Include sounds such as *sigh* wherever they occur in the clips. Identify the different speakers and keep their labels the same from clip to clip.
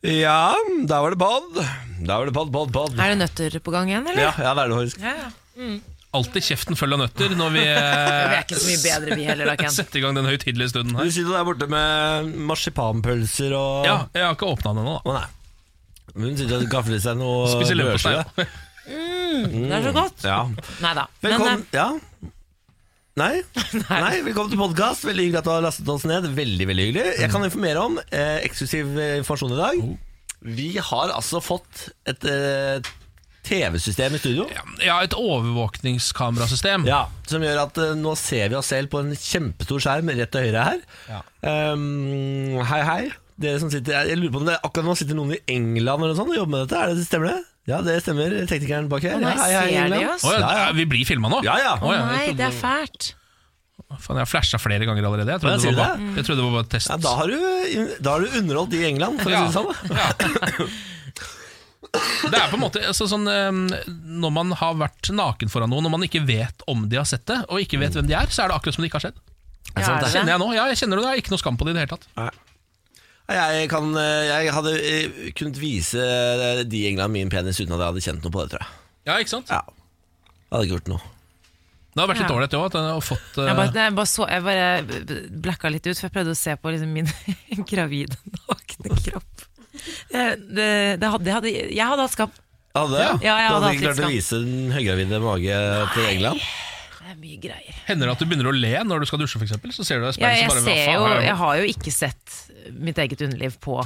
Speaker 1: Ja, der var det bad. Der var det bad, bad, bad.
Speaker 2: Er det nøtter på gang igjen,
Speaker 1: Ja,
Speaker 2: eller?
Speaker 1: ja det er det faktisk.
Speaker 2: Ja, ja.
Speaker 3: Alltid kjeften full av nøtter når
Speaker 2: *laughs*
Speaker 3: vi
Speaker 2: Vi
Speaker 3: eh,
Speaker 2: er ikke så mye bedre, vi heller, da, *laughs* Ken.
Speaker 3: setter i gang den høytidelige stunden
Speaker 1: Du
Speaker 3: her.
Speaker 1: sitter der borte med marsipanpølser og
Speaker 3: Ja, jeg har ikke åpna den ennå, da.
Speaker 1: Å nei. Hun sitter og gafler i seg noe
Speaker 3: Spiser leverpostei.
Speaker 1: brødskive.
Speaker 3: ja.
Speaker 2: Det er så godt.
Speaker 1: Ja.
Speaker 2: Nei da. Men
Speaker 1: Velkommen
Speaker 2: eh,
Speaker 1: Ja. Nei. Nei, velkommen til podkast. Veldig hyggelig at du har lastet oss ned. Veldig, veldig hyggelig Jeg kan informere om eh, eksklusiv eh, informasjon i dag. Vi har altså fått et eh, TV-system i studio.
Speaker 3: Ja, et overvåkningskamerasystem.
Speaker 1: Ja, Som gjør at eh, nå ser vi oss selv på en kjempestor skjerm rett til høyre her.
Speaker 3: Ja.
Speaker 1: Um, hei, hei. Dere som sitter Jeg jeg lurer på om det akkurat nå sitter noen i England eller noe sånt og jobber med dette. Er det, stemmer det? Ja, det stemmer. Teknikeren bak her.
Speaker 2: Å nei,
Speaker 1: Ja, hei, hei,
Speaker 2: ser de
Speaker 1: England.
Speaker 2: oss?
Speaker 3: Å, ja,
Speaker 1: Ja, ja.
Speaker 3: Vi blir filma nå?
Speaker 1: Ja, ja.
Speaker 3: Å, ja,
Speaker 2: Nei,
Speaker 3: jeg
Speaker 2: det er
Speaker 3: trodde,
Speaker 2: fælt.
Speaker 3: faen, jeg har flasha flere ganger allerede.
Speaker 1: Å, ja,
Speaker 3: Jeg trodde,
Speaker 1: sier
Speaker 3: det,
Speaker 1: du
Speaker 3: var
Speaker 1: det?
Speaker 3: bare, jeg trodde det var bare test.
Speaker 1: Ja, da, har du, da har du underholdt de i England, for å
Speaker 3: Ja.
Speaker 1: si det sånn.
Speaker 3: Det er på en måte altså, sånn eh, Når man har vært naken foran noen, og man ikke vet om de har sett det, og ikke vet hvem de er, så er det akkurat som det ikke har skjedd.
Speaker 2: Ja,
Speaker 1: sant,
Speaker 2: er det
Speaker 1: det er
Speaker 3: Kjenner
Speaker 2: det?
Speaker 3: jeg nå, ja, jeg kjenner det, det er ikke noe skam på det i det hele tatt.
Speaker 1: Jeg, kan, eh, jeg hadde eh, kunnet vise eh, de i England min penis uten at jeg hadde kjent noe på det, tror jeg.
Speaker 3: Ja, ikke sant?
Speaker 1: Ja. Jeg hadde ikke gjort noe.
Speaker 3: Det har vært litt
Speaker 2: Ja.
Speaker 3: ålreit, det òg. At jeg har fått eh,
Speaker 2: Jeg bare, jeg, bare så, jeg bare blacka litt ut, for jeg prøvde å se på liksom min *laughs* gravide, nakne kropp. Det, det, det hadde, det hadde, jeg hadde hatt skam.
Speaker 1: Jeg Hadde,
Speaker 3: Ja,
Speaker 2: jeg hadde
Speaker 1: du hadde
Speaker 2: hatt
Speaker 1: ikke klart
Speaker 2: litt
Speaker 1: å vise den høygravide mage til England?
Speaker 2: Det er mye greier.
Speaker 3: eh, Hender det at du begynner å le når du skal dusje, f.eks.? Så ser du deg i
Speaker 2: Ja, jeg,
Speaker 3: speilet så bare hva
Speaker 2: ser
Speaker 3: faen
Speaker 2: jo,
Speaker 3: er det?
Speaker 2: jeg har jo ikke sett mitt eget underliv på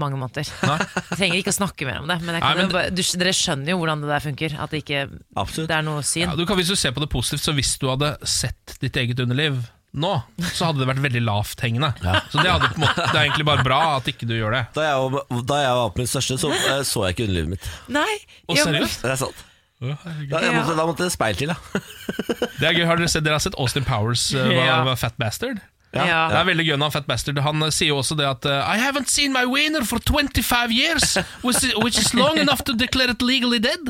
Speaker 2: mange måneder. Jeg trenger ikke å snakke mer om det, men, jeg kan
Speaker 3: Nei, men-
Speaker 2: jo bare, du, dere skjønner jo hvordan det der funker. At det ikke
Speaker 1: Absolutt.
Speaker 2: det er noe syn.
Speaker 3: ja, du kan, Hvis du ser på det positivt, så hvis du hadde sett ditt eget underliv nå, så hadde det vært veldig lavt hengende. Så det, hadde, på en måte, det er egentlig bare bra at ikke du gjør det.
Speaker 1: Da jeg, var- da jeg var på mitt største, så eh, så jeg ikke underlivet mitt.
Speaker 2: Nei!
Speaker 3: Og
Speaker 2: ja, men-
Speaker 3: seriøst?
Speaker 1: Det er sant.
Speaker 3: Det
Speaker 1: Da, jeg
Speaker 2: Ja.
Speaker 1: måtte, da måtte det speil til, da.
Speaker 3: er gøy, har Dere sett, dere har sett Austin Powers uh,
Speaker 2: Ja.
Speaker 3: var Fat Bastard?
Speaker 2: Ja.
Speaker 3: Det er veldig gøy når han Fat Bastard Han eh, sier jo også det at eh, I haven't seen my wiener for 25 years Which is, which is long enough to declare it legally dead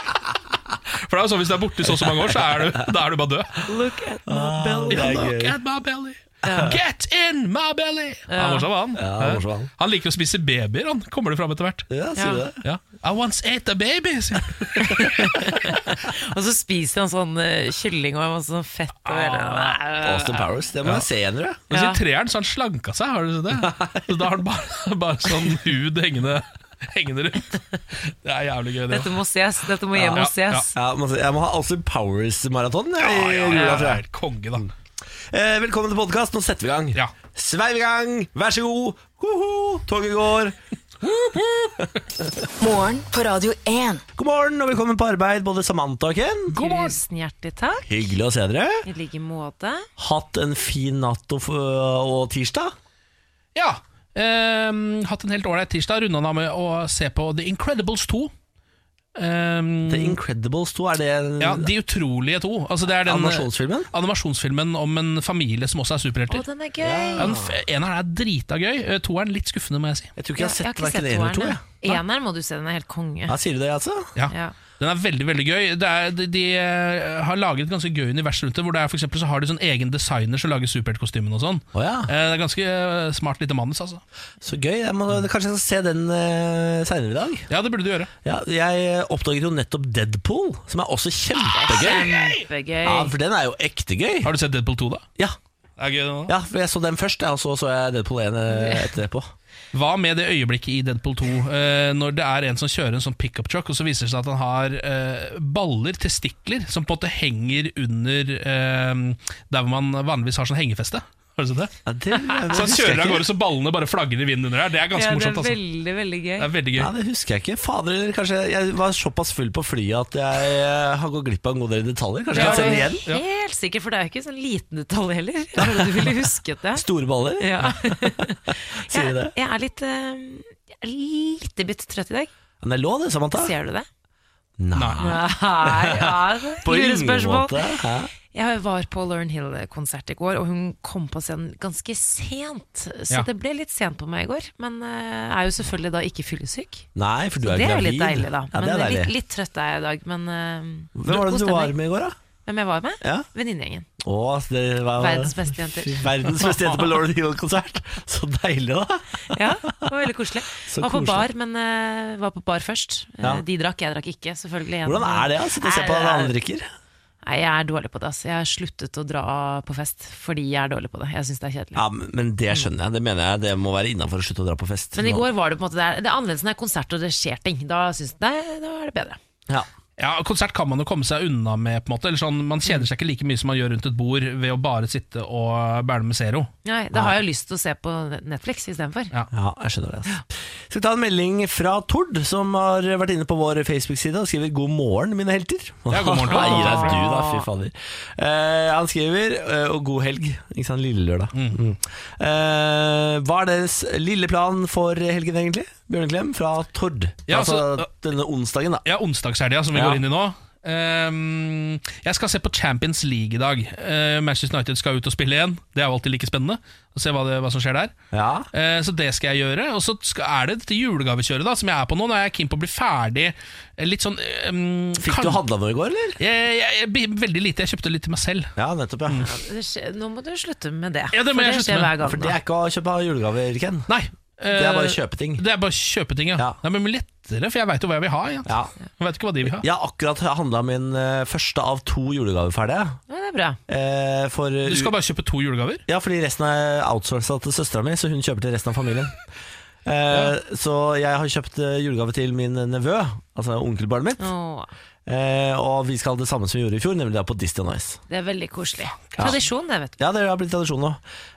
Speaker 3: *laughs* For det er jo sånn Hvis du er borte i så og så mange år Så er du, da er du bare død
Speaker 2: Look at my belly.
Speaker 1: det er
Speaker 3: Look
Speaker 1: gøy.
Speaker 3: at my belly Get in my belly Han er morsom, han.
Speaker 1: Ja, han er morsom, han.
Speaker 3: han liker å spise babyer Han kommer det fram etter hvert
Speaker 1: Ja, sier du
Speaker 2: Ja.
Speaker 1: det?
Speaker 3: ja. I once ate a baby sier han. Ah.
Speaker 2: Og så spiser han sånn eh, kylling og masse sånn fett og
Speaker 3: Ah.
Speaker 2: hele
Speaker 1: Austin Powers. Det må jeg se igjen, tror jeg.
Speaker 3: Men
Speaker 2: Ja.
Speaker 3: så i treeren så har han slanka seg Har du sett det? Så da har han bare, bare sånn hud hengende Hengende rundt Det er jævlig gøy det også.
Speaker 2: Dette må ses, dette må hjem og
Speaker 3: Ja, ja.
Speaker 2: ses.
Speaker 1: Ja, må se- jeg må ha Austin Powers-maraton. jeg, i jula, tror jeg.
Speaker 3: Konge, da.
Speaker 1: Eh, velkommen til podkast. Nå setter vi i gang.
Speaker 3: Ja.
Speaker 1: Sveiv i gang, vær så god. Hoho, toget går.
Speaker 4: Morgen på Radio 1.
Speaker 1: God morgen og velkommen på arbeid, både Samantha og Ken.
Speaker 2: Tusen hjertelig takk.
Speaker 1: Hyggelig å se dere.
Speaker 2: I like måte.
Speaker 1: Hatt en fin natt og, f- og tirsdag.
Speaker 3: Ja. ehm, hatt en helt ålreit tirsdag. Runda den av med å se på The Incredibles 2. Ehm,
Speaker 1: The Incredibles 2, er det
Speaker 3: ja, De utrolige to. Altså, det er
Speaker 1: eh,
Speaker 3: den
Speaker 1: animasjonsfilmen?
Speaker 3: animasjonsfilmen om en familie som også er
Speaker 2: Å,
Speaker 3: superhelter.
Speaker 2: den er
Speaker 3: Ja,
Speaker 2: gøy!
Speaker 3: den f- Eneren er drita gøy. eh, Toeren litt skuffende, må jeg si.
Speaker 1: Jeg tror ikke jeg har sett verken én
Speaker 2: toeren,
Speaker 1: eller to.
Speaker 2: jeg.
Speaker 1: jeg.
Speaker 2: Eneren må du se, den er helt konge.
Speaker 1: Ja, sier du det, altså?
Speaker 3: Ja.
Speaker 2: Ja.
Speaker 3: Den er veldig veldig gøy. Det er, de, de eh, har laget et ganske gøy univers rundt det. Hvor det er, for eksempel, så har de sånn egen designer som lager superheltkostymene og sånn.
Speaker 1: Å ja.
Speaker 3: Eh, Det er ganske eh, smart lite manus, altså.
Speaker 1: Så gøy. Jeg må, kanskje jeg skal se den uh, seinere i dag.
Speaker 3: Ja, det burde du gjøre.
Speaker 1: Ja, jeg eh, oppdaget jo nettopp Deadpool, som er også kjempegøy.
Speaker 2: Kjempegøy.
Speaker 1: Ja, For den er jo ekte gøy.
Speaker 3: Har du sett Deadpool 2, da?
Speaker 1: Ja,
Speaker 3: Det er gøy, det nå.
Speaker 1: ja for jeg så den først, ja, og så så jeg Deadpool 1 etterpå.
Speaker 3: Hva med det øyeblikket i Deadpool 2 eh, når det er en som kjører en sånn pickup truck, og så viser det seg at han har eh, baller, testikler, som på en måte henger under eh, der hvor man vanligvis har sånn hengefeste? Har du sett det?
Speaker 1: Ja, *laughs* det, det
Speaker 3: Så han
Speaker 1: husker jeg
Speaker 3: kjører av
Speaker 1: ikke.
Speaker 3: gårde så ballene bare flagrer i vinden under her. Det er ganske
Speaker 2: Ja, det
Speaker 3: morsomt.
Speaker 2: er
Speaker 3: altså
Speaker 2: veldig, veldig gøy.
Speaker 3: Det er veldig gøy.
Speaker 1: Ja, det husker jeg ikke. Fader, eller kanskje Jeg var såpass full på flyet at jeg eh, har gått glipp av en god del detaljer. Kanskje jeg
Speaker 3: Ja,
Speaker 1: kan se den
Speaker 3: det-
Speaker 1: igjen?
Speaker 3: Ja.
Speaker 2: Helt sikkert, for det er jo ikke sånn liten detalj heller. Jeg trodde Du ville husket
Speaker 1: *laughs*
Speaker 2: det.
Speaker 1: Store baller?
Speaker 2: Ja. *laughs*
Speaker 1: Sier du det?
Speaker 2: Jeg, jeg er litt eh, jeg er lite bitt trøtt i dag.
Speaker 1: Men det lå det, Samantha.
Speaker 2: Ser du det?
Speaker 1: Nei.
Speaker 2: Nei, ja,
Speaker 1: *laughs* På ingen
Speaker 2: lurespørsmål.
Speaker 1: måte. Hæ?
Speaker 2: Jeg var på Lauren Hill-konsert i går, og hun kom på scenen ganske sent. Så
Speaker 3: Ja.
Speaker 2: det ble litt sent på meg i går, men eh, er jo selvfølgelig da ikke fyllesyk.
Speaker 1: Nei, for du
Speaker 2: Så
Speaker 1: er
Speaker 2: det er jo
Speaker 1: gravid.
Speaker 2: litt deilig, da.
Speaker 1: Ja,
Speaker 2: Men
Speaker 1: det er
Speaker 2: litt,
Speaker 1: deilig.
Speaker 2: litt trøtt er jeg i dag, men eh,
Speaker 1: Hvem var
Speaker 2: god
Speaker 1: det du var
Speaker 2: stemning.
Speaker 1: med i går, da?
Speaker 2: Hvem jeg var med?
Speaker 1: Ja.
Speaker 2: Venninnegjengen.
Speaker 1: Å, altså, det var
Speaker 2: Verdens beste jenter.
Speaker 1: verdens beste jente
Speaker 2: *laughs*
Speaker 1: på Lauren Hill-konsert. Så deilig, da.
Speaker 2: Ja, det var veldig koselig.
Speaker 1: *laughs* Så
Speaker 2: var på
Speaker 1: koselig.
Speaker 2: bar, men eh, var på bar først. Eh,
Speaker 1: Ja.
Speaker 2: De drakk, jeg drakk ikke, selvfølgelig.
Speaker 1: Hvordan er det å sitte og se på
Speaker 2: Nei,
Speaker 1: at andre drikker?
Speaker 2: Nei, jeg er dårlig på det. Ass. Jeg har sluttet å dra på fest fordi jeg er dårlig på det. Jeg synes det er kjedelig.
Speaker 1: Ja, men men det skjønner jeg. Det mener jeg det må være innafor å slutte å dra på fest.
Speaker 2: Men i går var det på en måte det er, det er annerledes når det er konsert og det skjer ting. Da, synes, nei, da er det bedre.
Speaker 1: Ja.
Speaker 3: Ja, Konsert kan man jo komme seg unna med. på en måte Eller sånn, Man kjeder seg ikke like mye som man gjør rundt et bord ved å bare sitte og bæle med Zero.
Speaker 2: Nei, da har jeg lyst til å se på Netflix istedenfor.
Speaker 3: Ja.
Speaker 1: ja, jeg skjønner det. Altså. Skal vi ta en melding fra Tord, som har vært inne på vår Facebook-side og skriver 'God morgen, mine helter'.
Speaker 3: Ja, god morgen,
Speaker 1: *laughs*
Speaker 3: Tord.
Speaker 1: Nei, det er du da, fy fader. Eh, han skriver eh, 'og god helg', ikke sant, lille lørdag. Mm. Eh, hva er deres lille plan for helgen, egentlig? Bjørneklem fra Tord.
Speaker 3: Ja,
Speaker 1: altså
Speaker 3: så-
Speaker 1: denne onsdagen, da.
Speaker 3: Ja, onsdagshelga som vi
Speaker 1: Ja.
Speaker 3: går inn i nå. Ehm, jeg skal se på Champions League i dag. Eh, Manchester United skal ut og spille igjen. Det er jo alltid like spennende å se hva, det, hva som skjer der.
Speaker 1: Ja.
Speaker 3: Eh, Så det skal jeg gjøre. Og så skal- er det dette julegavekjøret da som jeg er på nå. Nå er jeg keen på å bli ferdig eh, litt sånn ehm,
Speaker 1: Fikk du
Speaker 3: kan-
Speaker 1: handla noe i går, eller?
Speaker 3: Jeg- jeg- jeg- Veldig lite. Jeg kjøpte litt til meg selv.
Speaker 1: Ja, nettopp, ja.
Speaker 2: Det skjer- Nå må du slutte med det.
Speaker 3: Ja, det må
Speaker 2: for
Speaker 3: jeg
Speaker 2: det
Speaker 3: slutte
Speaker 2: skjer
Speaker 3: med,
Speaker 2: hver gang.
Speaker 1: Mm. For det
Speaker 2: nå.
Speaker 1: er ikke å kjøpe julegaver, Ken.
Speaker 3: Nei.
Speaker 1: Det er bare å
Speaker 3: eh,
Speaker 1: kjøpe ting.
Speaker 3: Det er bare å kjøpe ting, ja.
Speaker 1: Ja.
Speaker 3: Det er mye lettere, for jeg veit jo hva jeg vil ha. Ja.
Speaker 1: Ja.
Speaker 3: Jeg vet ikke hva de vil ha.
Speaker 1: Jeg har akkurat handla min eh, første av to julegaver ferdig. jeg.
Speaker 2: Ja, det er bra.
Speaker 1: Eh, for,
Speaker 3: Du skal bare kjøpe to julegaver?
Speaker 1: Ja, fordi resten er outsourca til søstera mi, så hun kjøper til resten av familien. Eh, Så jeg har kjøpt eh, julegave til min nevø, altså onkelbarnet mitt.
Speaker 2: Åh,
Speaker 1: Eh, og vi skal det samme som vi gjorde i fjor, nemlig da på Disney on Ice.
Speaker 2: det er veldig koselig. Tradisjon, det, vet du.
Speaker 1: Ja, det har blitt tradisjon nå.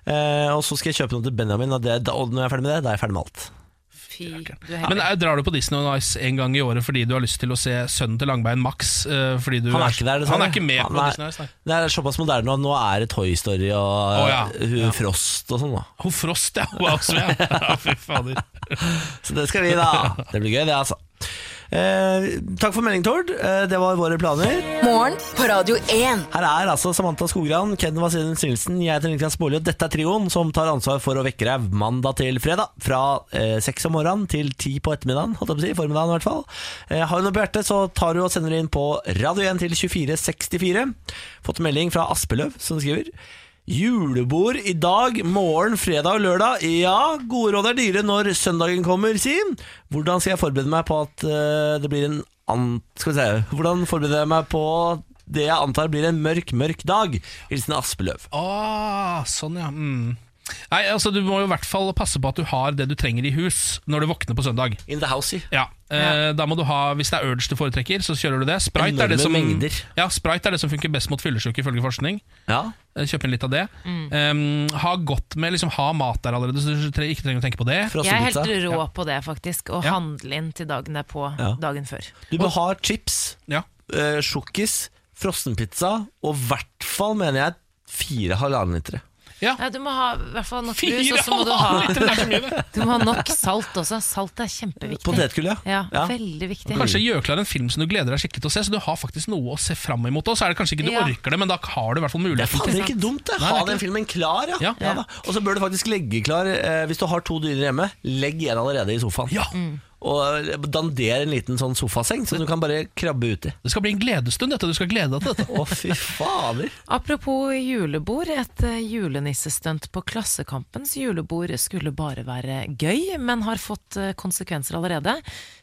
Speaker 1: Eh, og så skal jeg kjøpe noe til Benjamin, og, det, da- og når jeg er ferdig med det, da er jeg ferdig med alt.
Speaker 2: Fy, du er
Speaker 3: Men
Speaker 2: heldig.
Speaker 3: eh, Drar du på Disney on Ice en gang i året fordi du har lyst til å se sønnen til Langbein Max? eh, Fordi du
Speaker 1: Han er ikke der, dessverre.
Speaker 3: Han er ikke med på
Speaker 1: Han er-
Speaker 3: Disney on Ice, nei.
Speaker 1: Det er såpass moderne, og nå er det Toy Story og
Speaker 3: ja.
Speaker 1: eh, Frost og sånn, da.
Speaker 3: Ho Frost, ja. *laughs* Wow, så ja. ja fy fader.
Speaker 1: Så det skal vi, da. Det blir gøy, det, altså. Eh, takk for melding, Tord. Eh, det var våre planer.
Speaker 4: Morgen på Radio 1.
Speaker 1: Her er altså Samantha Skogran, Ken Vasenus Nilsen, jeg heter Niklas Baarli, og dette er trioen som tar ansvar for å vekke deg mandag til fredag. Fra eh, seks om morgenen til ti på ettermiddagen, holdt jeg på å si. Formiddagen, i hvert fall. Eh, har du noe på hjertet, så tar du og sender det inn på Radio 1 til 2464. Fått melding fra Aspeløv, som skriver Julebord i dag, morgen, fredag og lørdag. Ja, gode råd er dyre når søndagen kommer, si. Hvordan skal jeg forberede meg på at eh, det blir en an... Skal vi se Hvordan forbereder jeg meg på det jeg antar blir en mørk, mørk dag? Hilsen Aspeløv.
Speaker 3: Ah, sånn, ja. Mm. Nei, altså Du må jo i hvert fall passe på at du har det du trenger i hus når du våkner på søndag.
Speaker 1: In the house, si.
Speaker 3: Ja, eh, da må du ha, Hvis det er Urge du foretrekker, så kjører du det. Sprite, er
Speaker 1: Enorme
Speaker 3: det, som,
Speaker 1: mengder.
Speaker 3: ja, sprite er det som funker best mot fyllesyke, ifølge forskning.
Speaker 1: Ja.
Speaker 3: Eh, Kjøp inn litt av det. Um, ha godt med, liksom ha mat der allerede, så du tre- ikke trenger å tenke på det.
Speaker 2: Jeg er helt
Speaker 1: Frossenpizza.
Speaker 2: rå på det, faktisk. Å
Speaker 3: Ja.
Speaker 2: handle inn til dagen derpå,
Speaker 1: Ja.
Speaker 2: dagen før.
Speaker 1: Du bør ha chips,
Speaker 3: Ja.
Speaker 1: eh, sjokkis, frossenpizza og i hvert fall, mener jeg, fire halvannenlitere.
Speaker 3: ja.
Speaker 2: Nei, du må ha i hvert fall nok brus, og
Speaker 3: Fire
Speaker 2: så må du ha, *laughs*
Speaker 3: halvannen liter, det er så mye, det.
Speaker 2: du må ha nok salt også. Salt er kjempeviktig.
Speaker 1: Potetgull, ja.
Speaker 2: Ja,
Speaker 1: Ja.
Speaker 2: veldig viktig.
Speaker 3: Kanskje gjør klar en film som du gleder deg skikkelig til å se, så du har faktisk noe å se fram imot. Og så er det kanskje ikke du
Speaker 2: Ja.
Speaker 3: orker det, men da har du i hvert fall
Speaker 1: Det er
Speaker 3: muligheten.
Speaker 1: fader ikke dumt, det.
Speaker 3: Nei, det
Speaker 1: Ha
Speaker 3: er
Speaker 1: den
Speaker 3: ikke
Speaker 1: filmen klar, ja.
Speaker 3: Ja.
Speaker 1: da. Og så bør du faktisk legge klar eh, Hvis du har to dyner hjemme, legg en allerede i sofaen.
Speaker 3: Ja.
Speaker 1: Og eh, dander en liten sånn sofaseng som du kan bare krabbe uti.
Speaker 3: Det skal bli en gledestund, dette. Du skal glede deg til dette.
Speaker 1: Å, fy fader.
Speaker 2: Apropos julebord, et eh, julenissestunt på Klassekampens julebord skulle bare være gøy, men har fått eh, konsekvenser allerede.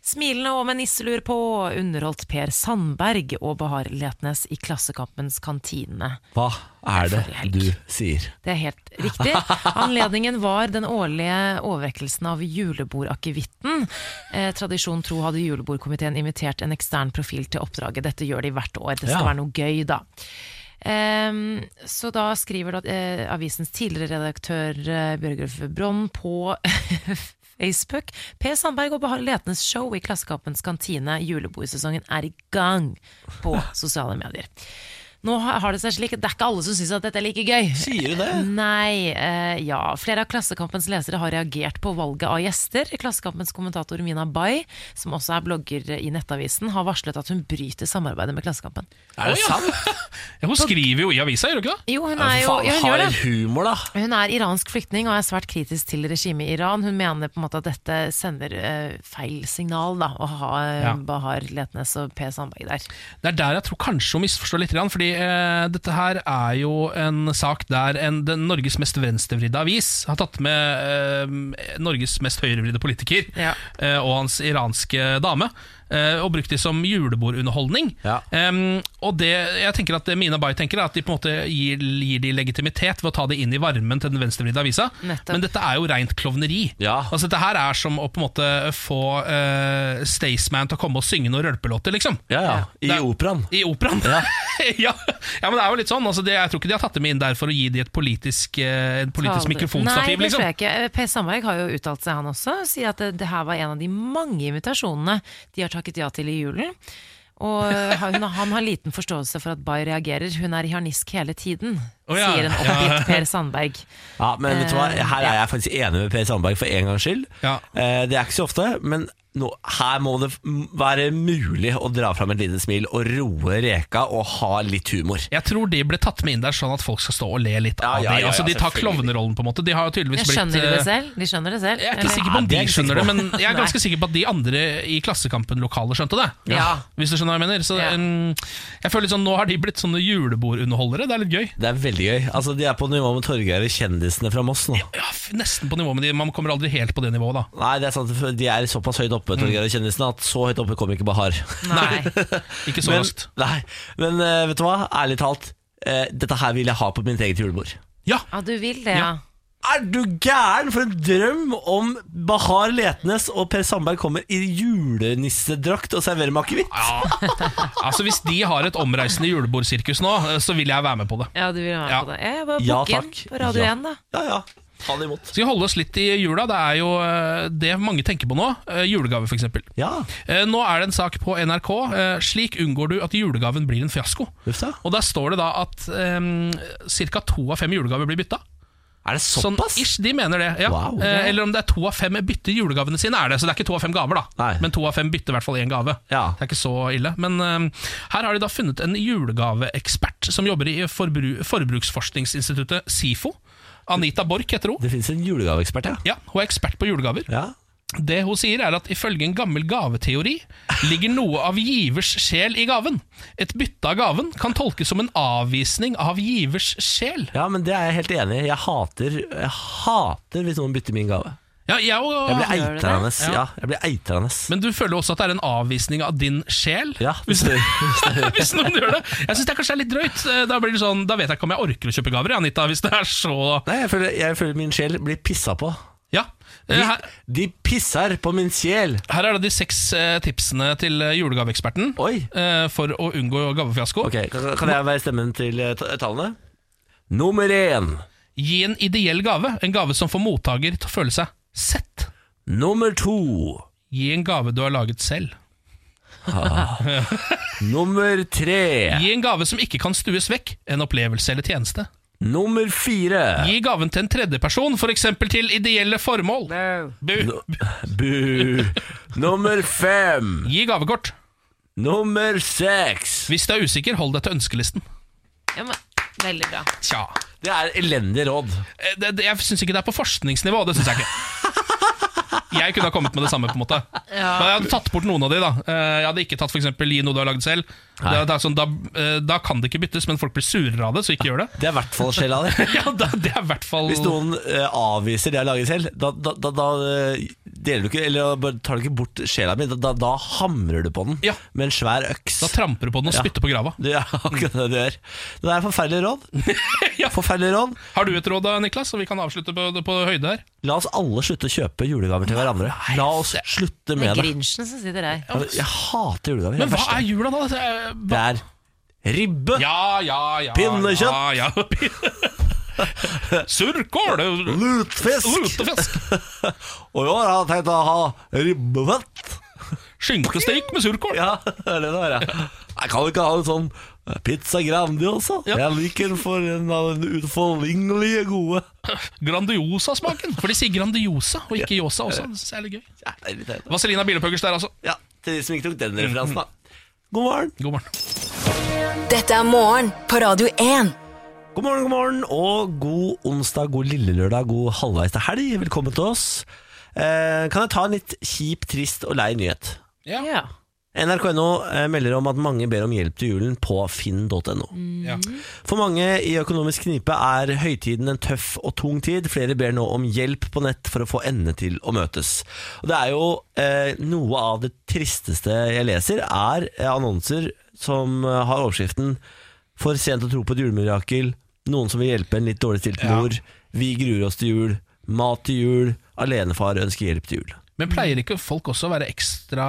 Speaker 2: Smilende og med nisselur på underholdt Per Sandberg og Bahar Letnes i Klassekampens kantine.
Speaker 1: Hva er det
Speaker 2: For helg.
Speaker 1: du sier?
Speaker 2: Det er helt riktig. Anledningen var den årlige overrekkelsen av julebordakevitten. Eh, tradisjon tro hadde julebordkomiteen invitert en ekstern profil til oppdraget. Dette gjør de hvert år. Det skal
Speaker 1: Ja.
Speaker 2: være noe gøy, da. Ehm, så da skriver da, eh, avisens tidligere redaktør eh, Bjørgulf Bronn på *laughs* Facebook Per Sandberg og Bahar Letnes show i Klassekampens kantine. Julebordsesongen er i gang på sosiale medier. Nå har har det seg slik at det er ikke alle som syns at dette er like gøy.
Speaker 1: Sier du det?
Speaker 2: Nei, eh, ja. Flere av Klassekampens lesere har reagert på valget av gjester. Klassekampens kommentator Mina Bay, som også er blogger i Nettavisen, har varslet at hun bryter samarbeidet med Klassekampen.
Speaker 1: Er det
Speaker 3: Å, ja.
Speaker 1: sant?
Speaker 3: Ja, hun skriver jo i avisa, gjør hun ikke det?
Speaker 2: Jo, hun
Speaker 1: Ja,
Speaker 2: er
Speaker 1: for
Speaker 2: jo
Speaker 1: faen,
Speaker 2: ja, hun gjør det.
Speaker 1: Hard humor, da.
Speaker 2: Hun er iransk flyktning og er svært kritisk til regimet i Iran. Hun mener på en måte at dette sender eh, feil signal, da, å ha eh,
Speaker 3: Ja.
Speaker 2: Bahar Letnes og Per Sandberg der.
Speaker 3: Det er der jeg tror kanskje hun misforstår litt, grann, fordi eh, dette her er jo en sak der en, den Norges mest venstrevridde avis har tatt med eh, Norges mest høyrevridde politiker
Speaker 2: Ja.
Speaker 3: eh, og hans iranske dame. eh, Og brukt de som julebordunderholdning.
Speaker 1: Ja.
Speaker 3: Em, og det, jeg tenker at det Mina Bay tenker, er at de på en måte gir, gir de legitimitet ved å ta det inn i varmen til den venstrevridde avisa.
Speaker 2: Nettopp.
Speaker 3: Men dette er jo rent klovneri.
Speaker 1: Ja.
Speaker 3: Altså Dette her er som å på en måte få eh, Staysman til å komme og synge noen rølpelåter, liksom.
Speaker 1: Ja, ja. I
Speaker 3: Det er-
Speaker 1: operaen.
Speaker 3: I operaen. Ja. *laughs* ja. men det er jo litt sånn. Altså, det, jeg tror ikke de har tatt dem inn der for å gi de et politisk, eh, en politisk
Speaker 2: Aldri.
Speaker 3: mikrofonstativ,
Speaker 2: Nei, det
Speaker 3: liksom.
Speaker 2: tror jeg ikke. Eh, Per Sandberg har jo uttalt seg, han også. og Sier at det, det her var en av de mange invitasjonene de har takket ja til i julen. Og eh, han, han har liten forståelse for at Bay reagerer. Hun er i harnisk hele tiden,
Speaker 3: Å ja.
Speaker 2: sier en oppgitt Per Sandberg.
Speaker 1: Ja, men vet du hva? Her er jeg faktisk enig med Per Sandberg for en gangs skyld.
Speaker 3: Eh, Ja.
Speaker 1: Eh, Det er ikke så ofte, men nå, her må det m- være mulig å dra fram et lite smil og roe reka og ha litt humor.
Speaker 3: Jeg tror de ble tatt med inn der sånn at folk skal stå og le litt
Speaker 1: Ja,
Speaker 3: av
Speaker 1: ja, ja,
Speaker 3: de.
Speaker 1: ja,
Speaker 3: Altså, de tar
Speaker 1: selvfølgelig.
Speaker 3: klovnerollen, på en måte. De har jo tydeligvis
Speaker 2: Jeg
Speaker 3: blitt
Speaker 2: skjønner de det
Speaker 3: eh,
Speaker 2: selv? De skjønner det selv?
Speaker 3: Jeg er
Speaker 2: eller?
Speaker 3: ikke sikker på om
Speaker 1: Nei, det
Speaker 3: de
Speaker 1: er jeg ikke
Speaker 3: skjønner det,
Speaker 1: sikker
Speaker 3: men jeg er
Speaker 2: Nei.
Speaker 3: ganske sikker på at de andre i Klassekampen-lokalet skjønte det.
Speaker 2: Ja.
Speaker 3: Hvis du skjønner hva jeg mener. Så
Speaker 2: Ja.
Speaker 3: mm, jeg føler litt sånn, Nå har de blitt sånne julebordunderholdere. Det er litt gøy.
Speaker 1: Det er veldig gøy. Altså, De er på nivå med Torgeir og kjendisene fra Moss nå.
Speaker 3: Ja, f- Nesten på nivå med de. Man kommer aldri helt på det nivået, da.
Speaker 1: Nei, det er sant, for de er såpass høyt oppe,
Speaker 3: Mm.
Speaker 1: Torgeir og kjendisene, at så høyt oppe kom ikke Bahar.
Speaker 2: Nei.
Speaker 3: Ikke så
Speaker 1: Men,
Speaker 3: raskt.
Speaker 1: nei, men eh, vet du hva? Ærlig talt, eh, dette her vil jeg ha på mitt eget julebord.
Speaker 3: Ja,
Speaker 2: Ja, du vil det, ja.
Speaker 3: Ja.
Speaker 1: Er du gæren for en drøm om Bahar Letnes og Per Sandberg kommer i julenissedrakt og serverer meg akevitt?
Speaker 3: altså Hvis de har et omreisende julebordsirkus nå, eh, så vil jeg være med på det.
Speaker 2: Ja, du vil være med
Speaker 3: Ja.
Speaker 2: på det. Jeg bare
Speaker 1: Ja,
Speaker 2: bukk inn
Speaker 1: takk.
Speaker 2: på Radio
Speaker 1: Ja.
Speaker 2: 1, da.
Speaker 1: Ja, ja. Ta det imot.
Speaker 3: Skal vi holde oss litt i jula? Det er jo eh, det mange tenker på nå. eh, Julegave, f.eks.
Speaker 1: Ja,
Speaker 3: Nå er det en sak på NRK. eh, Slik unngår du at julegaven blir en fiasko.
Speaker 1: uff da.
Speaker 3: Og der står det da at um, ca. to av fem julegaver blir bytta.
Speaker 1: Er det
Speaker 3: Sånn
Speaker 1: såpass?
Speaker 3: ish, de mener det. Ja.
Speaker 1: Wow.
Speaker 3: Eh, eller om det er to av fem bytter julegavene sine, er det. Så det er ikke to av fem gaver, da.
Speaker 1: Nei.
Speaker 3: Men to av fem bytter i hvert fall én gave.
Speaker 1: Ja.
Speaker 3: Det er ikke så ille. Men eh, her har de da funnet en julegaveekspert som jobber i forbru forbruksforskningsinstituttet SIFO. Anita Borch heter hun.
Speaker 1: Det finnes en julegaveekspert, ja.
Speaker 3: Ja, Hun er ekspert på julegaver.
Speaker 1: ja.
Speaker 3: Det hun sier er at ifølge en gammel gaveteori ligger noe av givers sjel i gaven. Et bytte av gaven kan tolkes som en avvisning av givers sjel.
Speaker 1: Ja, men det er jeg helt enig i. Jeg hater, jeg hater hvis noen bytter min gave.
Speaker 3: Ja, jeg og,
Speaker 1: Jeg blir
Speaker 2: gjør du det?
Speaker 1: eitrende.
Speaker 3: Ja.
Speaker 1: Ja, jeg blir eitrende.
Speaker 3: men du føler også at det er en avvisning av din sjel?
Speaker 1: Ja, hvis du
Speaker 3: *laughs* hvis noen gjør det. Jeg syns det kanskje er litt drøyt. Da, blir det sånn, da vet jeg ikke om jeg orker å kjøpe gaver, Anita, hvis det er så
Speaker 1: Nei, jeg føler, jeg føler min sjel blir pissa på.
Speaker 3: Ja. Eh,
Speaker 1: De,
Speaker 3: Her,
Speaker 1: de pisser på min sjel!
Speaker 3: her er da de seks eh, tipsene til eh, julegaveeksperten
Speaker 1: Oi.
Speaker 3: eh, for å unngå gavefiasko.
Speaker 1: Ok, kan, kan jeg være stemmen til eh, ta- tallene? Nummer én.
Speaker 3: Gi en ideell gave, en gave som får mottaker til å føle seg sett.
Speaker 1: Nummer to.
Speaker 3: Gi en gave du har laget selv.
Speaker 1: Nummer tre.
Speaker 3: Gi en gave som ikke kan stues vekk, en opplevelse eller tjeneste.
Speaker 1: Nummer fire.
Speaker 3: Gi gaven til en tredjeperson, f.eks. til ideelle formål. Bu.
Speaker 1: Bu. Nummer fem.
Speaker 3: Gi gavekort.
Speaker 1: Nummer seks.
Speaker 3: Hvis du er usikker, hold deg til ønskelisten.
Speaker 2: Ja, men, veldig bra.
Speaker 3: Tja.
Speaker 1: Det er elendig råd.
Speaker 3: Eh, Det, det, jeg syns ikke det er på forskningsnivå. Det syns jeg *laughs* ikke. Jeg kunne ha kommet med det samme. på en måte
Speaker 2: Ja.
Speaker 3: Men jeg hadde tatt bort noen av de. da Eh, Jeg hadde ikke tatt for eksempel, gi noe du har lagd selv. Det,
Speaker 1: Nei.
Speaker 3: det er sånn, da, eh, da kan det ikke byttes, men folk blir surere av det, så ikke gjør det. *laughs*
Speaker 1: Det er i hvert fall sjela di.
Speaker 3: Ja, da, det er i hvert fall
Speaker 1: Hvis noen eh, avviser det jeg lager selv, da, da, da, da eh, deler du ikke Eller da bare tar du ikke bort sjela mi. Da, da, da hamrer du på den
Speaker 3: Ja.
Speaker 1: med en svær øks.
Speaker 3: Da tramper du på den og
Speaker 1: Ja.
Speaker 3: spytter på grava.
Speaker 1: *laughs* Det er akkurat det du gjør. Det er forferdelig råd. *laughs*
Speaker 3: Ja.
Speaker 1: Forferdelig råd.
Speaker 3: Har du et råd da, Niklas? Så vi kan avslutte på, på høyde her.
Speaker 1: La oss alle slutte å kjøpe julegaver til hverandre. La oss slutte
Speaker 2: Det er
Speaker 1: med det.
Speaker 2: Grinchen som sitter der.
Speaker 1: Jeg hater julegaver.
Speaker 3: Men
Speaker 1: Det
Speaker 3: hva
Speaker 1: verste.
Speaker 3: er jula, da? Det er-
Speaker 1: Det er ribbe,
Speaker 3: Ja, ja, ja.
Speaker 1: Pinnekjøtt.
Speaker 3: Ja, *laughs* ja. Surkål!
Speaker 1: lutfisk
Speaker 3: Lutefisk!
Speaker 1: Og i år har jeg tenkt å ha ribbefett.
Speaker 3: Skinkesteik med surkål.
Speaker 1: Ja, det er det det er. ja. Jeg kan jo ikke ha en sånn pizza grandi også.
Speaker 3: Ja.
Speaker 1: Jeg liker den for en av den utforlignelige gode.
Speaker 3: Grandiosa-smaken. For de sier Grandiosa og ikke Yosa også. Det synes jeg er litt gøy.
Speaker 1: Ja, det er litt teit, da.
Speaker 3: Vaselina Bielepuggers der, altså.
Speaker 1: ja, til de som ikke tok den referansen, da. God morgen.
Speaker 3: God morgen.
Speaker 4: Dette er morgen på Radio 1.
Speaker 1: God morgen, god morgen, og god onsdag, god lille lørdag, god halvveis til helg. Velkommen til oss. Eh, kan jeg ta en litt kjip, trist og lei nyhet?
Speaker 3: Ja.
Speaker 2: Ja.
Speaker 1: NRK.no eh, melder om at mange ber om hjelp til julen på finn.no.
Speaker 3: Ja.
Speaker 1: For mange i økonomisk knipe er høytiden en tøff og tung tid. Flere ber nå om hjelp på nett for å få endene til å møtes. Og det er jo eh, Noe av det tristeste jeg leser, er eh, annonser som eh, har overskriften 'For sent å tro på et julemirakel', 'Noen som vil hjelpe en litt dårligstilt
Speaker 3: Ja.
Speaker 1: mor', 'Vi gruer oss til jul', 'Mat til jul', 'Alenefar ønsker hjelp til jul'.
Speaker 3: Men pleier ikke folk også å være ekstra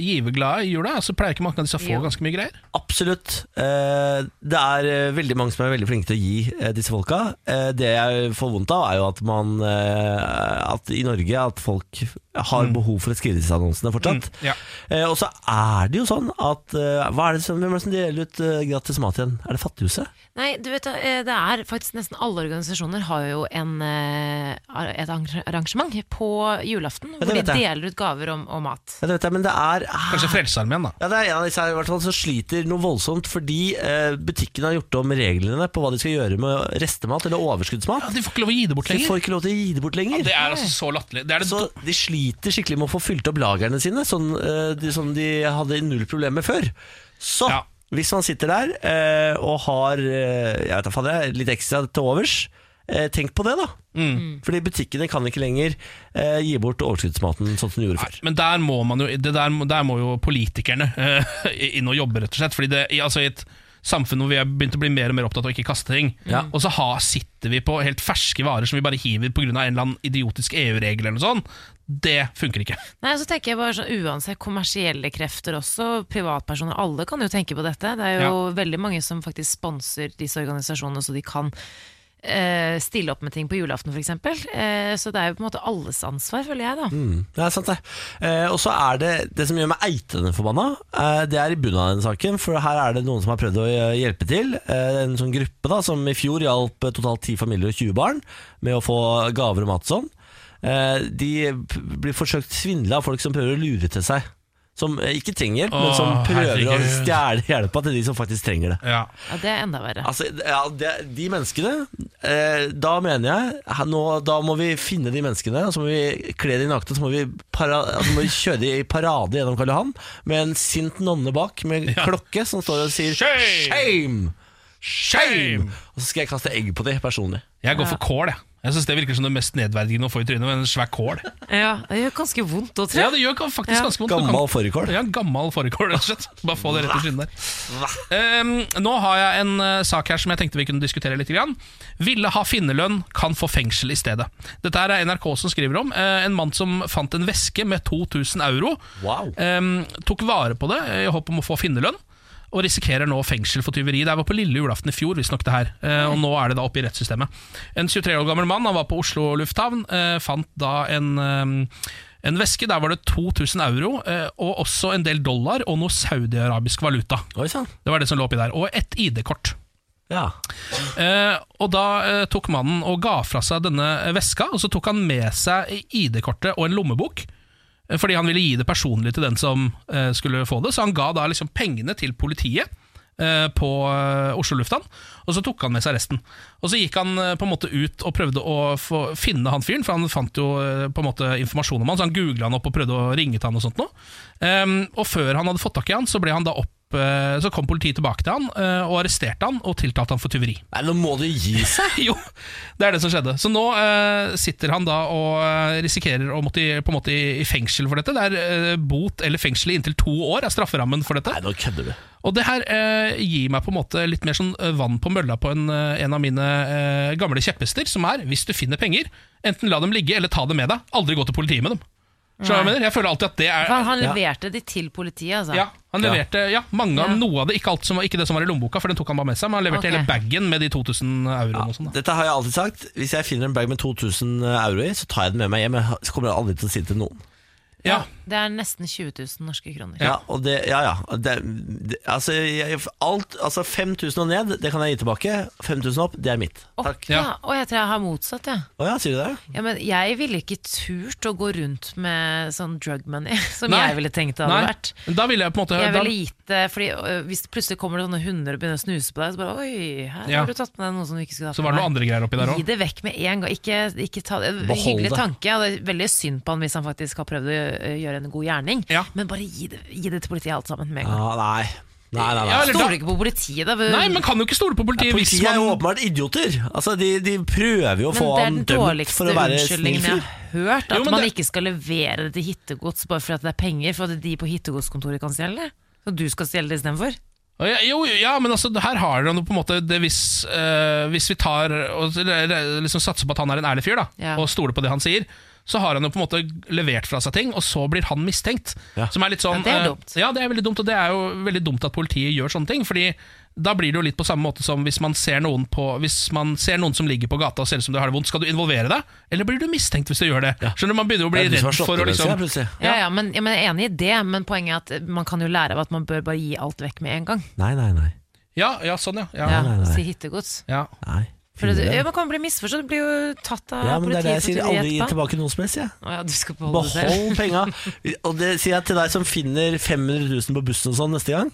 Speaker 3: giverglade i jula? Altså Pleier ikke mange av disse å få
Speaker 2: Jo.
Speaker 3: ganske mye greier?
Speaker 1: Absolutt. Eh, Det er eh, veldig mange som er veldig flinke til å gi eh, disse folka. Eh, Det jeg får vondt av, er jo at man eh, At i Norge at folk har behov for å skrive disse annonsene fortsatt.
Speaker 3: Mm, ja.
Speaker 1: Eh, Og så er det jo sånn at eh, hva er det som, Hvem er det som deler ut eh, gratis mat igjen? Er det Fattighuset?
Speaker 2: Nei, du vet, eh, det er faktisk nesten alle organisasjoner har jo en, eh, ar- et arrange- arrangement på julaften hvor de
Speaker 1: det vet jeg.
Speaker 2: deler ut gaver om- og mat.
Speaker 1: Ja, det vet jeg, men det er ah,
Speaker 3: Kanskje Frelsesarmeen, da.
Speaker 1: Ja, Det er en av disse her i hvert fall som sliter noe voldsomt fordi eh, butikken har gjort om reglene på hva de skal gjøre med restemat eller overskuddsmat.
Speaker 3: Ja, de får ikke lov å gi det bort
Speaker 1: De
Speaker 3: lenger.
Speaker 1: får ikke lov til å gi det bort lenger.
Speaker 3: Det er altså så latterlig. Det er det
Speaker 1: Så de sliter skikkelig med å få fylt opp lagrene sine, sånn, eh, de, som de hadde null problemer med før. Så
Speaker 3: Ja.
Speaker 1: hvis man sitter der eh, og har eh, jeg vet da faen jeg, litt ekstra til overs, eh, tenk på det, da.
Speaker 3: Mm.
Speaker 1: Fordi butikkene kan ikke lenger eh, gi bort overskuddsmaten sånn som de gjorde før.
Speaker 3: Men der må, man jo, det der, må- der må jo politikerne eh, inn og jobbe, rett og slett. Fordi det, i- altså, I et samfunn hvor vi har begynt å bli mer og mer opptatt av å ikke kaste ting, og så ha, sitter vi på helt ferske varer som vi bare hiver pga. en eller annen idiotisk EU-regel eller noe sånt, det funker ikke.
Speaker 2: Nei, så tenker jeg bare sånn, Uansett kommersielle krefter også, privatpersoner, alle kan jo tenke på dette. Det er jo veldig mange som faktisk sponser disse organisasjonene så de kan eh, stille opp med ting på julaften f.eks. Uh, så det er jo på en måte alles ansvar, føler jeg. da
Speaker 1: Mm, det er sant, det. Eh, og så er det det som gjør meg eitende forbanna, eh, det er i bunnen av denne saken. For her er det noen som har prøvd å eh, hjelpe til. Eh, en sånn gruppe da, som i fjor hjalp eh, totalt 10 familier og 20 barn med å få gaver og mat og sånn. Eh, de p- blir forsøkt svindla av folk som prøver å lure til seg. Som eh, ikke trenger hjelp, men som
Speaker 3: Åh,
Speaker 1: prøver å
Speaker 3: herregud.
Speaker 1: stjele hjelpa til de som faktisk trenger det.
Speaker 3: Ja.
Speaker 2: ja, Det er enda verre.
Speaker 1: Altså, ja, det, de menneskene eh, Da mener jeg her- nå, Da må vi finne de menneskene og Så må vi kle de nakne Så må vi, para, altså, må vi kjøre de i parade gjennom Karl Johan Med en sint nonne bak Med klokke som står og sier
Speaker 3: Shame!
Speaker 1: Shame!
Speaker 3: Shame!
Speaker 1: Og så skal jeg kaste egg på de personlig
Speaker 3: Jeg går for kål, jeg. Jeg synes Det virker som det mest nedverdigende å få i trynet, men en svær kål.
Speaker 2: Ja, Det gjør ganske vondt å
Speaker 3: Ja,
Speaker 2: tror jeg.
Speaker 3: det gjør faktisk
Speaker 2: Ja.
Speaker 3: ganske vondt. Du kan-
Speaker 1: Gammel fårikål
Speaker 3: Ja, en gammel fårikål, rett og slett. Bare få det rett i skinnet der. Um, nå har jeg en eh, sak her som jeg tenkte vi kunne diskutere litt. Grann. Ville ha finnerlønn, kan få fengsel i stedet. Dette her er NRK som skriver om. eh, en mann som fant en veske med 2000 euro.
Speaker 1: Wow.
Speaker 3: Um, tok vare på det eh, i håp om å få finnerlønn. Og risikerer nå fengsel for tyveri. Det her var på lille julaften i fjor, visstnok. det her, eh, Og nå er det da oppe i rettssystemet. En 23 år gammel mann han var på Oslo lufthavn. eh, Fant da en, eh, en veske. Der var det 2000 euro, eh, og også en del dollar og noe saudiarabisk valuta.
Speaker 1: Oi, sann.
Speaker 3: Det var det som lå oppi der. Og et ID-kort.
Speaker 1: ja.
Speaker 3: Eh, og da eh, tok mannen og ga fra seg denne veska, og så tok han med seg ID-kortet og en lommebok. eh, Fordi han ville gi det personlig til den som eh, skulle få det. Så han ga da liksom pengene til politiet eh, på eh, Oslo lufthavn, og så tok han med seg resten. Og så gikk han eh, på en måte ut og prøvde å få, finne han fyren, for han fant jo eh, på en måte informasjon om han, så han googla han opp og prøvde å ringe til han og sånt noe. Ehm, og før han hadde fått tak i han, så ble han da opp eh, så kom politiet tilbake til han eh, og arresterte han og tiltalte han for tyveri.
Speaker 1: Nei, nå må du
Speaker 3: *laughs*
Speaker 1: gi seg
Speaker 3: Jo, det er det som skjedde. Så nå eh, sitter han da og eh, risikerer å måtte i, på en måte i, i fengsel for dette. Det er eh, bot eller fengsel i inntil to år er strafferammen for dette.
Speaker 1: Nei, nå kødder du
Speaker 3: Og det her eh, gir meg på en måte litt mer sånn eh, vann på mølla på en, eh, en av mine eh, gamle kjepphester, som er hvis du finner penger, enten la dem ligge eller ta dem med deg. Aldri gå til politiet med dem. Skjønner du hva jeg mener? Jeg føler alltid at det er
Speaker 2: Han, han leverte de til politiet, altså.
Speaker 3: ja, han leverte ja, mange av
Speaker 2: Ja.
Speaker 3: noe av det, ikke, alt som, var- ikke det som var i lommeboka, for den tok han bare med seg, men han leverte
Speaker 2: Ok.
Speaker 3: hele bagen med de 2000 euroene og sånn. da.
Speaker 1: Dette har jeg alltid sagt Hvis jeg finner en bag med 2000 euro i Så tar jeg den med meg hjem Jeg kommer aldri til å si det til noen
Speaker 3: Ja.
Speaker 2: Det er nesten 20 000 norske kroner.
Speaker 1: Ja, og det, ja, ja. Det, det, altså, jeg, alt, altså 5000 og ned, det kan jeg gi tilbake. 5000 opp, det er mitt.
Speaker 2: Opp,
Speaker 1: Takk.
Speaker 2: ja.
Speaker 3: Ja.
Speaker 2: Og jeg tror jeg har motsatt, jeg.
Speaker 1: Å ja, sier du det?
Speaker 2: Ja. men jeg ville ikke turt å gå rundt med sånn drug money, *laughs* som
Speaker 3: Nei.
Speaker 2: jeg ville tenkt det hadde
Speaker 3: Nei,
Speaker 2: vært.
Speaker 3: da ville jeg på en måte
Speaker 2: Jeg
Speaker 3: da,
Speaker 2: ville gitt det, fordi øh, Hvis det plutselig kommer det sånne hunder og begynner å snuse på deg, så bare Oi, her
Speaker 3: Ja.
Speaker 2: har du tatt med deg noe som du ikke skulle hatt
Speaker 3: Så var det noen andre greier oppi der
Speaker 2: Gi
Speaker 3: òg.
Speaker 2: det vekk med en gang. Ikke, ikke ta,
Speaker 1: Behold
Speaker 2: hyggelig
Speaker 1: det.
Speaker 2: tanke. og det er veldig synd på han hvis han faktisk har prøvd å eh, gjøre en god gjerning,
Speaker 3: Ja.
Speaker 2: men bare gi det, gi det til politiet alt sammen med en gang.
Speaker 1: Ja, nei. Nei, nei,
Speaker 3: Ja,
Speaker 1: nei.
Speaker 3: eller da-
Speaker 2: Stoler ikke på politiet, da.
Speaker 3: Nei, man kan jo ikke stole på politiet hvis
Speaker 1: Politiet er jo
Speaker 3: man
Speaker 1: åpenbart idioter. Altså, de, de prøver jo å
Speaker 2: Men
Speaker 1: få
Speaker 2: det er
Speaker 1: han
Speaker 2: den
Speaker 1: dømt
Speaker 2: dårligste
Speaker 1: for å være snill
Speaker 2: unnskyldningen jeg
Speaker 1: fyr.
Speaker 2: har hørt. At
Speaker 3: Jo, men
Speaker 2: man
Speaker 3: det-
Speaker 2: ikke skal levere det til hittegods bare fordi at det er penger, for at de på hittegodskontoret kan stjele det. Så du skal stjele det istedenfor?
Speaker 3: Å, ja, Jo, jo, ja, men altså, her har han jo på en måte det hvis, eh, hvis vi tar og eller, eller liksom satser på at han er en ærlig fyr, da,
Speaker 2: Ja.
Speaker 3: og stoler på det han sier, så har han jo på en måte levert fra seg ting, og så blir han mistenkt.
Speaker 1: Ja.
Speaker 3: Som er litt sånn
Speaker 2: Ja, det er
Speaker 3: eh,
Speaker 2: dumt.
Speaker 3: ja, det er veldig dumt, og det er jo veldig dumt at politiet gjør sånne ting, fordi da blir det jo litt på samme måte som hvis man ser noen, på, hvis man ser noen som ligger på gata og ser ut som de har det vondt, skal du involvere deg, eller blir du mistenkt hvis du gjør det? Skjønner du, Man begynner jo å
Speaker 1: Det
Speaker 3: bli
Speaker 1: er du som
Speaker 3: redd
Speaker 1: har slått
Speaker 3: for å
Speaker 1: det
Speaker 3: liksom
Speaker 1: mennesket, plutselig.
Speaker 2: Ja, ja, men, ja, men jeg er enig i det, men poenget er at man kan jo lære av at man bør bare gi alt vekk med en gang.
Speaker 1: Nei, nei, nei.
Speaker 3: Ja, ja, sånn, ja. ja.
Speaker 2: Ja,
Speaker 1: nei, nei.
Speaker 2: Si hittegods.
Speaker 3: ja.
Speaker 1: nei.
Speaker 2: For det, ja,
Speaker 1: Finne det.
Speaker 2: man kan bli misforstått, du blir jo tatt av
Speaker 1: Ja, men det
Speaker 2: politiet.
Speaker 1: er det jeg sier.
Speaker 2: for
Speaker 1: Aldri gi
Speaker 2: tyveri etterpå.
Speaker 1: tilbake noe som helst, jeg.
Speaker 2: Å ja, du skal beholde det selv.
Speaker 1: Behold penga. Og det sier jeg til deg som finner 500 000 på bussen og sånn neste gang.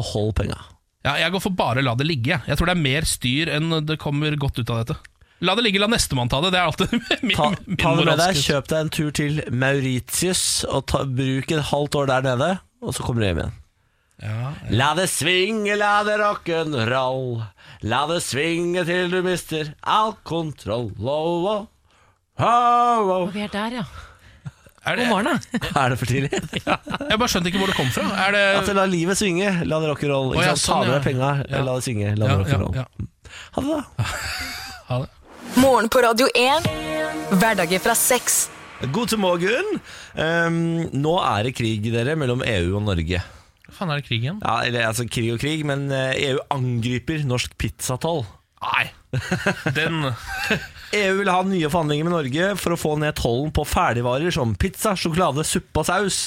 Speaker 1: Behold penga.
Speaker 3: Ja, jeg går for bare la det ligge. Jeg tror det er mer styr enn det kommer godt ut av dette. La det ligge, la nestemann ta det. Det er alltid *laughs* min,
Speaker 1: Ta,
Speaker 3: min
Speaker 1: ta det med deg,
Speaker 3: moralske-
Speaker 1: kjøp deg en tur til Mauritius og ta, bruk et halvt år der nede, og så kommer du hjem igjen.
Speaker 3: Ja,
Speaker 1: La det svinge, la det rock'n'roll. La det svinge til du mister all kontroll. Oh, oh. Oh, oh.
Speaker 2: Og vi er der, ja.
Speaker 3: er det,
Speaker 2: God morgen, da.
Speaker 1: Er det for tidlig?
Speaker 3: *laughs* Jeg bare skjønte ikke hvor det kom fra. Er det,
Speaker 1: At la livet svinge, la det rock'n'roll.
Speaker 3: Å,
Speaker 1: Ikke
Speaker 3: ja,
Speaker 1: sant? Ta
Speaker 3: sånn,
Speaker 1: med
Speaker 3: ja.
Speaker 1: deg penga,
Speaker 3: Ja.
Speaker 1: la det svinge, la
Speaker 3: ja,
Speaker 1: det
Speaker 3: ja,
Speaker 1: rock'n'roll.
Speaker 3: ja.
Speaker 1: Ha det, da.
Speaker 3: Ha det.
Speaker 4: Morgen på Radio 1. Hverdager fra seks.
Speaker 1: God til morgen. Ehm, nå er det krig dere mellom EU og Norge.
Speaker 3: Hva faen er det krig igjen?
Speaker 1: Ja, eller altså krig og krig, men eh, EU angriper norsk pizzatoll.
Speaker 3: Nei,
Speaker 1: *laughs*
Speaker 3: den
Speaker 1: EU vil ha nye forhandlinger med Norge for å få ned tollen på ferdigvarer som pizza, sjokolade, suppe og saus.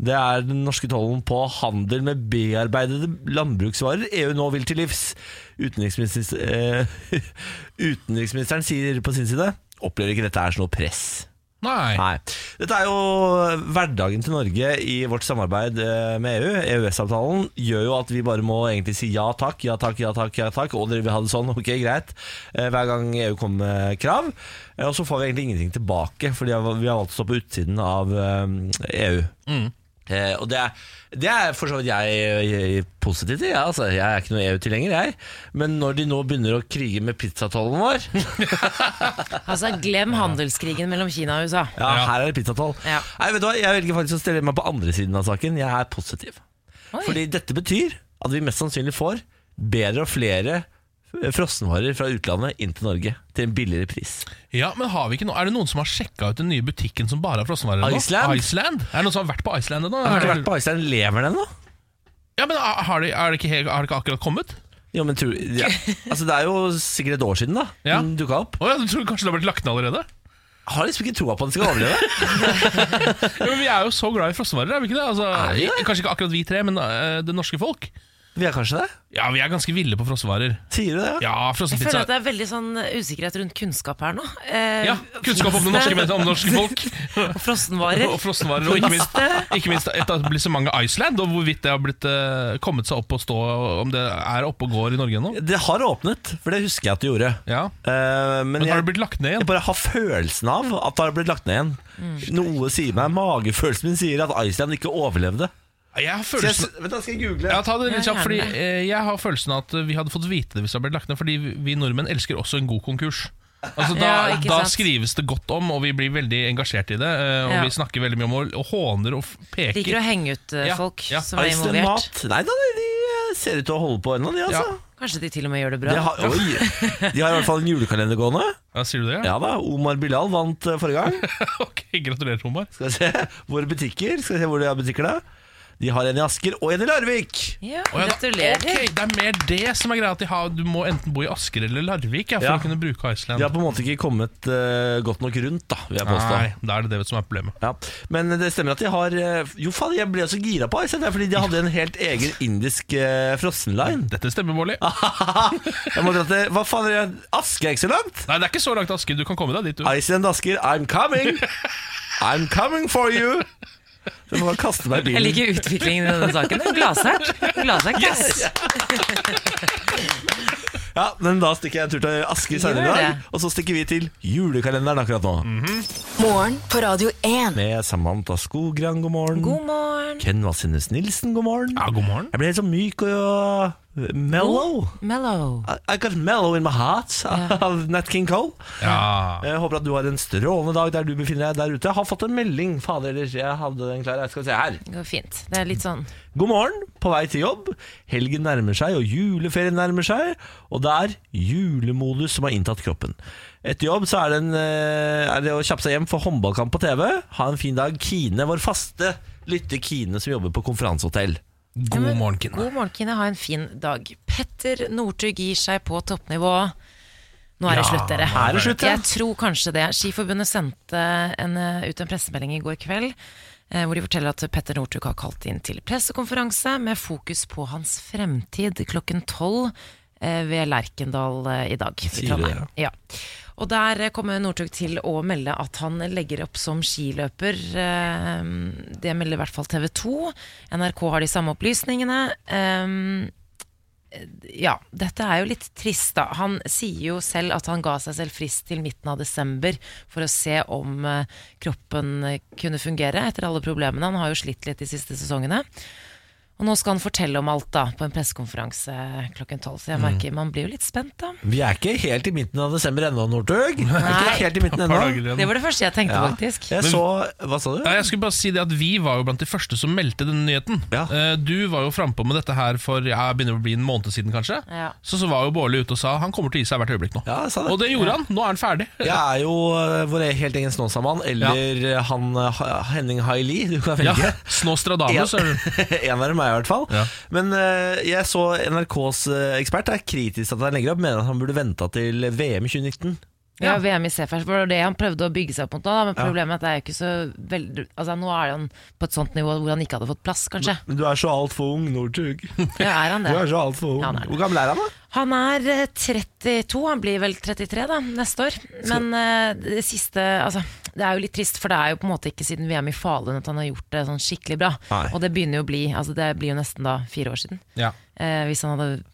Speaker 1: Det er den norske tollen på handel med bearbeidede landbruksvarer EU nå vil til livs. Utenriksminister, eh, *laughs* utenriksministeren sier på sin side opplever ikke dette er sånn noe press.
Speaker 3: Nei.
Speaker 1: Nei. Dette er jo hverdagen til Norge i vårt samarbeid eh, med EU. EØS-avtalen gjør jo at vi bare må egentlig si ja takk, ja takk, ja takk. ja takk Og dere vil ha det sånn, *laughs* ok, greit. eh, Hver gang EU kommer med krav. Eh, Og så får vi egentlig ingenting tilbake, for vi har valgt å stå på utsiden av eh, EU. Eh, og det er, det er for så vidt jeg, eh, positiv til. Ja, altså, jeg er ikke noe EU-tilhenger, jeg. Men når de nå begynner å krige med pizzatollen vår
Speaker 2: *laughs* Altså, glem handelskrigen mellom Kina og USA.
Speaker 1: Ja,
Speaker 3: Ja.
Speaker 1: her er det pizzatoll.
Speaker 2: Ja.
Speaker 1: Nei, vet du hva, Jeg velger faktisk å stille meg på andre siden av saken. Jeg er positiv.
Speaker 2: Oi.
Speaker 1: Fordi dette betyr at vi mest sannsynlig får bedre og flere frossenvarer fra utlandet inn til Norge til en billigere pris.
Speaker 3: Ja, men har vi ikke noe? Er det noen som har sjekka ut den nye butikken som bare har frossenvarer? ennå?
Speaker 1: Iceland?
Speaker 3: Iceland? Er det noen som har vært på Iceland ennå?
Speaker 1: Har du ikke vært på Iceland? Lever den nå?
Speaker 3: Ja, men ah, har det, er det ikke, helt- har det ikke akkurat kommet?
Speaker 1: Jo, men tror, ja. altså, Det er jo sikkert et år siden da
Speaker 3: Ja.
Speaker 1: den dukka opp.
Speaker 3: Å ja, du tror kanskje det har blitt lagt ned allerede?
Speaker 1: Har liksom ikke troa på at den skal overleve.
Speaker 3: Ja, men vi er jo så glad i frossenvarer, er vi ikke det? Altså,
Speaker 1: Er vi det?
Speaker 3: Kanskje ikke akkurat vi tre, men eh, det norske folk.
Speaker 1: Vi er kanskje det?
Speaker 3: Ja, vi er ganske ville på frossenvarer.
Speaker 1: Sier du det?
Speaker 2: Jeg føler at
Speaker 1: Ja?
Speaker 3: Ja, frossenpizza.
Speaker 2: det er veldig sånn usikkerhet rundt kunnskap her nå. Eh,
Speaker 3: Ja, kunnskap om det norske, men- om det norske folk.
Speaker 2: Og frossenvarer.
Speaker 3: Og frossenvarer, og ikke minst, ikke minst etablissementet Iceland, og hvorvidt det har blitt, eh, kommet seg opp og stå, og om det er oppe og går i Norge ennå.
Speaker 1: Det har åpnet, for det husker jeg at det gjorde.
Speaker 3: Ja.
Speaker 1: Eh, men
Speaker 3: Men har
Speaker 1: jeg,
Speaker 3: det blitt lagt ned
Speaker 1: jeg
Speaker 3: igjen?
Speaker 1: bare har følelsen av at det har blitt lagt ned igjen. Noe sier meg, magefølelsen min sier at Iceland ikke overlevde.
Speaker 3: Jeg har
Speaker 1: Så jeg,
Speaker 3: følelsen
Speaker 1: s- vent, da skal jeg google.
Speaker 3: ja, ta det litt
Speaker 2: Ja,
Speaker 3: kjapt, fordi
Speaker 2: gjerne.
Speaker 3: eh, Jeg har følelsen av at vi hadde fått vite det hvis det hadde blitt lagt ned, fordi vi nordmenn elsker også en god konkurs. Altså Da,
Speaker 2: Ja, ikke
Speaker 3: da
Speaker 2: sant.
Speaker 3: skrives det godt om, og vi blir veldig engasjert i det. eh, Og
Speaker 2: Ja.
Speaker 3: vi snakker veldig mye om det, og håner og f- peker.
Speaker 2: Liker å henge ut eh,
Speaker 3: Ja,
Speaker 2: folk
Speaker 3: ja.
Speaker 2: som er
Speaker 1: Iceland
Speaker 2: involvert.
Speaker 1: Mat. Nei da, de eh, ser ut til å holde på ennå, de altså.
Speaker 3: Ja.
Speaker 2: Kanskje de til og med gjør det bra.
Speaker 1: De, har, oi, de har i hvert fall en julekalender gående.
Speaker 3: Ja, sier du det?
Speaker 1: Ja da, Omar Bilal vant eh, forrige gang.
Speaker 3: *laughs* ok, Gratulerer, Omar.
Speaker 1: Skal vi se våre butikker. Skal vi se hvor de har butikker da. De har en i Asker og en i Larvik.
Speaker 2: Ja,
Speaker 3: Å, ja, da-
Speaker 2: gratulerer.
Speaker 3: ok, det er mer det som er greia. At de har, du må enten bo i Asker eller Larvik ja, for
Speaker 1: Ja.
Speaker 3: å kunne bruke Iceland.
Speaker 1: De har på en måte ikke kommet eh, godt nok rundt, da, vil jeg påstå.
Speaker 3: Nei, da er det det som er problemet.
Speaker 1: Ja. Men det stemmer at de har eh, Jo faen, jeg ble så gira på Iceland, det er fordi de hadde en helt egen indisk eh, frossenline.
Speaker 3: Dette stemmer, Bårli.
Speaker 1: Ah. Jeg må dra til Hva faen er det? Asker er ikke så langt?
Speaker 3: Nei, det er ikke så langt til Asker. Du kan komme deg dit, du.
Speaker 1: Iceland Asker, I'm coming! I'm coming for you! Så må man kaste meg i
Speaker 2: Jeg
Speaker 1: bilen.
Speaker 2: liker utviklingen i denne saken. Det er Gladsak. Gladsak. Yes.
Speaker 1: Ja, men da stikker jeg en tur til Asker senere
Speaker 2: Gjør
Speaker 1: i
Speaker 2: det.
Speaker 1: dag. Og så stikker vi til julekalenderen akkurat nå.
Speaker 4: Morgen på Radio 1.
Speaker 1: Med Samantha Skogran, god morgen.
Speaker 2: God morgen.
Speaker 1: Ken Vasenus Nilsen, god morgen.
Speaker 3: Ja, god morgen.
Speaker 1: Jeg ble helt så myk og eh, mellow.
Speaker 2: Mellow.
Speaker 1: I, I got mellow in my heart *laughs* av Nat King Cole.
Speaker 3: Ja.
Speaker 1: Jeg håper at du har en strålende dag der du befinner deg der ute. Jeg har fått en melding. Fader, ellers jeg hadde den klar. Jeg skal se her.
Speaker 2: Det går fint. Det er litt sånn
Speaker 1: God morgen, på vei til jobb. Helgen nærmer seg, og juleferien nærmer seg. Og det er julemodus som har inntatt kroppen. Etter jobb så er det, en, eh, er det å kjappe seg hjem for håndballkamp på TV. Ha en fin dag. Kine, vår faste lytter Kine, som jobber på konferansehotell.
Speaker 3: God morgen, Kine.
Speaker 2: God morgen, Kine. Ha en fin dag. Petter Northug gir seg på toppnivå. Nå er det slutt, dere.
Speaker 1: nå er det slutt, ja.
Speaker 2: Jeg tror kanskje det. Skiforbundet sendte en, eh, ut en pressemelding i går kveld eh, hvor de forteller at Petter Northug har kalt inn til pressekonferanse med fokus på hans fremtid klokken tolv eh, ved Lerkendal eh, i dag. i
Speaker 1: du det,
Speaker 2: Trondheim. Ja. Og der eh, kommer Northug til å melde at han legger opp som skiløper. eh, Det melder i hvert fall TV 2. NRK har de samme opplysningene. Eh, ja, dette er jo litt trist, da. Han sier jo selv at han ga seg selv frist til midten av desember for å se om eh, kroppen eh, kunne fungere etter alle problemene. Han har jo slitt litt de siste sesongene. Og nå skal han fortelle om alt da på en pressekonferanse klokken tolv. Så jeg merker man Mm. blir jo litt spent, da.
Speaker 1: Vi er ikke helt i midten av desember ennå, Northug. Vi er Ikke
Speaker 2: Nei.
Speaker 1: helt i midten
Speaker 3: Et par dager
Speaker 1: ennå.
Speaker 3: igjen.
Speaker 2: Det var det første jeg tenkte,
Speaker 1: Ja.
Speaker 2: faktisk.
Speaker 1: Jeg så Hva sa du?
Speaker 3: Ja, jeg skulle bare si det at Vi var jo blant de første som meldte denne nyheten.
Speaker 1: Ja.
Speaker 3: Eh, Du var jo frampå med dette her for ja, begynner å bli en måned siden, kanskje.
Speaker 2: Ja.
Speaker 3: Så, så var jo Bårli ute og sa han kommer til å gi seg hvert øyeblikk nå.
Speaker 1: Ja, jeg sa det.
Speaker 3: Og det gjorde han. Nå er han ferdig.
Speaker 1: Jeg er jo eh, vår helt egen Snåsamann, eller eh, han eh, Ha- Henning Haili. Du kan
Speaker 3: Ja,
Speaker 1: velge.
Speaker 3: Snåstradamus. er du.
Speaker 1: *laughs* en av dem er jeg i hvert fall.
Speaker 3: Ja.
Speaker 1: Men eh, jeg så NRKs eh, ekspert er kritisk til at han legger opp, mener at han burde venta til VM i 2019.
Speaker 2: Ja, VM i Seefers var det han prøvde å bygge seg opp mot nå, da, men problemet er at det er jo ikke så veldig Altså, nå er han på et sånt nivå hvor han ikke hadde fått plass, kanskje.
Speaker 1: Men du er så altfor ung, *laughs* Northug.
Speaker 2: Ja, er han det?
Speaker 1: så altfor
Speaker 2: Ja, han er det.
Speaker 1: Hvor gammel er han, da?
Speaker 2: Han er eh, 32, han blir vel 33 da, neste år. Men eh, det siste altså, Det er jo litt trist, for det er jo på en måte ikke siden VM i Falun at han har gjort det sånn skikkelig bra.
Speaker 1: Nei.
Speaker 2: Og det begynner jo å bli altså, Det blir jo nesten da fire år siden.
Speaker 3: Ja.
Speaker 2: Eh, hvis han hadde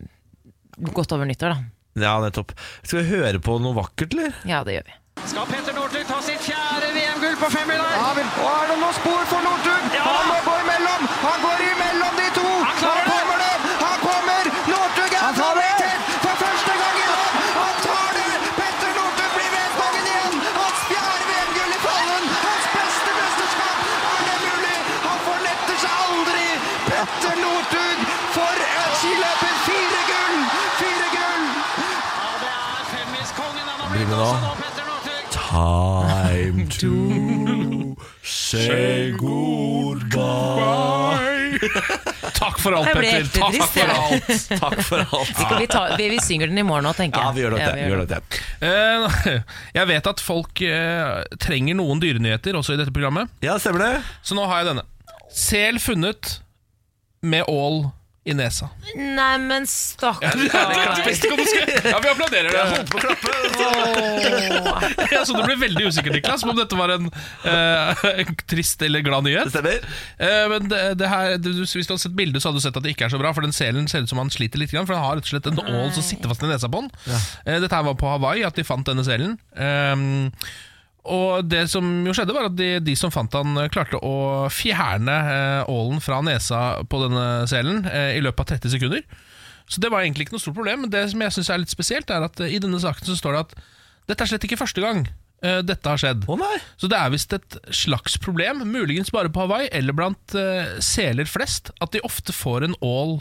Speaker 2: gått over nyttår, da.
Speaker 1: Ja, nettopp. Skal vi høre på noe vakkert, eller?
Speaker 2: Ja, det gjør vi.
Speaker 5: Skal Petter Northug ta sitt fjerde VM-gull på femmila?
Speaker 6: Ja vel. Og er det noe spor for Northug? Han må gå imellom! Han går imellom de to! Han,
Speaker 5: klarer det!
Speaker 6: kommer det! Han kommer! Northug er favoritt for første gang i dag! Han tar det! Petter Northug blir VM-kongen igjen! Hans fjerde VM-gull i Fallen! Hans beste mesterskap! Er det mulig? Han fornetter seg aldri! Petter Northug for en skiløper! Fire gull! Fire gull!
Speaker 5: Ja, det er femmiskongen han har blitt
Speaker 1: Blir med
Speaker 5: også
Speaker 1: nå.
Speaker 5: nå, Petter Northug.
Speaker 1: Time *laughs* to say goodbye.
Speaker 3: Takk for alt,
Speaker 2: Jeg ble
Speaker 3: Petter.
Speaker 2: ekte
Speaker 3: Takk
Speaker 2: trist,
Speaker 3: for
Speaker 2: jeg.
Speaker 3: alt.
Speaker 1: Takk for alt.
Speaker 2: Vi, tar, vi, vi synger den i morgen nå, tenker jeg.
Speaker 1: Ja, vi gjør nok det.
Speaker 2: vi
Speaker 1: Vi gjør nok det.
Speaker 3: Eh, Jeg vet at folk eh, trenger noen dyrenyheter også i dette programmet,
Speaker 1: Ja, stemmer det.
Speaker 3: så nå har jeg denne. Sel funnet med ål i nesa.
Speaker 2: Nei, men stakkar.
Speaker 3: Ja, vi applauderer det.
Speaker 1: På klappe.
Speaker 3: *laughs* Ja, så du ble veldig usikker, Niklas, på om dette var en eh, *laughs* trist eller glad
Speaker 1: Det
Speaker 3: nyhet.
Speaker 1: stemmer.
Speaker 3: Eh, men det, det her, du, du- hvis du hadde sett bildet, så hadde du sett at det ikke er så bra. For den selen ser ut som han sliter litt, grann, for han har rett og slett en ål som sitter fast i nesa på han. Eh, dette her var på Hawaii at de fant denne selen. Ehm, og det som jo skjedde var at de, de som fant han eh, klarte å fjerne eh, ålen fra nesa på denne selen eh, i løpet av 30 sekunder. Så det var egentlig ikke noe stort problem. Men det som jeg synes er litt spesielt, er at eh, i denne saken så står det at dette er slett ikke første gang eh, dette har skjedd.
Speaker 1: Å nei.
Speaker 3: Så det er visst et slags problem, muligens bare på Hawaii eller blant eh, seler flest, at de ofte får en ål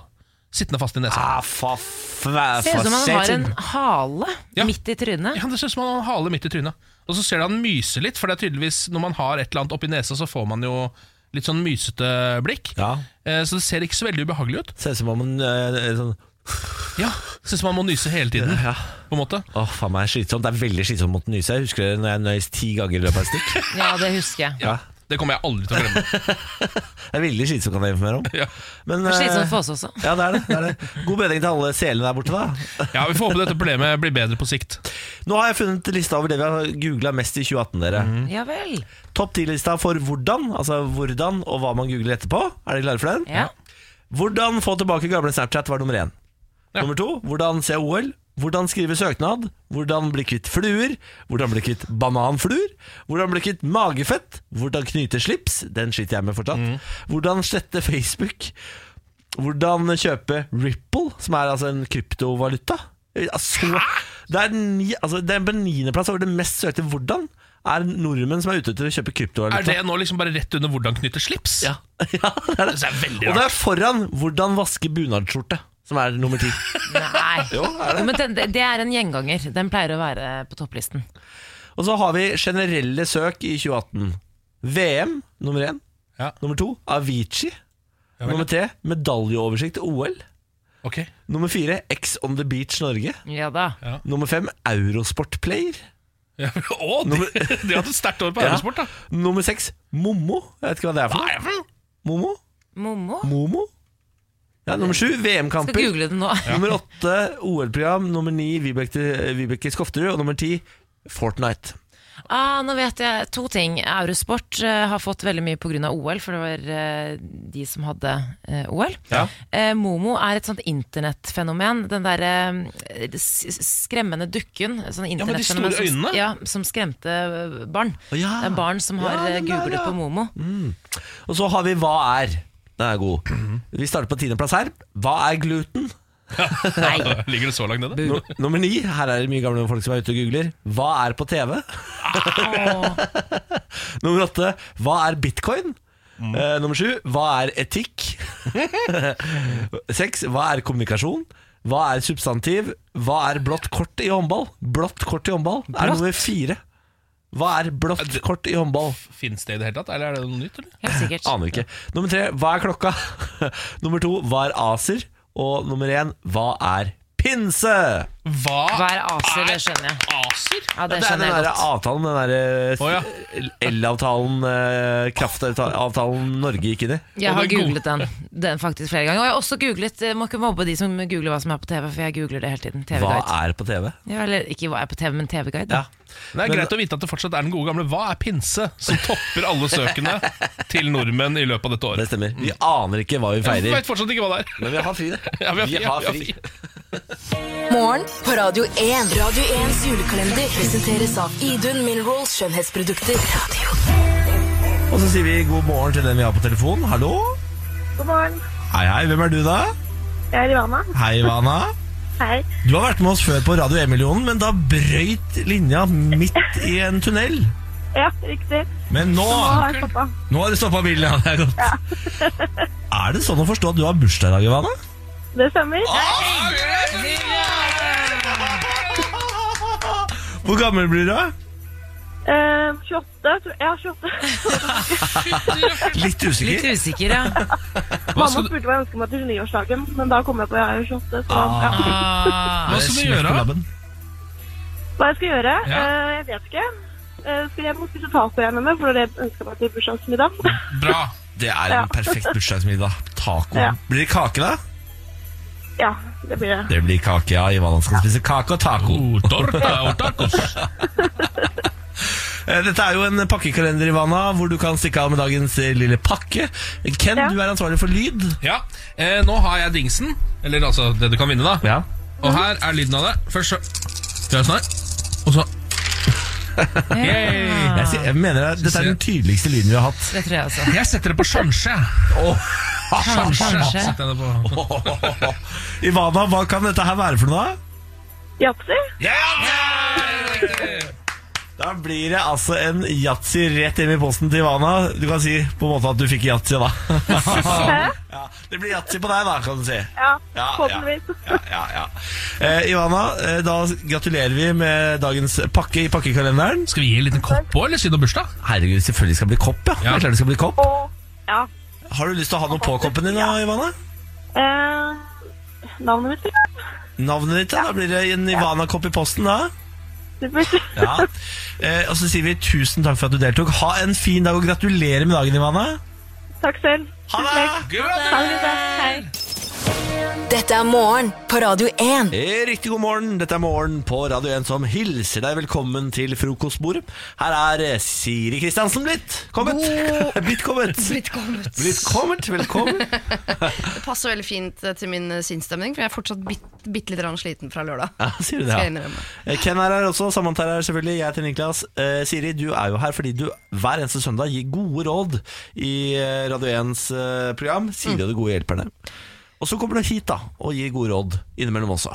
Speaker 3: sittende fast i nesa.
Speaker 1: Ah, fa, fa,
Speaker 2: Ser ut som han har en
Speaker 1: satan.
Speaker 2: hale
Speaker 3: Ja.
Speaker 2: midt i trynet.
Speaker 3: Ja, Det ser ut som han har en hale midt i trynet. Og så ser du han myse litt, for det er tydeligvis når man har et eller annet oppi nesa, så får man jo litt sånn mysete blikk.
Speaker 1: Ja.
Speaker 3: Eh, Så det ser ikke så veldig ubehagelig ut.
Speaker 1: Ser ut som om en eh, sånn
Speaker 3: Ja, Ser ut som man må nyse hele tiden.
Speaker 1: Ja.
Speaker 3: på en måte
Speaker 1: Åh, faen meg slitsomt. Det er veldig slitsomt mot nyse. Jeg husker det når jeg nøys ti ganger i løpet av et stikk.
Speaker 2: Ja, det husker jeg.
Speaker 1: *laughs* Ja.
Speaker 3: Det kommer jeg aldri til å glemme.
Speaker 1: Det er veldig slitsomt, kan jeg informere om.
Speaker 3: Ja.
Speaker 1: Men,
Speaker 2: Det er Slitsomt
Speaker 1: eh,
Speaker 2: for oss også.
Speaker 1: ja, det er det, det er det. God bedring til alle selene der borte, da.
Speaker 3: Ja, Vi får håpe dette problemet blir bedre på sikt.
Speaker 1: Nå har jeg funnet lista over det vi har googla mest i 2018, dere.
Speaker 2: Ja vel.
Speaker 1: Topp 10-lista for hvordan, altså hvordan og hva man googler etterpå. Er dere klare for den?
Speaker 2: Ja.
Speaker 1: Hvordan få tilbake gamle Snapchat var nummer én. Nummer to hvordan se OL. Hvordan skrive søknad? Hvordan bli kvitt fluer? Hvordan bli kvitt bananfluer? Hvordan bli kvitt magefett? Hvordan knyte slips? Den sliter jeg med fortsatt.
Speaker 3: Mm.
Speaker 1: Hvordan slette Facebook? Hvordan kjøpe Ripple, som er altså en kryptovaluta? Altså, det er, ni, altså, det er på niendeplass over det mest søkte. Hvordan er nordmenn som er ute etter å kjøpe kryptovaluta?
Speaker 3: Er det nå liksom bare rett under hvordan knytte slips?
Speaker 1: Ja, *laughs* ja det er det.
Speaker 3: Det er
Speaker 1: Og
Speaker 3: veldig
Speaker 1: det er foran 'Hvordan vaske bunadsskjorte', som er nummer ti.
Speaker 2: Nei.
Speaker 1: Jo, er det.
Speaker 2: Men den, det er en gjenganger. Den pleier å være på topplisten.
Speaker 1: Og så har vi generelle søk i 2018. VM nummer én.
Speaker 3: Ja.
Speaker 1: Nummer to Avicii.
Speaker 3: vel.
Speaker 1: nummer tre medaljeoversikt OL.
Speaker 3: Ok. *laughs*
Speaker 1: Nummer fire X on the Beach Norge.
Speaker 2: Ja da.
Speaker 1: Nummer fem Eurosport Player.
Speaker 3: Ja. Å, de, de hadde et sterkt år på
Speaker 1: Ja.
Speaker 3: Eurosport, da.
Speaker 1: Nummer seks Momo. Jeg vet ikke hva det er for
Speaker 3: Hva
Speaker 1: noe.
Speaker 3: er det for noe?
Speaker 1: Momo?
Speaker 2: Momo?
Speaker 1: Momo? Ja, nummer sju
Speaker 2: Skal
Speaker 1: VM-kamper.
Speaker 2: google det nå.
Speaker 1: Nummer åtte OL-program. Nummer ni Vibeke, Vibeke Skofterud. Og nummer ti Fortnite.
Speaker 2: Ah, nå vet jeg to ting. Eurosport eh, har fått veldig mye pga. OL, for det var eh, de som hadde eh, OL.
Speaker 3: Ja.
Speaker 2: Eh, Momo er et sånt internettfenomen. Den derre eh, s- s- skremmende dukken. Sånn
Speaker 3: Ja, med de store
Speaker 2: internettfenomen som-
Speaker 3: øynene?
Speaker 2: Ja, som skremte eh, barn.
Speaker 1: Å, ja.
Speaker 2: Det er barn som har
Speaker 1: Ja,
Speaker 2: eh,
Speaker 1: den der,
Speaker 2: googlet
Speaker 1: ja. Mm.
Speaker 2: på Momo.
Speaker 1: Og så har vi hva er. Den er god. Vi starter på tiendeplass her. Hva er gluten?
Speaker 2: Nei.
Speaker 3: *laughs* Ligger det så langt nede?
Speaker 1: No, nummer ni. Her er det mye gamle folk som er ute og googler. Hva er på TV?
Speaker 2: Åh.
Speaker 1: Nummer åtte. Hva er bitcoin? Eh, nummer sju. Hva er etikk? *laughs* Seks. Hva er kommunikasjon? Hva er substantiv? Hva er blått kort i håndball? Blått kort i håndball er
Speaker 2: Blått?
Speaker 1: nummer fire. Hva er blått kort i håndball?
Speaker 3: Fins det i det hele tatt, eller er det noe nytt? eller?
Speaker 2: Helt sikkert.
Speaker 1: Aner ikke. Nummer tre, hva er klokka? *laughs* nummer to, hva er aser? Og nummer én, hva er pinse?
Speaker 3: Hva,
Speaker 2: Hva er aser? Det skjønner jeg.
Speaker 3: Aser?
Speaker 2: Ja, det
Speaker 1: det er den
Speaker 2: skjønner jeg
Speaker 1: derre
Speaker 2: godt.
Speaker 1: avtalen, den derre
Speaker 3: Å, ja.
Speaker 1: elavtalen, eh, kraftavtalen Norge gikk inn i.
Speaker 2: Jeg
Speaker 3: Og
Speaker 2: har
Speaker 3: den gode-
Speaker 2: googlet den, den faktisk flere ganger. Og jeg har også googlet, eh, Må ikke mobbe de som googler hva som er på TV, for jeg googler det hele tiden.
Speaker 1: Hva
Speaker 2: TV-guide.
Speaker 1: er på TV?
Speaker 2: Ja, eller ikke hva er på TV, men TV-guide.
Speaker 1: Ja.
Speaker 2: da.
Speaker 3: Det er
Speaker 1: Men-
Speaker 3: greit å vite at det fortsatt er den gode gamle Hva er pinse? som topper alle søkene til nordmenn i løpet av dette
Speaker 1: Det
Speaker 3: året.
Speaker 1: stemmer. Vi aner ikke hva vi
Speaker 3: Jeg
Speaker 1: feirer.
Speaker 3: vet fortsatt ikke hva det er.
Speaker 1: Men vi har fri, det.
Speaker 3: Ja, vi har fri, ja, vi har
Speaker 4: Morgen på Radio 1. Radio 1s julekalender presenteres av Idun Minerals skjønnhetsprodukter. Radio
Speaker 1: Og så sier vi god morgen til den vi har på telefonen. Hallo?
Speaker 7: God morgen.
Speaker 1: Hei, hei. Hvem er du, da?
Speaker 7: Jeg er Ivana.
Speaker 1: Hei, Ivana.
Speaker 7: Hei.
Speaker 1: Du har vært med oss før på Radio 1-millionen, men da brøyt linja midt i en tunnel.
Speaker 7: Ja, riktig.
Speaker 1: Men nå,
Speaker 7: Nå har jeg stoppa.
Speaker 1: nå har du stoppa bilen, ja. Det er godt. er det sånn å forstå at du har bursdag i dag, Ivana?
Speaker 7: Det stemmer.
Speaker 1: Hvor gammel blir du?
Speaker 7: Eh, 28, tror jeg. Ja, 28.
Speaker 1: Litt
Speaker 2: Litt
Speaker 1: usikker.
Speaker 2: usikker,
Speaker 1: *laughs*
Speaker 2: ja.
Speaker 3: Hva
Speaker 7: Mamma
Speaker 3: skal du,
Speaker 7: spurte hva jeg ønsket meg til 29-årsdagen, men da kom jeg på at jeg er 28. Så, ja.
Speaker 2: Ah.
Speaker 3: hva skal du gjøre? da?
Speaker 7: Hva jeg skal gjøre?
Speaker 3: Ja.
Speaker 7: Eh, jeg vet ikke. Eh, skal jeg må spise taco igjen henne, for det er det jeg ønsket meg til bursdagsmiddag. *laughs*
Speaker 3: Bra.
Speaker 1: Det er
Speaker 7: Ja.
Speaker 1: en perfekt bursdagsmiddag. Taco.
Speaker 7: Ja.
Speaker 1: Blir det kake, da?
Speaker 7: ja, det blir det.
Speaker 1: Det blir kake, ja. Ivana skal spise kake og taco.
Speaker 3: Oh, torta og tacos.
Speaker 1: Eh, Dette er jo en pakkekalender, Ivana, hvor du kan stikke av med dagens eh, lille pakke. Ken,
Speaker 7: Ja.
Speaker 1: du er ansvarlig for lyd.
Speaker 3: Ja, eh, nå har jeg dingsen. Eller altså det du kan vinne, da.
Speaker 1: Ja.
Speaker 3: Og her er lyden av det. Først så Gjør jeg sånn her. Og så Yay.
Speaker 1: Jeg, sier- jeg mener det, Dette er den tydeligste lyden vi har hatt.
Speaker 2: Det tror jeg også.
Speaker 3: Jeg setter det på sjansje.
Speaker 2: Sjansje.
Speaker 3: Setter jeg det på.
Speaker 1: Ivana, hva kan dette her være for noe? da?
Speaker 7: Yatzy?
Speaker 1: Da blir det altså en yatzy rett hjem i posten til Ivana. Du kan si på en måte at du fikk yatzy, *laughs* da.
Speaker 7: Hæ?
Speaker 1: Ja, det blir yatzy på deg, da, kan du si.
Speaker 7: Ja,
Speaker 1: Ja,
Speaker 7: forhåpentligvis.
Speaker 1: Ja, ja, ja. Eh, Ivana, eh, da gratulerer vi med dagens pakke i pakkekalenderen.
Speaker 3: Skal vi gi en liten kopp på, eller siden av bursdag?
Speaker 1: Herregud, selvfølgelig skal det bli kopp, ja.
Speaker 3: Ja.
Speaker 1: Det er klart det skal bli kopp.
Speaker 7: Og ja.
Speaker 1: Har du lyst til å ha noe på koppen din, da, Ivana?
Speaker 7: Eh, navnet mitt, ja.
Speaker 1: Navnet ditt, ja. Da blir det en Ivana-kopp i posten, da.
Speaker 7: Supert.
Speaker 1: Ja. Eh, og så sier vi tusen takk for at du deltok. Ha en fin dag, og gratulerer med dagen, Ivana.
Speaker 7: Takk selv.
Speaker 1: Ha
Speaker 7: Tusen takk.
Speaker 1: det!
Speaker 7: Ha det. Hei.
Speaker 4: Dette er morgen på Radio 1.
Speaker 1: Eh, Riktig god morgen, dette er Morgen på Radio 1 som hilser deg velkommen til frokostbordet. Her er eh, Siri Kristiansen blitt kommet. *laughs* blitt kommet.
Speaker 8: Blitt kommet.
Speaker 1: Blitt kommet,
Speaker 8: *laughs*
Speaker 1: velkommen.
Speaker 8: Det passer veldig fint eh, til min eh, sinnsstemning, for jeg er fortsatt bitt- bitte litt grann sliten fra lørdag.
Speaker 1: Ja, sier du det,
Speaker 8: Skal jeg
Speaker 1: ja.
Speaker 8: innrømme.
Speaker 1: Eh, Ken er her også, Samantha er her selvfølgelig, jeg heter Niklas. Eh, Siri, du er jo her fordi du hver eneste søndag gir gode råd i eh, Radio 1s eh, program,
Speaker 8: Mm.
Speaker 1: Siri og de gode hjelperne. Og så kommer du hit da, og gir gode råd innimellom også.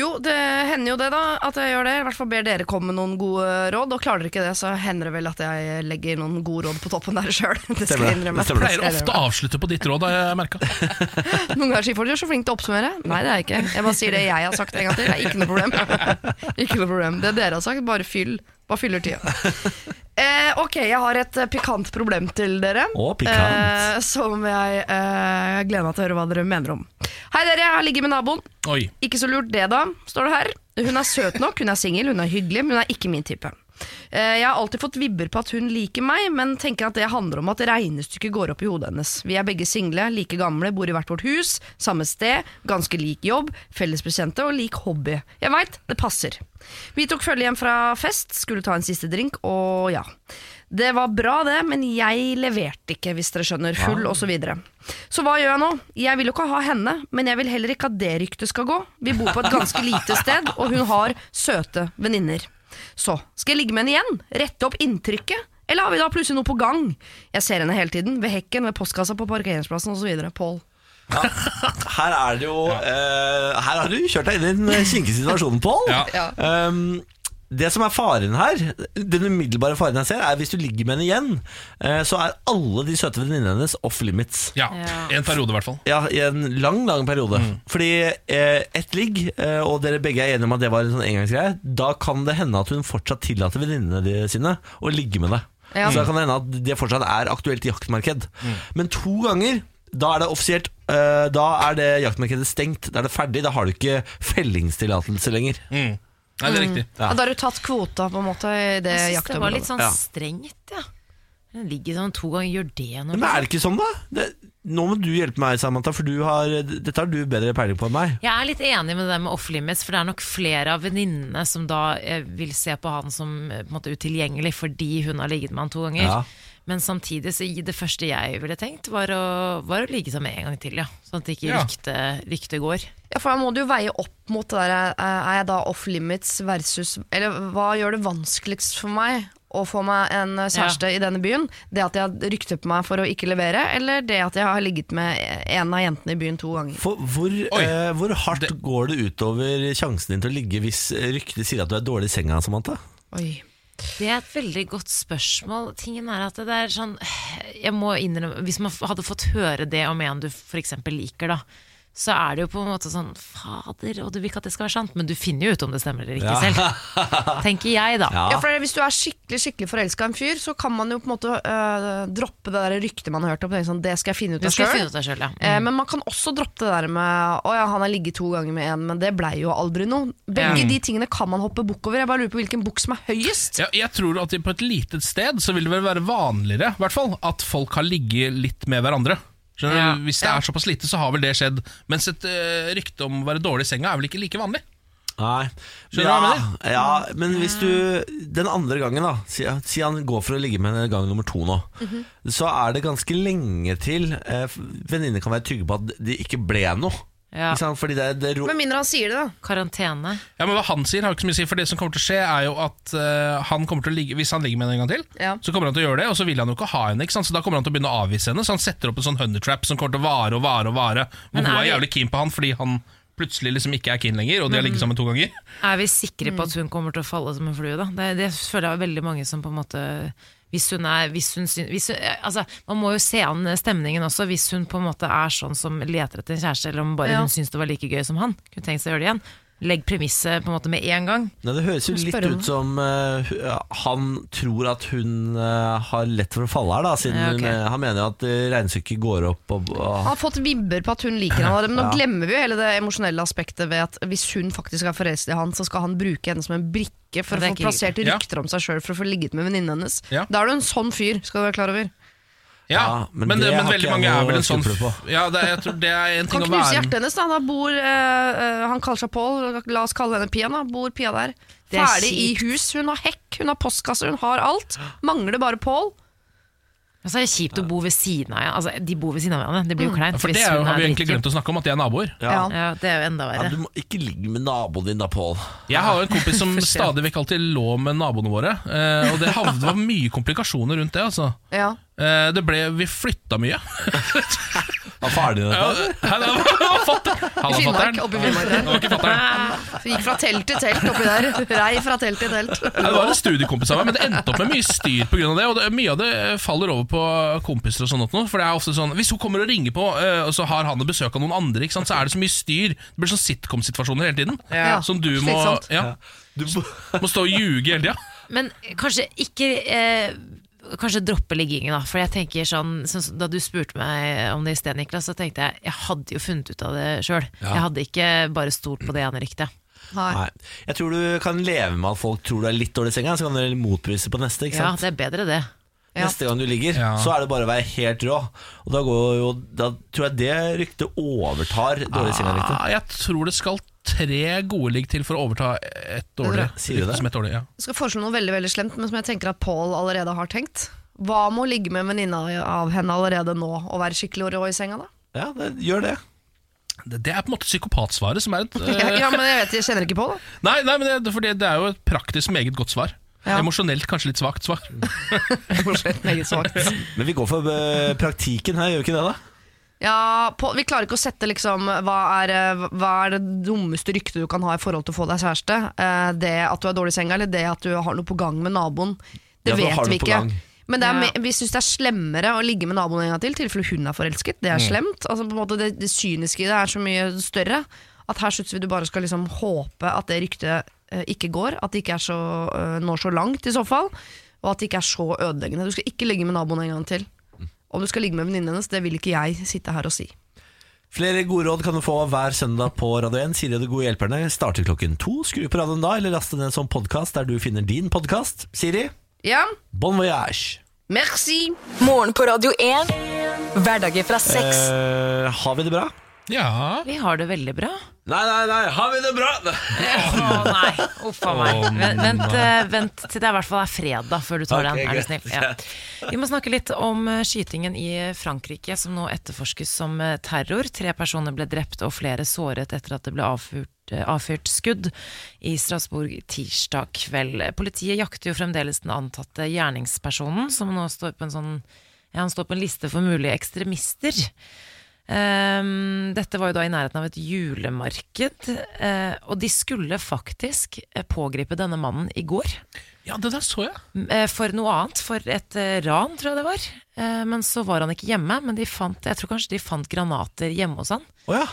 Speaker 8: Jo, det hender jo det, da. At jeg gjør det. I hvert fall ber dere komme med noen gode råd. Og klarer dere ikke det, så hender det vel at jeg legger noen gode råd på toppen der sjøl. *laughs* Det skal
Speaker 1: Stemmer det.
Speaker 8: jeg innrømme.
Speaker 1: Det
Speaker 8: Det
Speaker 1: stemmer
Speaker 3: Pleier
Speaker 8: skal jeg
Speaker 3: ofte å avslutte på ditt råd, har jeg merka.
Speaker 8: innrømme. *laughs* Noen ganger sier folk du er så flink til å oppsummere. Nei, det er jeg ikke. Jeg bare sier det jeg har sagt en gang til. Det er ikke noe problem. *laughs* ikke noe problem. Det dere har sagt, bare fyll. Bare fyller tida. Eh, ok, jeg har et eh, pikant problem til dere.
Speaker 1: Å, pikant.
Speaker 8: Eh, som jeg eh, gleder meg til å høre hva dere mener om. Hei, dere. Jeg har ligget med naboen.
Speaker 3: Oi.
Speaker 8: Ikke så lurt det da, står det her. Hun er søt nok, hun er singel, hun er hyggelig, men hun er ikke min type. Eh, Jeg har alltid fått vibber på at hun liker meg, men tenker at det handler om at regnestykket går opp i hodet hennes. Vi er begge single, like gamle, bor i hvert vårt hus, samme sted, ganske lik jobb, fellesbekjente og lik hobby. Jeg veit, det passer. Vi tok følge hjem fra fest, skulle ta en siste drink, og ja. Det var bra det, men jeg leverte ikke, hvis dere skjønner. Full og Så, videre. så hva gjør jeg nå? Jeg vil jo ikke ha henne, men jeg vil heller ikke at det ryktet skal gå. Vi bor på et
Speaker 2: *laughs*
Speaker 8: ganske lite sted, og hun har søte venninner. Så, skal jeg ligge med henne igjen? Rette opp inntrykket? Eller har vi da plutselig noe på gang? Jeg ser henne hele tiden, ved hekken, ved postkassa, på parkeringsplassen osv. Pål.
Speaker 1: Her er det jo eh, Her har du kjørt deg inn i den eh, kinkige situasjonen, Pål.
Speaker 3: Ja.
Speaker 8: Ja.
Speaker 1: Ehm, det som er faren her, den umiddelbare faren jeg ser, er hvis du ligger med henne igjen, eh, så er alle de søte venninnene hennes off limits.
Speaker 3: Ja. En periode, i hvert fall.
Speaker 1: Ja, I en lang, lang periode. Fordi eh, ett ligg, eh, og dere begge er enige om at det var en sånn engangsgreie, da kan det hende at hun fortsatt tillater venninnene de- sine å ligge med deg.
Speaker 8: Ja.
Speaker 1: Så da kan det hende at det fortsatt er aktuelt jaktmarked. Men to ganger da er det offisielt. eh, Da er det jaktmarkedet stengt. Da er det ferdig. Da har du ikke fellingstillatelse lenger.
Speaker 3: Nei,
Speaker 2: Mm.
Speaker 3: det er riktig.
Speaker 1: Ja.
Speaker 8: Da har du tatt kvota, på en måte, i det
Speaker 2: Jeg syns det var
Speaker 8: jaktområdet.
Speaker 2: litt sånn
Speaker 1: Ja.
Speaker 2: strengt, ja. Den ligger sånn to ganger, gjør det når
Speaker 1: Men er det ikke sånn, da? Det, nå må du hjelpe meg, Samantha, for du har, dette har du bedre peiling på enn meg.
Speaker 2: Jeg er litt enig med det der med off-limits, for det er nok flere av venninnene som da eh, vil se på han som eh, på en måte utilgjengelig fordi hun har ligget med han to ganger.
Speaker 1: Ja.
Speaker 2: Men samtidig så i det første jeg ville tenkt, var å, var å ligge sammen en gang til, ja. Sånn at ikke
Speaker 3: Ja.
Speaker 2: ryktet rykte går.
Speaker 8: Ja, for da må du jo veie opp mot det der eh, Er jeg da off limits versus Eller hva gjør det vanskeligst for meg å få meg en eh, kjæreste i denne byen? Det at jeg har rykte på meg for å ikke levere, eller det at jeg har ligget med en av jentene i byen to ganger?
Speaker 1: For hvor,
Speaker 3: Oi.
Speaker 1: eh, hvor hardt går det utover sjansen din til å ligge hvis ryktet sier at du er dårlig i senga, Samantha?
Speaker 8: Oi.
Speaker 2: Det er et veldig godt spørsmål. Tingen er at det er sånn Jeg må innrømme Hvis man hadde fått høre det om en du f.eks. liker, da, så er det jo på en måte sånn Fader, og du vil ikke at det skal være sant, men du finner jo ut om det stemmer eller ikke selv. Tenker jeg, da.
Speaker 8: Ja, for Hvis du er skikkelig skikkelig forelska i en fyr, så kan man jo på en måte eh, droppe det der ryktet man har hørt om. tenke Sånn, det skal jeg finne ut
Speaker 2: Du
Speaker 8: av
Speaker 2: skal
Speaker 8: sjøl.
Speaker 2: finne ut av Mm. sjøl, ja.
Speaker 8: Eh, Men man kan også droppe det der med Å ja, han har ligget to ganger med en, men det blei jo aldri noe. Begge de tingene kan man hoppe bukk over. Jeg bare lurer på hvilken bukk som er høyest.
Speaker 3: Ja, jeg tror at på et litet sted så vil det vel være vanligere i hvert fall, at folk har ligget litt med hverandre. Skjønner
Speaker 2: Ja.
Speaker 3: du? Hvis det er såpass lite, så har vel det skjedd. Mens et eh, rykte om å være dårlig i senga er vel ikke like vanlig.
Speaker 1: Nei.
Speaker 3: Skjønner du
Speaker 1: ja,
Speaker 3: hva jeg mener?
Speaker 1: Ja, men hvis du Den andre gangen, da. Si, si han går for å ligge med henne gang nummer to nå.
Speaker 3: Mhm.
Speaker 1: Så er det ganske lenge til eh, venninner kan være trygge på at det ikke ble noe.
Speaker 2: Ja.
Speaker 1: Ikke sant? Fordi det, det ro
Speaker 8: Med mindre han sier det, da.
Speaker 2: Karantene.
Speaker 3: Ja, men Hva han sier, har ikke så mye å si, for det som kommer til å skje, er jo at eh, han kommer til å ligge Hvis han ligger med henne en gang til,
Speaker 8: Ja.
Speaker 3: så kommer han til å gjøre det, og så vil han jo ikke ha henne, ikke sant? så da kommer han til å begynne å avvise henne. Så han setter opp en sånn honey trap som kommer til å vare og vare og vare. Hvor
Speaker 2: Men
Speaker 3: hun
Speaker 2: er
Speaker 3: er
Speaker 2: det-
Speaker 3: jævlig keen på han fordi han plutselig liksom ikke er keen lenger, og de har
Speaker 2: Mm.
Speaker 3: ligget sammen to ganger.
Speaker 2: Er vi sikre på at hun kommer til å falle som en flue, da? Det, det føler jeg er veldig mange som på en måte hvis hun er, hvis hun, syn- hvis hun, eh, altså, man må jo se an stemningen også. Hvis hun på en måte er sånn som leter etter en kjæreste, eller om bare
Speaker 8: Ja.
Speaker 2: hun syns det var like gøy som han, kunne tenkt seg å gjøre det igjen. Legg premisset på en måte med en gang.
Speaker 1: Nei, det høres jo
Speaker 8: Hun
Speaker 1: litt
Speaker 8: spør om
Speaker 1: ut som eh, hu- han tror at hun eh, har lett for å falle her, da. Siden
Speaker 2: Ja, ok.
Speaker 1: hun, eh, han mener jo at eh, regnestykket går opp og, og
Speaker 8: Han har fått vibber på at hun liker han Men nå glemmer vi jo hele det emosjonelle aspektet ved at hvis hun faktisk er forelsket i han, så skal han bruke henne som en brikke for å
Speaker 2: Ja, det
Speaker 8: få
Speaker 2: er ikke
Speaker 8: plassert
Speaker 3: riktig.
Speaker 8: rykter om seg sjøl for å få ligget med venninnen hennes.
Speaker 3: Ja.
Speaker 8: Da er du en sånn fyr, skal du være klar over.
Speaker 1: Ja, men
Speaker 3: men, eh, men,
Speaker 1: det har ikke
Speaker 3: veldig
Speaker 1: jeg
Speaker 3: mange er
Speaker 1: noe
Speaker 3: vel en sånn
Speaker 1: skrupler på.
Speaker 3: Ja, det, er- jeg tror det er en
Speaker 8: Kan
Speaker 3: ting å
Speaker 8: knuse
Speaker 3: være
Speaker 8: hjertet hennes, da. da bor, eh, eh, han kaller seg Pål, la oss kalle henne Pia. da Bor Pia der.
Speaker 2: Det er
Speaker 8: Ferdig i
Speaker 2: kjipt.
Speaker 8: hus. Hun har hekk, hun har postkasse, hun har alt. Mangler bare Pål.
Speaker 2: Og så er det kjipt å bo ved siden av ja. altså, De bor ved siden av hverandre. Det blir jo kleint.
Speaker 3: For
Speaker 2: hvis
Speaker 3: det er, jo-
Speaker 2: hun
Speaker 3: har
Speaker 2: er
Speaker 3: vi egentlig
Speaker 2: drikken.
Speaker 3: glemt å snakke om, at de er naboer.
Speaker 1: Ja.
Speaker 2: Ja, det er jo enda
Speaker 1: Ja,
Speaker 2: verre.
Speaker 1: du må ikke ligge med naboen din da, Pål.
Speaker 3: Jeg har jo en kompis
Speaker 2: *laughs*
Speaker 3: som
Speaker 2: For sent.
Speaker 3: stadig vekk alltid lå med naboene våre, eh, og det havde- var mye komplikasjoner rundt det, altså.
Speaker 8: Ja.
Speaker 3: Eh, Det ble, Vi flytta mye.
Speaker 1: Hva faren din
Speaker 3: Ja,
Speaker 1: dette?
Speaker 3: Nei, det var fatter-
Speaker 8: I
Speaker 3: Halla,
Speaker 8: Finnmark.
Speaker 3: fatter'n.
Speaker 8: Oppe i Finnmark der.
Speaker 3: Det var ikke fatter'n.
Speaker 8: Så gikk fra telt til telt oppi der. Rei fra telt til telt.
Speaker 3: Nei, Det var en studiekompis av meg, men det endte opp med mye styr pga. det. Og det, mye av det eh, faller over på kompiser og sånt nå. For det er ofte sånn Hvis hun kommer og ringer på, eh, og så har han et besøk av noen andre, ikke sant? så er det så mye styr. Det blir sånn sitcom-situasjoner hele tiden.
Speaker 8: Ja.
Speaker 3: Som du må,
Speaker 8: Slitsomt.
Speaker 3: ja,
Speaker 1: Du,
Speaker 3: *laughs* må stå og ljuge hele tida.
Speaker 2: Men kanskje ikke eh, Kanskje droppe liggingen, da. For jeg tenker sånn, sånn som Da du spurte meg om det i sted, Niklas, så tenkte jeg jeg hadde jo funnet ut av det sjøl. Jeg hadde ikke bare stolt på det ene ryktet.
Speaker 1: nei. Jeg tror du kan leve med at folk tror du er litt dårlig i senga, så kan du motbevise på neste. ikke
Speaker 2: Ja,
Speaker 1: sant?
Speaker 2: det er bedre, det.
Speaker 1: Neste gang du ligger,
Speaker 3: Ja.
Speaker 1: så er det bare å være helt rå. Og da, går jo, da tror jeg det ryktet overtar dårlig i senga-ryktet.
Speaker 3: Ah, jeg tror det skal tre gode ligg til for å overta et dårlig.
Speaker 1: Sier du det?
Speaker 3: Som et dårlig ja.
Speaker 8: Jeg skal foreslå noe veldig veldig slemt, men som jeg tenker at Pål allerede har tenkt. Hva med å ligge med en venninne av henne allerede nå og være skikkelig rå i senga, da?
Speaker 1: Ja, det, gjør det.
Speaker 3: det, det er på en måte psykopatsvaret som er et eh,
Speaker 8: *laughs* Ja, men jeg vet, jeg kjenner ikke Pål, da.
Speaker 3: Nei, nei men det, for det, det er jo et praktisk meget godt svar.
Speaker 8: Ja.
Speaker 3: Emosjonelt kanskje litt svakt svar.
Speaker 8: Meget svakt.
Speaker 1: Men vi går for eh, praktikken her, gjør vi ikke det, da?
Speaker 8: Ja, på, vi klarer ikke å sette liksom hva er, eh, hva er det dummeste ryktet du kan ha i forhold til å få deg kjæreste? Eh, det at du er dårlig i senga, eller det at du har noe på gang med naboen? Det
Speaker 1: Ja, for har
Speaker 8: vet
Speaker 1: du
Speaker 8: vi
Speaker 1: på
Speaker 8: ikke.
Speaker 1: gang?
Speaker 8: Men det er,
Speaker 2: Ja.
Speaker 8: me- vi syns det er slemmere å ligge med naboen en gang til, i tilfelle hun er forelsket. Det er
Speaker 9: Mm.
Speaker 8: slemt. Altså, på en måte, det, det kyniske i det er så mye større at her syns vi du bare skal liksom håpe at det ryktet eh, ikke går, at det ikke er så, eh, når så langt i så fall, og at det ikke er så ødeleggende. Du skal ikke ligge med naboen en gang til.
Speaker 9: Mm.
Speaker 8: Om du skal ligge med venninnen hennes, det vil ikke jeg sitte her og si.
Speaker 1: Flere gode råd kan du få hver søndag på Radio 1. Siri og de gode hjelperne starter klokken to. Skru på radioen da, eller laste ned som podkast der du finner din podkast. Siri,
Speaker 8: Ja,
Speaker 1: bon voyage!
Speaker 8: merci!
Speaker 4: Morgen på Radio 1. Hverdager fra seks.
Speaker 1: Eh, har vi det bra?
Speaker 3: Ja
Speaker 2: Vi har det veldig bra.
Speaker 1: Nei, nei, nei, har vi det bra?
Speaker 2: Å nei, uff a meg.
Speaker 3: Å,
Speaker 2: Vent, vent,
Speaker 3: nei.
Speaker 2: eh, vent til det i hvert fall er fredag før du tar
Speaker 1: Ok,
Speaker 2: den. Er du
Speaker 1: greit,
Speaker 2: snill? Ja. Vi må snakke litt om eh, skytingen i Frankrike, som nå etterforskes som eh, terror. Tre personer ble drept og flere såret etter at det ble avfyrt, eh, avfyrt skudd i Strasbourg tirsdag kveld. Politiet jakter jo fremdeles den antatte gjerningspersonen, som nå står på en sånn ja, han står på en liste for mulige ekstremister. Ehm, dette var jo da i nærheten av et julemarked, eh, og de skulle faktisk eh, pågripe denne mannen i går.
Speaker 3: Ja, det der så jeg.
Speaker 2: m, eh, For noe annet, for et eh, ran, tror jeg det var. Eh, Men så var han ikke hjemme, men de fant, jeg tror kanskje de fant granater hjemme hos han.
Speaker 1: Å ja.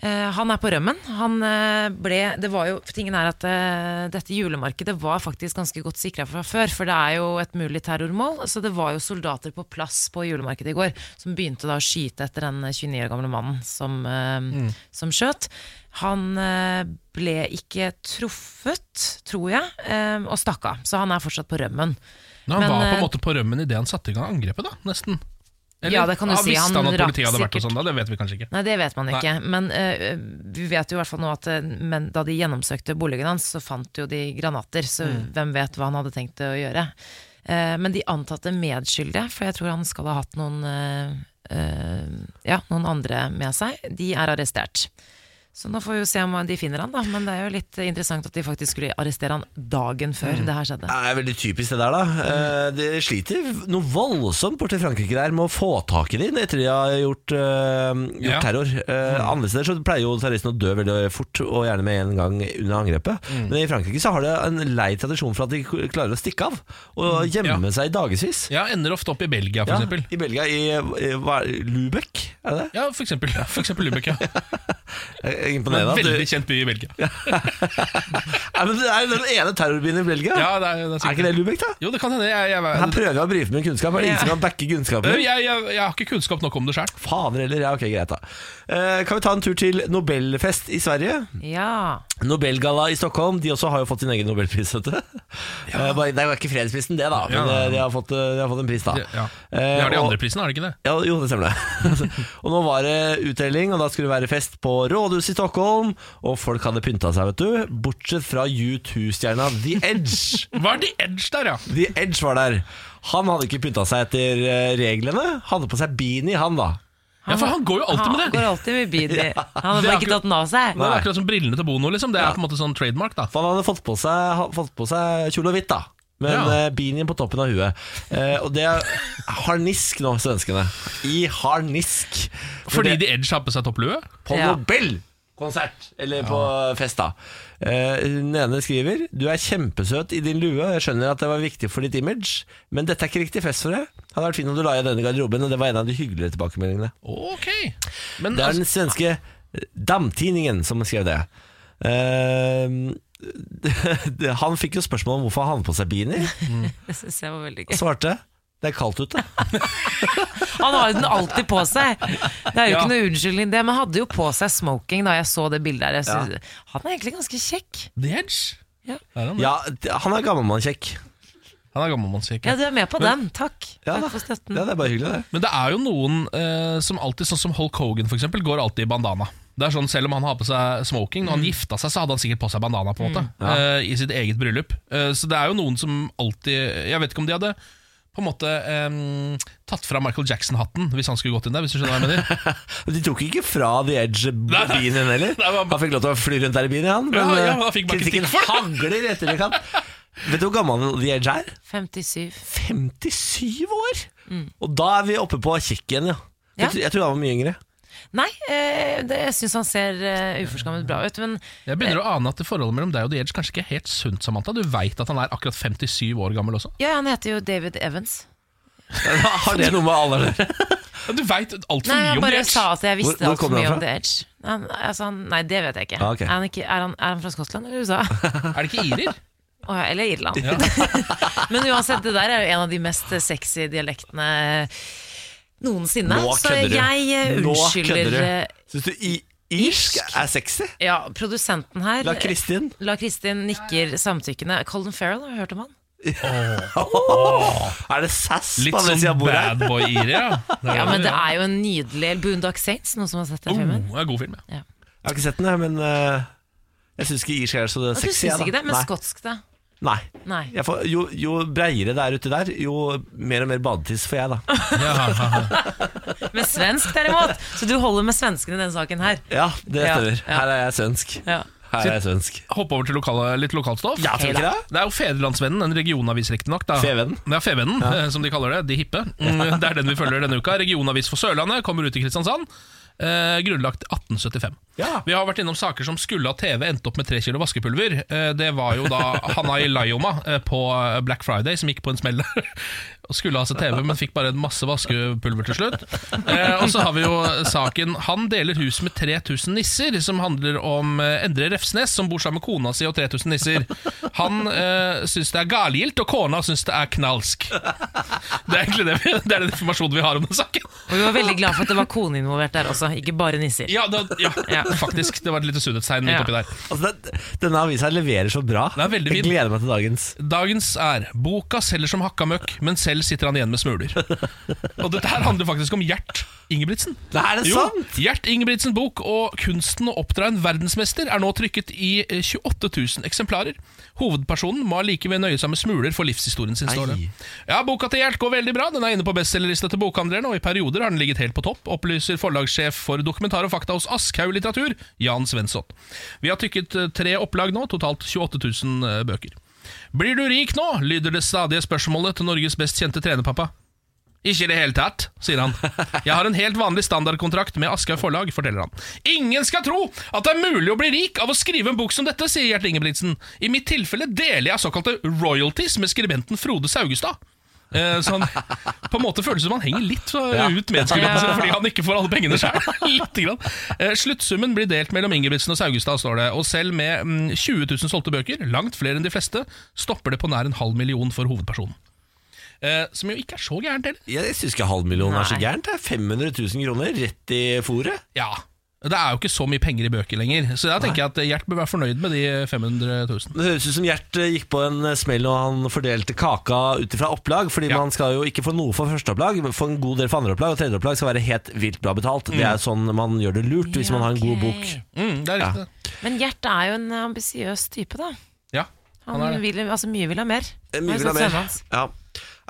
Speaker 2: Eh, han er på rømmen. Han eh, ble Det var jo Tingen er at eh, dette julemarkedet var faktisk ganske godt sikra fra før, for det er jo et mulig terrormål. Så det var jo soldater på plass på julemarkedet i går som begynte da å skyte etter den eh, 29 år gamle mannen som, eh, som skjøt. Han eh, ble ikke truffet, tror jeg, eh, og stakk av. Så han er fortsatt på rømmen.
Speaker 3: Nå, han
Speaker 2: Men,
Speaker 3: var på
Speaker 2: eh,
Speaker 3: en måte på rømmen idet han satte i gang angrepet, da, nesten.
Speaker 2: Ja, det kan du si.
Speaker 3: Visste
Speaker 2: Han
Speaker 3: han at
Speaker 2: rakk
Speaker 3: politiet hadde vært og
Speaker 2: sikkert-
Speaker 3: sånn da? Det vet vi kanskje ikke.
Speaker 2: Nei, det vet man
Speaker 3: Nei.
Speaker 2: ikke. Men eh, vi vet jo i hvert fall nå at eh, men da de gjennomsøkte boligen hans, så fant jo de granater. Så
Speaker 3: Mm.
Speaker 2: hvem vet hva han hadde tenkt å gjøre. Eh, men de antatte medskyldige, for jeg tror han skal ha hatt noen eh, eh, Ja, noen andre med seg, de er arrestert. Så nå får vi jo se om de finner han, da. Men det er jo litt eh, interessant at de faktisk skulle arrestere han dagen
Speaker 3: Mm.
Speaker 2: før det her
Speaker 3: Ah.
Speaker 2: skjedde.
Speaker 1: Det er veldig typisk det der, da. Eh, De sliter noe voldsomt borti Frankrike der med å få tak i dem etter de har gjort, eh, gjort
Speaker 3: Ja. Mm.
Speaker 1: terror. Eh, Andre steder så pleier jo terroristene å dø veldig fort, og gjerne med en gang under angrepet.
Speaker 3: Mm.
Speaker 1: Men i Frankrike så har de en lei tradisjon for at de klarer å stikke av og gjemme
Speaker 3: Mm, Ja.
Speaker 1: seg i dagevis.
Speaker 3: Ja, Ender ofte opp i Belgia, for
Speaker 1: Ja,
Speaker 3: eksempel.
Speaker 1: I Belgia, i, i hva er det, Lübeck, Er det det?
Speaker 3: Ja, for eksempel, ja, for eksempel *laughs* Lübeck. Ja.
Speaker 1: Jeg er
Speaker 3: En
Speaker 1: Imponerende. at du-
Speaker 3: Veldig kjent by i Belgia. Ja,
Speaker 1: Nei, men det er jo den ene terrorbyen i Belgia.
Speaker 3: det er, det er,
Speaker 1: er ikke det Lubek, da?
Speaker 3: Jo, det kan hende. Jeg, jeg,
Speaker 1: Her
Speaker 3: jeg,
Speaker 1: prøver jeg å brife med kunnskap. Er det ingen som kan backe kunnskapen?
Speaker 3: jeg, jeg, jeg har ikke kunnskap nok om det sjøl.
Speaker 1: Fader heller. Ja, ok, greit, da. Eh, kan vi ta en tur til Nobelfest i Sverige?
Speaker 2: Ja.
Speaker 1: Nobelgalla i Stockholm. De også har jo fått sin egen nobelpris, vet du. Eh, bare- Det er jo ikke fredsprisen, det, da. Men
Speaker 3: Ja.
Speaker 1: eh, de, har fått, eh, de har fått en pris, da.
Speaker 3: Ja.
Speaker 1: Eh,
Speaker 3: Det har de
Speaker 1: og-
Speaker 3: andre prisene, har de ikke det?
Speaker 1: Ja, jo, det *laughs* stemmer det. og nå var det utdeling, og da skulle det være fest på rådhuset i Stockholm. Og folk hadde pynta seg, vet du. Bortsett fra U2-stjerna The Edge.
Speaker 3: Var det Edge der, ja?
Speaker 1: The Edge var der. Han hadde ikke pynta seg etter eh, reglene. Hadde på seg beanie, han da.
Speaker 3: Ja, for han går jo alltid med
Speaker 2: Han
Speaker 3: det.
Speaker 2: går alltid med
Speaker 3: *laughs*
Speaker 2: beanie. Han har
Speaker 3: Det er
Speaker 2: bare ikke tatt den av seg.
Speaker 3: Det er akkurat som brillene til Bono, liksom. Det er på en måte sånn trademark, da.
Speaker 1: For han hadde fått på seg, ha- fått på seg kjole og hvitt, da. Men
Speaker 3: Ja.
Speaker 1: eh, beanien på toppen av huet. Eh, og det er harnisk nå, svenskene. I harnisk. Men
Speaker 3: Fordi
Speaker 1: det-
Speaker 3: The Edge har på seg topplue?
Speaker 1: På
Speaker 2: Ja.
Speaker 1: Nobelkonsert, eller på fest, da. Eh, Hun ene skriver Du er kjempesøt i din lue, og jeg skjønner at det var viktig for ditt image, men dette er ikke riktig fest for deg. Hadde vært fint om du la igjen denne i garderoben, og det var en av de hyggeligere tilbakemeldingene.
Speaker 3: Ok. Men
Speaker 1: Det er den
Speaker 3: altså,
Speaker 1: svenske Damtidningen som skrev det. Eh, *laughs* han fikk jo spørsmål om hvorfor han hadde på seg beanie,
Speaker 2: *laughs* Det synes jeg var veldig
Speaker 1: og
Speaker 2: gøy.
Speaker 1: svarte det er kaldt ute.
Speaker 2: Han har jo den alltid på seg. Det er jo
Speaker 3: Ja.
Speaker 2: ikke noe unnskyldning det, men han hadde jo på seg smoking da jeg så det bildet her. Jeg synes- Han er egentlig ganske kjekk.
Speaker 3: The Edge?
Speaker 2: Ja.
Speaker 3: Er han, det?
Speaker 1: Ja, han er gammelmannkjekk.
Speaker 3: han er gammelmannskikk.
Speaker 2: Ja, du er med på den. Takk.
Speaker 1: Ja, da.
Speaker 2: Takk for støtten.
Speaker 1: Ja, det er bare hyggelig, det.
Speaker 3: Men det er jo noen eh, som alltid, sånn som Hulk Hogan for eksempel, går alltid i bandana. Det er sånn, Selv om han har på seg smoking,
Speaker 2: Mm.
Speaker 3: når han gifta seg, så hadde han sikkert på seg bandana på en måte, eh, i sitt eget bryllup. Eh, så det er jo noen som alltid Jeg vet ikke om de hadde på en måte eh, tatt fra Michael Jackson-hatten hvis han skulle gått inn der. hvis du skjønner hva jeg mener.
Speaker 1: Men De tok ikke fra The Edge-bien din heller.
Speaker 3: Nei, men-
Speaker 1: Han fikk lov til å fly rundt der i bien, han.
Speaker 3: Ja,
Speaker 1: eh,
Speaker 3: ja, men han fikk bare
Speaker 1: kritikken
Speaker 3: kritikk for det.
Speaker 1: hagler etter det kan. Vet du hvor gammel The Edge er?
Speaker 2: 57.
Speaker 1: 57 år! Og da er vi oppe på kjekk igjen, ja.
Speaker 2: Ja.
Speaker 1: Jeg, tror, jeg tror han var mye
Speaker 3: *laughs*
Speaker 1: yngre.
Speaker 2: Nei, eh, det, jeg syns han ser eh, uforskammet bra ut, men
Speaker 3: Jeg
Speaker 2: *laughs*
Speaker 3: begynner å ane at det forholdet mellom deg og The Edge kanskje ikke er helt sunt, Samantha. Du veit at han er akkurat 57 år gammel også.
Speaker 2: ja, han heter jo David Evans.
Speaker 1: Har det noe med alder å gjøre?
Speaker 3: Ja, Du veit altfor
Speaker 2: Nei,
Speaker 3: mye
Speaker 2: jeg
Speaker 3: om The
Speaker 2: bare
Speaker 3: Edge.
Speaker 2: sa at jeg visste
Speaker 1: Hvor- hvor
Speaker 2: altfor
Speaker 1: kommer
Speaker 2: mye
Speaker 1: han
Speaker 2: om
Speaker 1: fra?
Speaker 2: The Edge. Han, altså, han, nei, det vet jeg ikke.
Speaker 1: Ah, ok.
Speaker 2: Er, han ikke er, han, er han fra Skottland eller USA?
Speaker 3: Er det ikke
Speaker 2: *laughs*
Speaker 3: irer?
Speaker 2: Å ja, eller Irland. *laughs* Men uansett, det der er jo en av de mest sexy dialektene noensinne.
Speaker 1: Nå
Speaker 2: så
Speaker 1: kødder du.
Speaker 2: jeg eh,
Speaker 1: Nå
Speaker 2: unnskylder
Speaker 1: kødder du.
Speaker 2: eh,
Speaker 1: Syns du i, irsk er sexy?
Speaker 2: ja, produsenten her.
Speaker 1: La Kristin
Speaker 2: La Kristin nikker samtykkende. Colin Farrell, har du hørt om han?
Speaker 1: Er det sass
Speaker 3: Litt
Speaker 1: på andre
Speaker 3: sånn
Speaker 1: sida av bordet? her?
Speaker 3: bad boy-irer, ja. Det
Speaker 2: *laughs* Ja, men det er jo en nydelig Boondock Saints, noen som har sett den
Speaker 3: oh,
Speaker 2: filmen?
Speaker 3: det er god film, ja.
Speaker 1: Jeg har ikke sett den, jeg, men eh, jeg syns ikke irsk er så
Speaker 2: Og Du
Speaker 1: sexy. jeg,
Speaker 2: syns
Speaker 1: da.
Speaker 2: ikke det, men
Speaker 1: Nei.
Speaker 2: skotsk, da?
Speaker 1: Nei.
Speaker 2: Nei.
Speaker 1: Jeg får, jo, jo breiere det er uti der, jo mer og mer badetiss får jeg, da.
Speaker 2: Ah. Men svensk, derimot! Så du holder med svenskene i denne saken her.
Speaker 1: Ja, det
Speaker 2: Ja,
Speaker 1: stemmer.
Speaker 2: ja.
Speaker 1: Her er jeg svensk.
Speaker 2: Ja.
Speaker 1: Her er jeg svensk.
Speaker 3: Hoppe over til lokale, litt lokalt stoff.
Speaker 1: Ja, tror du ikke det?
Speaker 3: Det er jo Fedrelandsvennen, en regionavis riktignok. da.
Speaker 1: Fevennen.
Speaker 3: Ja, Fevennen, eh, som de kaller det. De
Speaker 1: *laughs*
Speaker 3: hippe. Mm, Det er den vi følger denne uka. Regionavis for Sørlandet kommer ut i Kristiansand. Eh, grunnlagt 1875.
Speaker 1: Ja.
Speaker 3: Vi har vært innom saker som skulle ha TV, endte opp med tre kilo vaskepulver. Eh, det var jo da Hanai Laioma eh, på Black Friday som gikk på en smell der. Og skulle ha seg TV, men fikk bare en masse vaskepulver til slutt. Eh, og så har vi jo saken Han deler hus med 3000 nisser, som handler om eh, Endre Refsnes, som bor sammen med kona si og 3000 nisser. Han eh, syns det er galgilt, og kona syns det er knalsk. Det er egentlig det, vi, det er den informasjonen vi har om den saken.
Speaker 2: Og vi var veldig glad for at det var kone involvert der også, ikke bare nisser.
Speaker 3: Ja, da, ja,
Speaker 2: Ja.
Speaker 3: faktisk. Det var et lite sunnhetstegn midt
Speaker 2: Ja.
Speaker 3: oppi der.
Speaker 1: Altså, det, denne avisa leverer så bra.
Speaker 3: Den er veldig
Speaker 1: jeg
Speaker 3: fin.
Speaker 1: gleder meg til dagens.
Speaker 3: Dagens er Boka selger som hakka møkk, men selv sitter han igjen
Speaker 1: *laughs*
Speaker 3: med smuler. Og dette her handler faktisk om Gjert Ingebrigtsen.
Speaker 1: Nei, er det
Speaker 3: Jo,
Speaker 1: sant?
Speaker 3: Gjert Ingebrigtsen bok og Kunsten å oppdra en verdensmester er nå trykket i eh, 28 000 eksemplarer. Hovedpersonen må allikevel nøye seg med smuler for livshistorien sin, står det.
Speaker 1: Ei.
Speaker 3: Ja, boka til Gjert går veldig bra. Den er inne på bestselgerlista til bokhandlerne, og i perioder har den ligget helt på topp, opplyser forlagssjef for dokumentar og fakta hos Aschhaug litteratur, Jan Svensson. Vi har trykket eh, tre opplag nå, totalt 28 000 bøker. Blir du rik nå? lyder det stadige spørsmålet til Norges best kjente trenerpappa. Ikke i det hele tatt, sier han. Jeg har en helt vanlig standardkontrakt med Aschehoug forlag, forteller han. Ingen skal tro at det er mulig å bli rik av å skrive en bok som dette, sier Gjert Ingebrigtsen. I mitt tilfelle deler jeg såkalte royalties med skribenten Frode Saugestad. Eh, Så han på en måte føles det som han henger litt så ut medspillerne sine fordi han ikke får alle pengene sjøl. *laughs* Lite grann. Eh, Sluttsummen blir delt mellom Ingebrigtsen og Saugestad, står det. Og selv med mm, 20 000 solgte bøker, langt flere enn de fleste, stopper det på nær en halv million for hovedpersonen. Eh, Som jo ikke er så gærent heller.
Speaker 1: Jeg syns ikke halv million er så
Speaker 2: Nei.
Speaker 1: gærent. Det er 500 000 kroner rett i fòret.
Speaker 3: Ja. Det er jo ikke så mye penger i bøker lenger, så da tenker jeg at Gjert bør være fornøyd med de 500 000.
Speaker 1: Det høres ut som Gjert eh, gikk på en eh, smell og han fordelte kaka ut ifra opplag. Fordi
Speaker 3: Ja.
Speaker 1: man skal jo ikke få noe for førsteopplag, men få en god del for andreopplag. Og tredjeopplag skal være helt vilt bra betalt. Det er sånn man gjør det lurt hvis
Speaker 2: Ja,
Speaker 1: man har en god
Speaker 2: ok.
Speaker 1: bok.
Speaker 3: Mm, det er riktig.
Speaker 2: Men Gjert er jo en ambisiøs type, da.
Speaker 3: Ja,
Speaker 2: Han
Speaker 3: han er det.
Speaker 2: vil, altså, mye vil ha mer.
Speaker 1: Eh,
Speaker 2: Har
Speaker 1: Mye
Speaker 2: jo
Speaker 1: vil ha
Speaker 2: sånn
Speaker 1: mer.
Speaker 2: sønnen hans.
Speaker 1: Ja.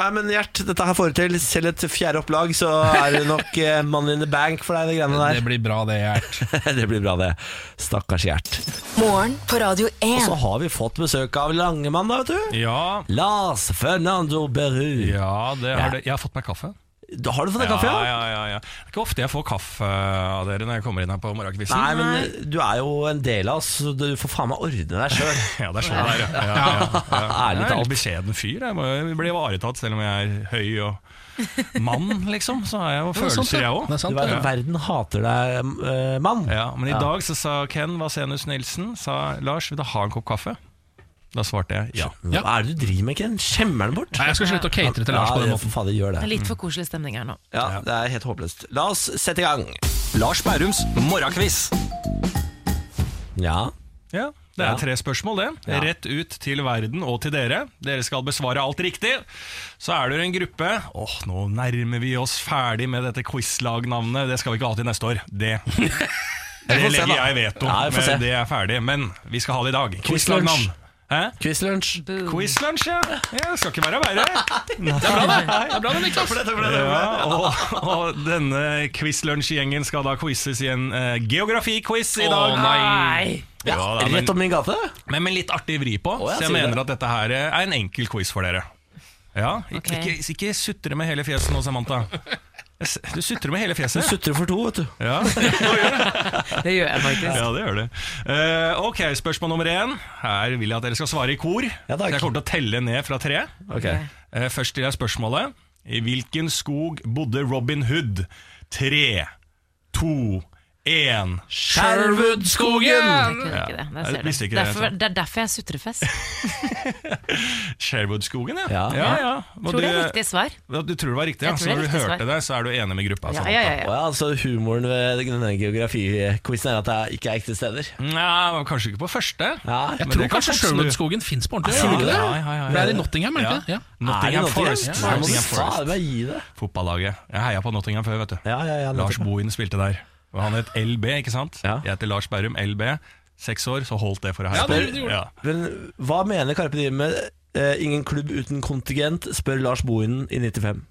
Speaker 1: Nei, men Gjert, dette her får du til. Selv et fjerde opplag, så er det nok eh, money in the bank for deg, de greiene
Speaker 3: Det
Speaker 1: der.
Speaker 3: blir bra, det, Gjert.
Speaker 1: Det blir bra, det. Stakkars Gjert.
Speaker 4: Morgen på Radio
Speaker 1: Og
Speaker 4: 1.
Speaker 1: så har vi fått besøk av Langemann, da, vet du.
Speaker 10: Ja,
Speaker 1: Lars Fernando Beru.
Speaker 10: ja, det
Speaker 1: Ja.
Speaker 10: har det. Jeg har fått meg kaffe.
Speaker 1: Da Har du fått deg kaffe?
Speaker 10: Ja, ja, ja, ja. Det er ikke ofte jeg får kaffe eh, av dere når jeg kommer inn her på morgenkvisten.
Speaker 1: Nei, men eh, du er jo en del av oss, så du får faen meg ordne deg sjøl.
Speaker 10: *laughs* Ja, det er sånn det er. Ja, ja, ja, ja. Jeg er
Speaker 1: Ærlig
Speaker 10: en
Speaker 1: talt.
Speaker 10: litt beskjeden fyr. Jeg må jo bli ivaretatt selv om jeg er høy og mann, liksom. Så har jeg jo følelser, jeg òg.
Speaker 3: Det sånn er sant, det.
Speaker 1: Verden hater deg, eh, mann.
Speaker 10: Ja, men i dag så sa Ken Vasenius Nilsen sa, Lars, vil du ha en kopp kaffe? Da svarte jeg ja.
Speaker 1: Hva er det du driver med, Ken? Skjemmer den bort?
Speaker 3: Nei, jeg skal slutte å catere til Lars på den
Speaker 1: Ja,
Speaker 3: måten.
Speaker 1: for faen, det gjør
Speaker 2: Det er
Speaker 1: det.
Speaker 2: litt for koselig stemning her nå.
Speaker 1: Ja, Det er helt håpløst. La oss sette i gang.
Speaker 10: Lars Bærums morgenkviss.
Speaker 1: Ja.
Speaker 10: Ja, det
Speaker 1: Ja.
Speaker 10: er tre spørsmål, det.
Speaker 1: Ja.
Speaker 10: Rett ut til verden og til dere. Dere skal besvare alt riktig. Så er dere en gruppe Åh, nå nærmer vi oss ferdig med dette quizlagnavnet. Det skal vi ikke ha til neste år. Det,
Speaker 1: *laughs*
Speaker 10: det
Speaker 1: får se,
Speaker 10: legger
Speaker 1: da.
Speaker 10: jeg veto.
Speaker 1: Ja, vi får se.
Speaker 10: men det er ferdig. Men vi skal ha det i dag.
Speaker 1: Quizlunsj.
Speaker 10: Quizlagnavn. Hæ?
Speaker 1: Quizlunsj.
Speaker 10: Quizlunsj, ja. ja. Det skal ikke være verre.
Speaker 3: Det er bra, det, Niklas.
Speaker 10: Ja, og, og denne quizlunsj-gjengen skal da quizes i en eh, geografiquiz i dag.
Speaker 3: Å, nei.
Speaker 10: Ja, da, men-
Speaker 1: Rett om min gate.
Speaker 10: men med litt artig vri på,
Speaker 1: ja,
Speaker 10: så jeg
Speaker 1: sier
Speaker 10: mener
Speaker 1: det.
Speaker 10: at dette her er en enkel quiz for dere. Ja, ik-
Speaker 2: Ok.
Speaker 10: ikke, ikke sutre med hele fjeset nå, Samantha. Jeg s- Du sutrer med hele
Speaker 1: Du
Speaker 10: fjeset.
Speaker 1: sutrer for to, vet du.
Speaker 10: Ja,
Speaker 2: Det gjør jeg faktisk.
Speaker 10: *laughs* ja det gjør du. Eh, ok, spørsmål nummer én. Her vil jeg at dere skal svare i kor.
Speaker 1: Ja, takk.
Speaker 10: Så jeg kommer til å telle ned fra tre.
Speaker 1: Ok
Speaker 10: Eh, først til jeg spørsmålet. I hvilken skog bodde Robin Hood? Tre, to, én.
Speaker 3: Sherwoodskogen!
Speaker 2: Jeg kunne ikke det. Der
Speaker 10: Nei,
Speaker 2: ser
Speaker 10: jeg visste
Speaker 2: du.
Speaker 10: ikke det,
Speaker 2: Derfor, det er derfor jeg sutrer fest.
Speaker 10: Sherwoodskogen, ja.
Speaker 1: Ja.
Speaker 10: ja, ja. Og
Speaker 2: Tror det er
Speaker 10: du-
Speaker 2: riktig svar.
Speaker 10: Ja, Du tror det var riktig, ja.
Speaker 2: Jeg tror
Speaker 10: Så
Speaker 2: det er
Speaker 10: når du
Speaker 2: riktig
Speaker 10: hørte
Speaker 2: svar.
Speaker 10: det, så er du enig med gruppa.
Speaker 2: Ja,
Speaker 10: Samantha.
Speaker 2: ja, ja,
Speaker 1: Å
Speaker 2: ja.
Speaker 1: ja, altså Humoren ved denne geografiquizen er at det ikke er ekte steder.
Speaker 10: Nei, men kanskje ikke på første.
Speaker 1: Ja, jeg
Speaker 10: men
Speaker 3: Jeg tror
Speaker 10: det kan
Speaker 3: kanskje
Speaker 10: folk snu.
Speaker 3: Sherwoodskogen fins på ordentlig.
Speaker 1: Ja,
Speaker 3: gjør det ikke det?
Speaker 10: ja, ja, ja, ja.
Speaker 3: For Det er i Nottingham, er det ikke det? Ja.
Speaker 10: Nottingham Forest.
Speaker 1: Ja, må du
Speaker 10: Nottingham Forest.
Speaker 1: faen meg gi det.
Speaker 10: Fotballaget. Jeg heia på Nottingham før, vet du.
Speaker 1: Ja, ja, ja,
Speaker 10: Lars
Speaker 1: nettopp.
Speaker 10: Bohin spilte der. Og han het LB, ikke sant?
Speaker 1: Ja.
Speaker 10: Jeg heter Lars Berrum, LB. Seks år, så holdt det for å
Speaker 3: Ja,
Speaker 10: heie
Speaker 3: det gjorde det.
Speaker 1: Men hva mener Karpe Diem med eh, 'ingen klubb uten kontingent'? Spør Lars Bohinen i 95.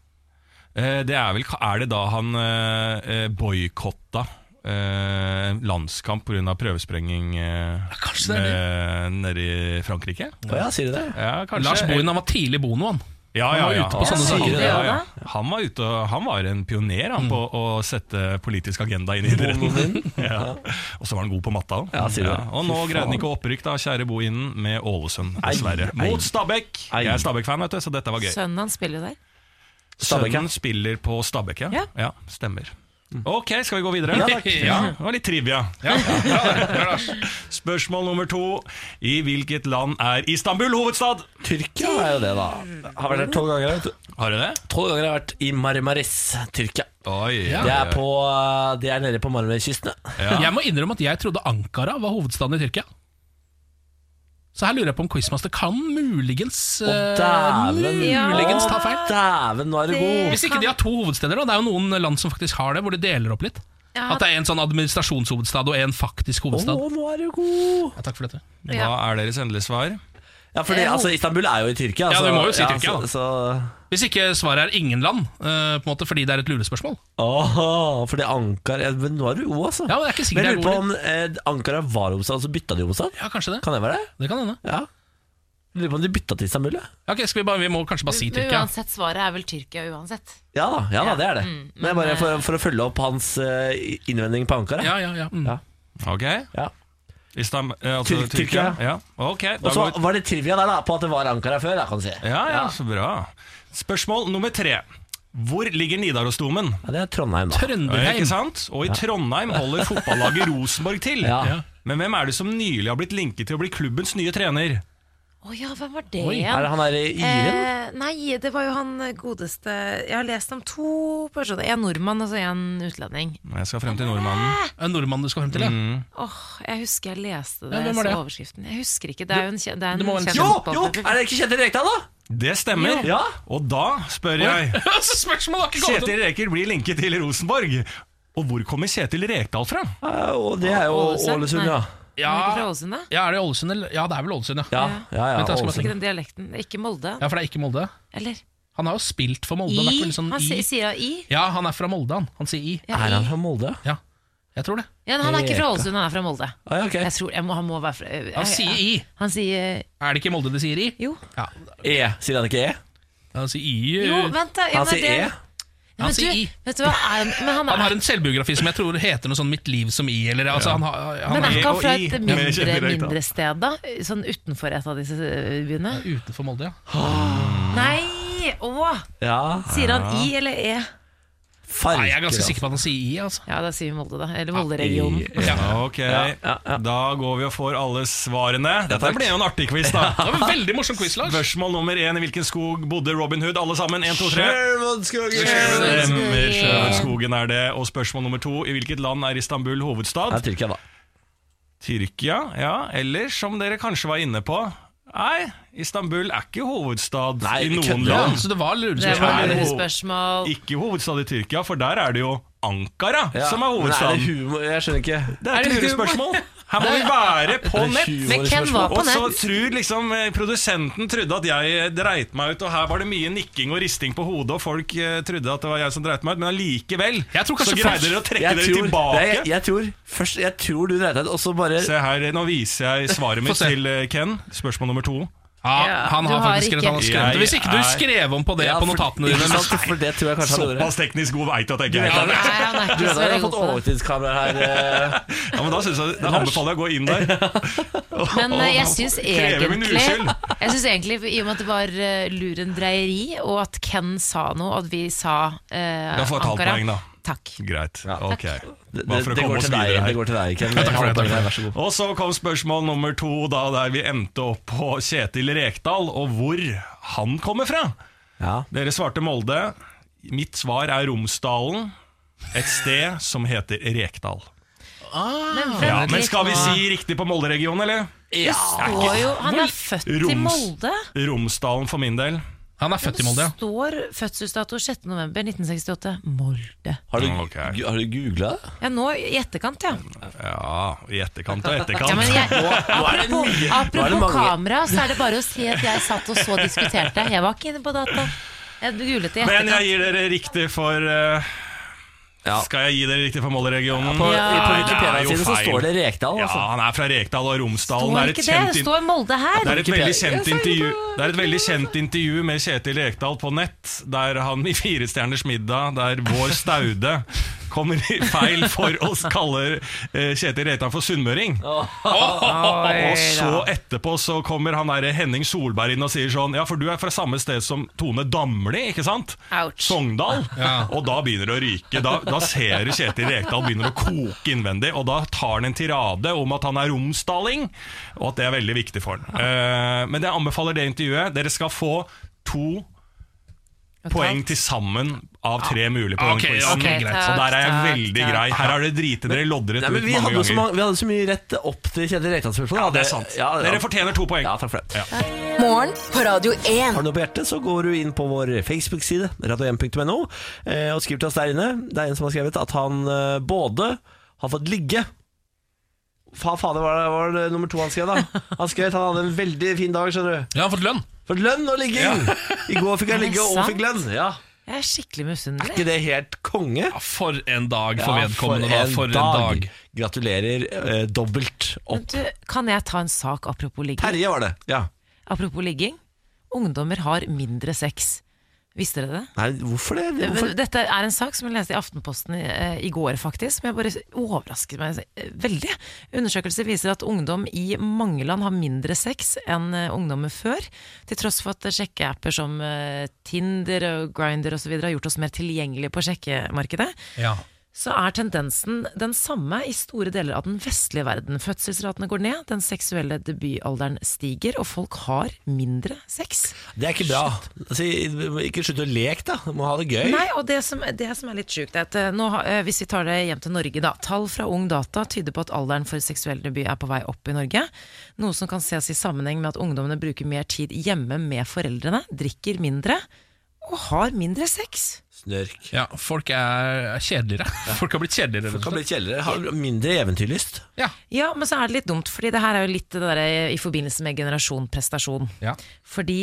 Speaker 10: Eh, Det er vel Er det da han eh, eh, boikotta eh, landskamp pga. prøvesprenging eh,
Speaker 3: kanskje det
Speaker 10: eh, nede i Frankrike?
Speaker 1: Å ja, sier du det?
Speaker 10: Ja, kanskje.
Speaker 3: Lars Bohin han var tidlig bono, han.
Speaker 10: Ja,
Speaker 3: Han
Speaker 10: ja,
Speaker 3: var
Speaker 10: ja.
Speaker 3: ute på sånne
Speaker 2: sier
Speaker 10: ja,
Speaker 2: saker. det,
Speaker 10: ja,
Speaker 2: ja,
Speaker 10: ja. Han var ute og han var en pioner han, på
Speaker 1: Mm.
Speaker 10: å sette politisk agenda inn i idretten. *laughs* ja. Og så var han god på matta òg.
Speaker 1: Ja, sier du det.
Speaker 10: Og nå
Speaker 1: Fy
Speaker 10: greide
Speaker 1: faen.
Speaker 10: han ikke å opprykk, da, kjære Bohinen, med Ålesund,
Speaker 1: Ei,
Speaker 10: dessverre.
Speaker 1: ei.
Speaker 10: Mot Stabæk!
Speaker 1: Ei.
Speaker 10: Jeg er Stabæk-fan, vet du, så dette var gøy.
Speaker 2: Sønnen hans spiller jo der.
Speaker 1: Stabæk, ja. Mm.
Speaker 10: Sønnen spiller på Stabæk, ja.
Speaker 2: Ja.
Speaker 10: ja stemmer. Ok, skal vi gå videre?
Speaker 1: Ja,
Speaker 10: *laughs*
Speaker 1: takk.
Speaker 10: Ja, det var litt trivia. Spørsmål nummer to. I hvilket land er Istanbul hovedstad?
Speaker 1: Tyrkia er jo det, da. Har vært der tolv ganger. vet du.
Speaker 10: Har du det?
Speaker 1: Tolv ganger har jeg vært i Marmaris, Tyrkia.
Speaker 10: Oi,
Speaker 1: Det er, på, eh, det er nede på Marmariskysten. ja.
Speaker 3: Jeg må innrømme at jeg trodde Ankara var hovedstaden i Tyrkia. Så her lurer jeg på om Quizmaster kan muligens
Speaker 1: Å,
Speaker 3: eh,
Speaker 1: dæven!
Speaker 3: Muligens
Speaker 1: Å,
Speaker 3: ta feil.
Speaker 1: Dæven, nå er du god!
Speaker 3: Hvis ikke de har to hovedsteder, da. Det er jo noen land som faktisk har det, hvor de deler opp litt.
Speaker 2: Ja.
Speaker 3: At det er en sånn administrasjonshovedstad og en faktisk
Speaker 1: Å,
Speaker 3: hovedstad.
Speaker 1: nå er du god!
Speaker 3: Ja, takk for dette.
Speaker 10: Hva er deres endelige svar?
Speaker 1: Ja, fordi altså, Istanbul er jo i Tyrkia.
Speaker 3: Ja,
Speaker 1: altså,
Speaker 3: du må jo si Tyrkia, da.
Speaker 1: så, så,
Speaker 3: Hvis ikke svaret er ingen land, eh, på en måte fordi det er et lurespørsmål.
Speaker 1: Åh, for det er Ankara ja, Men nå er du god, altså.
Speaker 3: Ja, men jeg er ikke sikker
Speaker 1: Men jeg
Speaker 3: jeg er
Speaker 1: lurer på om eh, Ankara var hovedstad, og så bytta de hovedstad?
Speaker 3: Ja, kanskje det.
Speaker 1: Kan det være det?
Speaker 3: Det kan hende.
Speaker 1: Ja. Jeg Lurer på om de bytta til Istanbul, ja.
Speaker 3: Ja, ok, skal vi, bare, vi må kanskje bare si
Speaker 2: Men
Speaker 3: Tyrkia.
Speaker 2: Uansett, svaret er vel Tyrkia uansett.
Speaker 1: Ja da, ja da, det er det.
Speaker 2: Mm,
Speaker 1: men
Speaker 2: men,
Speaker 1: bare for, for å følge opp hans eh, innvending på Ankara.
Speaker 3: Ja, ja, ja. Mm.
Speaker 1: Ja.
Speaker 10: Ok.
Speaker 1: Ja.
Speaker 10: Istam, eh, altså,
Speaker 1: Tyr-
Speaker 10: Tyrkia. Ja. Ok, da
Speaker 1: Og så
Speaker 10: går vi
Speaker 1: var det trivia der da, på at det var Ankara før, da, kan du si.
Speaker 10: ja, ja, så bra. Spørsmål nummer tre. Hvor ligger Nidarosdomen?
Speaker 1: Ja, det er Trondheim, da.
Speaker 10: Mm. Ja,
Speaker 3: Trønderheim.
Speaker 10: Ikke sant? Og i Trondheim holder *laughs* fotballaget Rosenborg til.
Speaker 1: Ja.
Speaker 3: Ja.
Speaker 10: Men hvem er det som nylig har blitt linket til å bli klubbens nye trener?
Speaker 2: Å ja, hvem var det
Speaker 1: Oi, er det
Speaker 2: igjen?
Speaker 1: han der Iren?
Speaker 2: Eh, nei, det var jo han godeste Jeg har lest om to personer. En nordmann og så en utlending.
Speaker 10: Jeg skal frem til nordmannen.
Speaker 3: En nordmann du skal frem til, ja.
Speaker 10: Mm.
Speaker 3: *laughs*
Speaker 2: Åh, Jeg husker jeg leste det,
Speaker 3: Ja, hvem var
Speaker 2: så
Speaker 3: det?
Speaker 2: overskriften. Jeg husker ikke. Det er jo en, kje- det er
Speaker 3: det
Speaker 2: en
Speaker 3: må være en-
Speaker 2: kjent
Speaker 1: Jo, jo!
Speaker 2: fotballspiller.
Speaker 1: Er det ikke Kjetil Rekdal, da?
Speaker 10: Det stemmer.
Speaker 1: Ja.
Speaker 10: Og da spør *laughs* jeg
Speaker 3: Så Altså, spørsmålet har ikke kommet opp!
Speaker 10: Kjetil Reker blir linket til Rosenborg. Og hvor kommer Kjetil Rekdal fra?
Speaker 1: Ja, Eh, og det er jo
Speaker 2: Ålesund?
Speaker 1: Ålesund, ja.
Speaker 3: Ja,
Speaker 2: Er det ikke fra Ålesund, da?
Speaker 3: ja, er det Ålesund? eller- Ja, det er vel Ålesund, ja.
Speaker 1: Ja, ja, ja,
Speaker 3: Vent, jeg skal bare
Speaker 1: Ålesund.
Speaker 2: Ikke den dialekten. Ikke Molde,
Speaker 3: Ja, For det er ikke Molde?
Speaker 2: eller?
Speaker 3: Han har jo spilt for Molde.
Speaker 2: I?
Speaker 3: Han, har vært veldig sånn
Speaker 2: han sier,
Speaker 3: i.
Speaker 2: sier i?
Speaker 3: Ja, han er fra Molde, han. Han sier I.
Speaker 2: Ja,
Speaker 1: Er han
Speaker 2: i.
Speaker 1: fra Molde?
Speaker 3: Ja, jeg tror det.
Speaker 2: Ja, han er ikke fra Ålesund, han er fra Molde.
Speaker 1: Ah, ja, ok.
Speaker 2: Jeg tror, jeg må, han må være fra jeg,
Speaker 3: Han sier I.
Speaker 2: Han sier eh,
Speaker 3: Er det ikke Molde de sier I?
Speaker 2: jo.
Speaker 3: Ja,
Speaker 1: E. Sier han ikke E?
Speaker 3: han sier I.
Speaker 2: Jo,
Speaker 3: øh,
Speaker 2: vent, da. Ja,
Speaker 1: Han
Speaker 2: men
Speaker 1: sier E.
Speaker 2: det- Men
Speaker 3: Han sier
Speaker 2: du-
Speaker 3: i.
Speaker 2: Vet du hva, er, han- men han er,
Speaker 3: han har en selvbiografi som jeg tror heter noe sånn 'Mitt liv som I'. Eller, altså, han, har- E han
Speaker 2: men er
Speaker 3: er
Speaker 2: ikke han
Speaker 10: og
Speaker 2: fra
Speaker 10: i.
Speaker 2: et
Speaker 10: Ja, men jeg
Speaker 2: mindre,
Speaker 10: kjenner det ikke, da.
Speaker 2: mindre sted, da? Sånn utenfor et av disse eh, byene?
Speaker 3: utenfor Molde, ja.
Speaker 2: Nei! Å!
Speaker 1: Ja,
Speaker 2: Sier han i eller e?
Speaker 3: Nei,
Speaker 1: farger.
Speaker 3: jeg er ganske sikker på at han sier I. altså
Speaker 2: Ja, da sier vi Molde, da. Eller
Speaker 1: Ah,
Speaker 2: Molde-regionen.
Speaker 1: E.
Speaker 10: Ok, da går vi og får alle svarene. Dette ble jo en artig quiz, da.
Speaker 3: Det var en veldig morsom quiz, Lars.
Speaker 10: Spørsmål nummer én. I hvilken skog bodde Robin Hood? Alle sammen. Én, to, tre.
Speaker 1: Sherwoodskogen.
Speaker 10: Stemmer. Sherwoodskogen er det. Og spørsmål nummer to. I hvilket land er Istanbul hovedstad?
Speaker 1: Det er Tyrkia, da.
Speaker 10: Tyrkia, ja. Eller som dere kanskje var inne på Nei, Istanbul er ikke hovedstad
Speaker 1: Nei,
Speaker 10: i
Speaker 1: vi
Speaker 10: noen
Speaker 1: kødder.
Speaker 3: Ja,
Speaker 10: land.
Speaker 3: så det var
Speaker 2: Det
Speaker 3: lurespørsmål.
Speaker 2: var
Speaker 10: Er det
Speaker 2: et
Speaker 10: ho-
Speaker 2: spørsmål.
Speaker 10: Ikke hovedstad i Tyrkia, for der er det jo Ankara
Speaker 1: Ja.
Speaker 10: som er
Speaker 1: Men Er
Speaker 10: hovedstaden.
Speaker 1: det humor? Jeg skjønner ikke.
Speaker 10: Det er,
Speaker 3: er det
Speaker 10: et
Speaker 3: humor?
Speaker 10: lurespørsmål. Her må vi være på
Speaker 1: Det er
Speaker 10: nett.
Speaker 1: humor-
Speaker 2: Men hvem var på
Speaker 10: Og så
Speaker 2: nett?
Speaker 10: tror liksom eh, Produsenten trodde at jeg eh, dreit meg ut, og her var det mye nikking og risting på hodet, og folk eh, trodde at det var jeg som dreit meg ut, men allikevel
Speaker 3: Jeg
Speaker 10: så
Speaker 3: tror kanskje
Speaker 10: greide
Speaker 3: først-
Speaker 10: dere å trekke
Speaker 1: Jeg
Speaker 10: dere
Speaker 1: tror,
Speaker 10: tilbake.
Speaker 1: Nei, jeg, jeg tror Først, jeg tror du dreit deg ut, og så bare
Speaker 10: Se her, nå viser jeg svaret
Speaker 3: *laughs* Få
Speaker 10: mitt
Speaker 3: se.
Speaker 10: til eh, Ken. Spørsmål nummer to.
Speaker 3: Ja, han
Speaker 2: Du
Speaker 3: har
Speaker 2: har ikke-
Speaker 3: faktisk skrevet, han har skrevet. det. Hvis ikke du
Speaker 10: Jeg er-
Speaker 3: skrev om på det
Speaker 1: Ja,
Speaker 3: på
Speaker 1: for-
Speaker 3: notatene dine
Speaker 1: ikke sant? For det tror jeg kanskje han gjorde.
Speaker 10: Såpass teknisk god veit at jeg
Speaker 1: Du
Speaker 10: ikke
Speaker 1: vet
Speaker 10: er
Speaker 1: at-
Speaker 2: Nei, han er
Speaker 1: Du
Speaker 2: ikke så
Speaker 1: vet at jeg har
Speaker 2: veldig
Speaker 1: fått
Speaker 2: god på det.
Speaker 1: overtidskamera her. eh.
Speaker 10: Ja, men Da, synes jeg, da anbefaler jeg å gå inn
Speaker 1: *laughs*
Speaker 10: der.
Speaker 2: Men eh, jeg syns
Speaker 10: *laughs* Krever min
Speaker 2: egentlig,
Speaker 10: uskyld.
Speaker 2: *laughs* jeg synes egentlig I og med at det var eh, lurendreieri, og at Ken sa noe, og at vi sa eh,
Speaker 10: Da får jeg et halvt
Speaker 2: Ankara
Speaker 10: poeng, da.
Speaker 2: Takk.
Speaker 10: Greit. Ok.
Speaker 1: Det,
Speaker 10: Bare for å
Speaker 1: det, det,
Speaker 10: komme
Speaker 1: går
Speaker 10: oss
Speaker 1: til deg,
Speaker 10: videre
Speaker 1: det
Speaker 10: her.
Speaker 1: går til deg,
Speaker 10: *laughs*
Speaker 1: Ken.
Speaker 3: takk for det, takk for det.
Speaker 1: Vær så god.
Speaker 10: Og så kom spørsmål nummer to, da, der vi endte opp på Kjetil Rekdal, og hvor han kommer fra.
Speaker 1: Ja.
Speaker 10: Dere svarte Molde. Mitt svar er Romsdalen. Et sted som heter Rekdal.
Speaker 2: Men,
Speaker 10: Ja,
Speaker 2: vent
Speaker 10: men
Speaker 2: litt
Speaker 10: skal vi
Speaker 2: nå.
Speaker 10: si riktig på Molde-regionen, eller?
Speaker 2: Det står jo Han er født i
Speaker 10: Roms-
Speaker 2: Molde.
Speaker 10: Romsdalen for min del.
Speaker 3: Han er født i Molde, ja.
Speaker 2: Står fødselsdato 6.11.1968. Molde.
Speaker 1: Har du,
Speaker 10: Mm, Ok.
Speaker 1: gu- har du
Speaker 10: *laughs*
Speaker 1: googla det?
Speaker 2: Ja, nå i etterkant, ja.
Speaker 10: Ja, i etterkant og etterkant.
Speaker 2: ja men jeg,
Speaker 1: er det
Speaker 2: apropos
Speaker 1: mye- nå er det
Speaker 2: apropos
Speaker 1: mange-
Speaker 2: kamera, så er det bare å si at jeg satt og så diskuterte. Jeg var ikke inne på data. Jeg googlet i
Speaker 10: Men jeg
Speaker 2: etterkant.
Speaker 10: gir dere riktig for eh,
Speaker 1: Ja.
Speaker 10: Skal jeg gi dere riktig for Molde-regionen?
Speaker 1: På,
Speaker 2: Ja.
Speaker 1: på
Speaker 10: Det er jo
Speaker 1: Wikipedia-siden så
Speaker 10: feil.
Speaker 1: står det Rekdal.
Speaker 10: Ja,
Speaker 1: Altså.
Speaker 10: han er fra Rekdal og Romsdalen.
Speaker 2: Står
Speaker 10: Det
Speaker 2: ikke
Speaker 10: er et
Speaker 2: det?
Speaker 10: kjent
Speaker 2: Det
Speaker 10: in-
Speaker 2: står Molde
Speaker 10: det
Speaker 2: her.
Speaker 10: er et veldig kjent intervju Det er et veldig kjent intervju med Kjetil Rekdal på nett, der han i Firestjerners middag, der vår staude kommer i feil for å kalle eh, Kjetil Rekdal for sunnmøring. Og så etterpå så kommer han der Henning Solberg inn og sier sånn Ja, for du er fra samme sted som Tone Damli, ikke sant?
Speaker 2: Ouch.
Speaker 10: Sogndal. Og da begynner det å ryke. Da, da ser du Kjetil Rekdal begynner å koke innvendig, og da tar han en tirade om at han er romsdaling, og at det er veldig viktig for han. Eh, men jeg anbefaler det intervjuet. Dere skal få to poeng til sammen av tre mulige på
Speaker 3: Ok,
Speaker 10: denne quizen.
Speaker 3: ok, greit.
Speaker 10: Og der er jeg
Speaker 2: Takk,
Speaker 10: veldig
Speaker 2: takk,
Speaker 10: grei. Her har dere driti dere loddrett
Speaker 1: Nei,
Speaker 10: ut
Speaker 1: men vi
Speaker 10: mange
Speaker 1: hadde, jo så
Speaker 10: ganger.
Speaker 1: mange, vi hadde så mye rett opp til Kjetil Rekdal-spørsmålet.
Speaker 10: Ja, det er sant.
Speaker 1: Ja, ja.
Speaker 10: Dere fortjener to poeng.
Speaker 1: Ja, takk for det.
Speaker 4: Morgen på Radio 1.
Speaker 1: Har du noe på hjertet, så går du inn på vår Facebook-side, radio1.no, eh, og skriver til oss der inne. Det er en som har skrevet at han eh, både har fått ligge Fa, fader, var det, var det nummer to han skrev, da? Han skrev at han hadde en veldig fin dag, skjønner du.
Speaker 3: Ja, han har fått lønn.
Speaker 1: Fått lønn og ligging! I går fikk
Speaker 2: Er
Speaker 1: jeg
Speaker 2: det
Speaker 1: ligge og
Speaker 2: sant?
Speaker 1: fikk lønn. Ja.
Speaker 2: Jeg er skikkelig
Speaker 1: Er
Speaker 2: misunnelig.
Speaker 1: ikke det helt konge?
Speaker 3: Ja, for en dag for
Speaker 1: Ja,
Speaker 3: vedkommende, da. For en dag.
Speaker 1: Gratulerer eh, dobbelt
Speaker 2: Men
Speaker 1: opp.
Speaker 2: du, kan jeg ta en sak apropos ligging?
Speaker 1: Terje var det. Ja.
Speaker 2: Apropos ligging. Ungdommer har mindre sex. Visste dere det?
Speaker 1: Nei, hvorfor det? Hvorfor?
Speaker 2: Dette er en sak som jeg leste i Aftenposten i, eh, i går, faktisk. Som jeg bare overrasket meg eh, veldig. Undersøkelser viser at ungdom i mange land har mindre sex enn eh, ungdommer før. Til tross for at eh, sjekkeapper som eh, Tinder og Grindr osv. har gjort oss mer tilgjengelige på sjekkemarkedet
Speaker 3: Ja.
Speaker 2: så er tendensen den samme i store deler av den vestlige verden. Fødselsratene går ned, den seksuelle debutalderen stiger, og folk har mindre sex.
Speaker 1: Det er ikke bra. Altså, ikke slutt å leke, da. Må ha det gøy.
Speaker 2: Nei, og det som, det som er litt sjukt, er at eh, nå, har- eh, hvis vi tar det hjem til Norge, da. Tall fra Ung Data tyder på at alderen for seksuell debut er på vei opp i Norge. Noe som kan ses i sammenheng med at ungdommene bruker mer tid hjemme med foreldrene, drikker mindre og har mindre sex.
Speaker 1: Snørk.
Speaker 3: ja, folk er er kjedeligere. Folk har blitt kjedeligere.
Speaker 1: Folk
Speaker 3: rett og
Speaker 1: kan
Speaker 3: slett.
Speaker 1: bli kjeldere. Har mindre eventyrlyst.
Speaker 3: Ja.
Speaker 2: Ja, men så er det litt dumt, fordi det her er jo litt det der i forbindelse med generasjon prestasjon.
Speaker 3: Ja.
Speaker 2: Fordi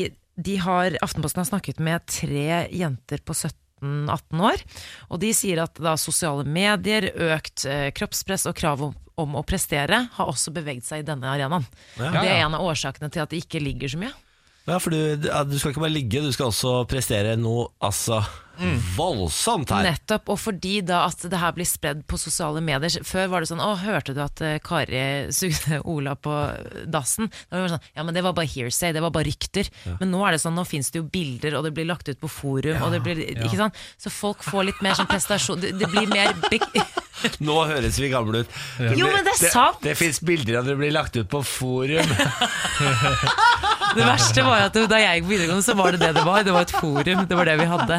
Speaker 2: de har, Aftenposten har snakket med tre jenter på 17-18 år, og de sier at da sosiale medier, økt eh, kroppspress og krav om, om å prestere har også beveget seg i denne arenaen.
Speaker 1: Ja.
Speaker 2: Det er
Speaker 3: ja.
Speaker 2: en av årsakene til at de ikke ligger så mye.
Speaker 1: Ja, for du, ja, du skal ikke bare ligge, du skal også prestere noe altså voldsomt her.
Speaker 2: Nettopp, og fordi da at det her blir spredd på sosiale medier Før var det sånn, å, hørte du at eh, Kari sugde *laughs* Ola på dassen? Da var det sånn, ja, men det var bare hearsay, det var bare rykter Men nå er det sånn, nå finnes det jo bilder Og det blir lagt ut på forum og det blir, Ikke sant? Så folk får litt mer sånn prestasjon Det, det blir mer bek-
Speaker 1: Nå høres vi gamle ut. Det
Speaker 2: Jo,
Speaker 1: blir-
Speaker 2: men det er sant.
Speaker 1: Det, det fins bilder av det blir lagt ut på forum.
Speaker 2: *laughs* Det verste var at da jeg gikk på videregående, så var det det det var. Det var et forum. Det var det vi hadde.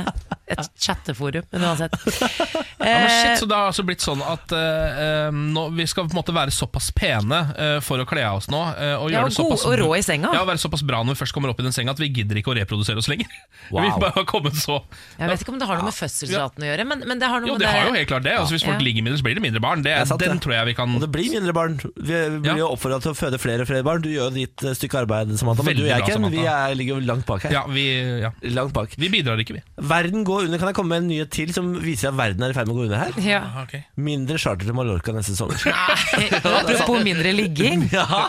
Speaker 2: Et chatteforum, men uansett.
Speaker 3: Ja, men
Speaker 2: Eh,
Speaker 3: shit, så det har altså blitt sånn at eh, eh, nå, vi skal på en måte være såpass pene eh, for å kle av oss nå. eh, og
Speaker 2: Ja,
Speaker 3: gjøre
Speaker 2: og
Speaker 3: det
Speaker 2: god
Speaker 3: såpass,
Speaker 2: og rå i senga.
Speaker 3: Ja, være såpass bra når vi først kommer opp i den senga at vi gidder ikke å reprodusere oss lenger. *laughs*
Speaker 1: Wow.
Speaker 3: Vi bare har kommet så
Speaker 2: Eh, Jeg vet ikke om det har noe med fødselsraten å gjøre, men, men det har noe
Speaker 3: Jo,
Speaker 2: med
Speaker 3: det har jo helt klart det. Altså, hvis folk
Speaker 2: Ja.
Speaker 3: ligger mindre, så blir det mindre barn. Det,
Speaker 1: er sant,
Speaker 3: den
Speaker 1: det.
Speaker 3: tror jeg vi kan
Speaker 1: Og det blir mindre barn. Vi vi
Speaker 3: Ja.
Speaker 1: blir jo oppfordra til å føde flere og flere barn. Du gjør jo ditt eh, stykke arbeid, Samantha. Men
Speaker 3: Veldig
Speaker 1: du og jeg,
Speaker 3: bra,
Speaker 1: Ken,
Speaker 3: Samantha.
Speaker 1: vi er, ligger jo langt bak her.
Speaker 3: ja, vi, ja.
Speaker 1: Langt bak.
Speaker 3: vi bidrar ikke, vi.
Speaker 1: Verden går under. Kan jeg komme med en nyhet til som viser at verden er i ferd med å gå under her?
Speaker 2: Ja.
Speaker 1: Mindre charter til Mallorca neste sommer.
Speaker 3: *laughs*
Speaker 2: Eh, Apropos mindre ligging.
Speaker 1: Ja,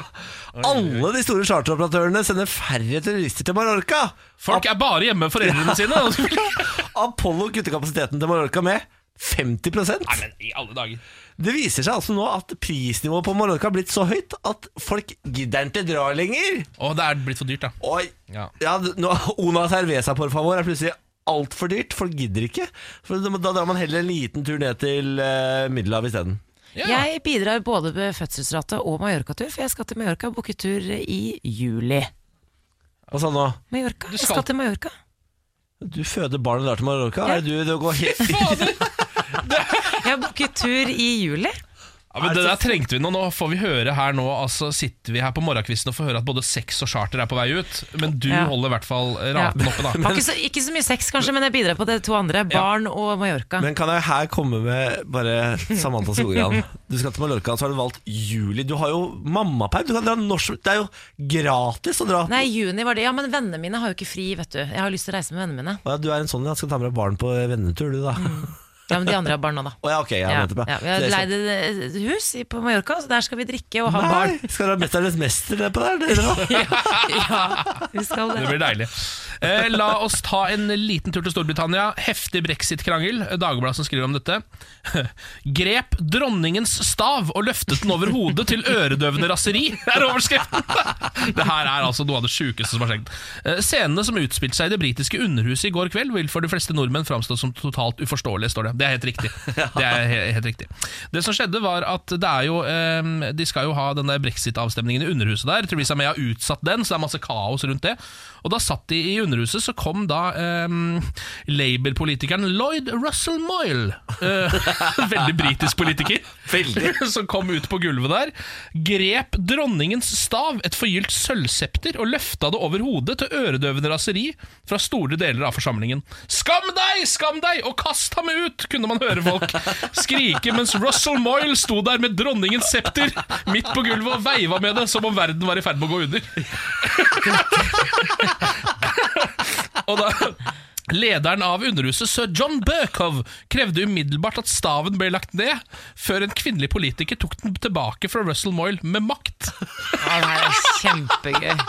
Speaker 1: Alle de store charteroperatørene sender færre terrorister til Mallorca.
Speaker 3: Folk er bare hjemme med foreldrene sine. og så
Speaker 1: *laughs*
Speaker 3: vil-
Speaker 1: Apollo kutter kapasiteten til Mallorca med 50
Speaker 3: Nei, men i alle dager.
Speaker 1: Det viser seg altså nå at prisnivået på Mallorca har blitt så høyt at folk gidder ikke dra lenger.
Speaker 3: Å, det er blitt for dyrt, da.
Speaker 1: Oi, ja.
Speaker 3: Ja.
Speaker 1: nå, Una Cerveza, por favor, er plutselig altfor dyrt. Folk gidder ikke. For da da drar man heller en liten tur ned til uh, Middelhavet isteden.
Speaker 3: Ja.
Speaker 2: Jeg bidrar både med fødselsrate og Mallorca-tur, for jeg skal til Mallorca og booke tur i juli.
Speaker 1: Hva sa han nå?
Speaker 2: Mallorca. Jeg
Speaker 3: skal-
Speaker 2: skal til Mallorca.
Speaker 1: Du føder barn og drar til Mallorca? Er det du, det går helt
Speaker 2: Jeg booker tur i juli.
Speaker 3: Ja, men det der trengte vi nå. Nå får vi høre her nå Altså sitter vi her på morgenkvisten og får høre at både sex og charter er på vei ut. Men du
Speaker 2: Ja.
Speaker 3: holder i hvert fall
Speaker 2: Ja.
Speaker 3: raten
Speaker 2: *laughs*
Speaker 3: oppe, da.
Speaker 2: Har ikke så, ikke så mye sex, kanskje, men jeg bidrar på det to andre. Barn og Mallorca.
Speaker 1: Men kan jeg her komme med bare Samantha Skogran? Du skal til Mallorca, så har du valgt juli. Du har jo mammaperm. Du kan dra når som Det er jo gratis å dra.
Speaker 2: Nei, juni var det. Ja, men vennene mine har jo ikke fri, vet du. Jeg har lyst til å reise med vennene mine.
Speaker 1: Å ja, Du er en sånn ja, skal ta med deg barn på vennetur, du da. Å
Speaker 2: Ja, men de andre har barn nå,
Speaker 3: *laughs*
Speaker 2: da.
Speaker 1: ja, ok, ja,
Speaker 2: Mm.
Speaker 1: sånn,
Speaker 2: Ja,
Speaker 1: nettopp.
Speaker 2: ja, vi har
Speaker 1: Så
Speaker 2: leid et hus i- på Mallorca, så der skal vi drikke og ha barn.
Speaker 1: Nei, skal du ha Mesternes mester nedpå der?
Speaker 2: *laughs*
Speaker 1: Dere, da?
Speaker 2: Ja, vi skal
Speaker 3: *laughs* Det blir deilig. Eh, la oss ta en liten tur til Storbritannia. Heftig brexit-krangel. Dagbladet som skriver om dette. *laughs* Grep dronningens stav og løftet den over hodet til øredøvende raseri, er overskriften. *laughs* Det her er altså noe av det sjukeste som har skjedd. Eh, Scenene som utspilte seg i det britiske underhuset i går kveld, vil for de fleste nordmenn framstå som totalt uforståelige, står det. Det er helt riktig. Det er he- helt riktig. Det som skjedde, var at det er jo eh, De skal jo ha den der brexit-avstemningen i underhuset der. Theresa May har utsatt den, så det er masse kaos rundt det. Og da satt de i underhuset, så kom da eh, Labour-politikeren Lloyd Russell Moyle. Eh, *laughs* veldig britisk politiker. *laughs* Som kom ut på gulvet der. Grep dronningens stav, et forgylt sølvsepter, og løfta det over hodet til øredøvende raseri fra store deler av forsamlingen. Skam deg, skam deg, og kast ham ut, kunne man høre folk skrike mens Russell Moyle sto der med dronningens septer midt på gulvet og veiva med det som om verden var i ferd med å gå under. Og da Lederen av underhuset, sir John Berkov, krevde umiddelbart at staven ble lagt ned, før en kvinnelig politiker tok den tilbake fra Russell Moyle med makt.
Speaker 2: Ja, det her er kjempegøy.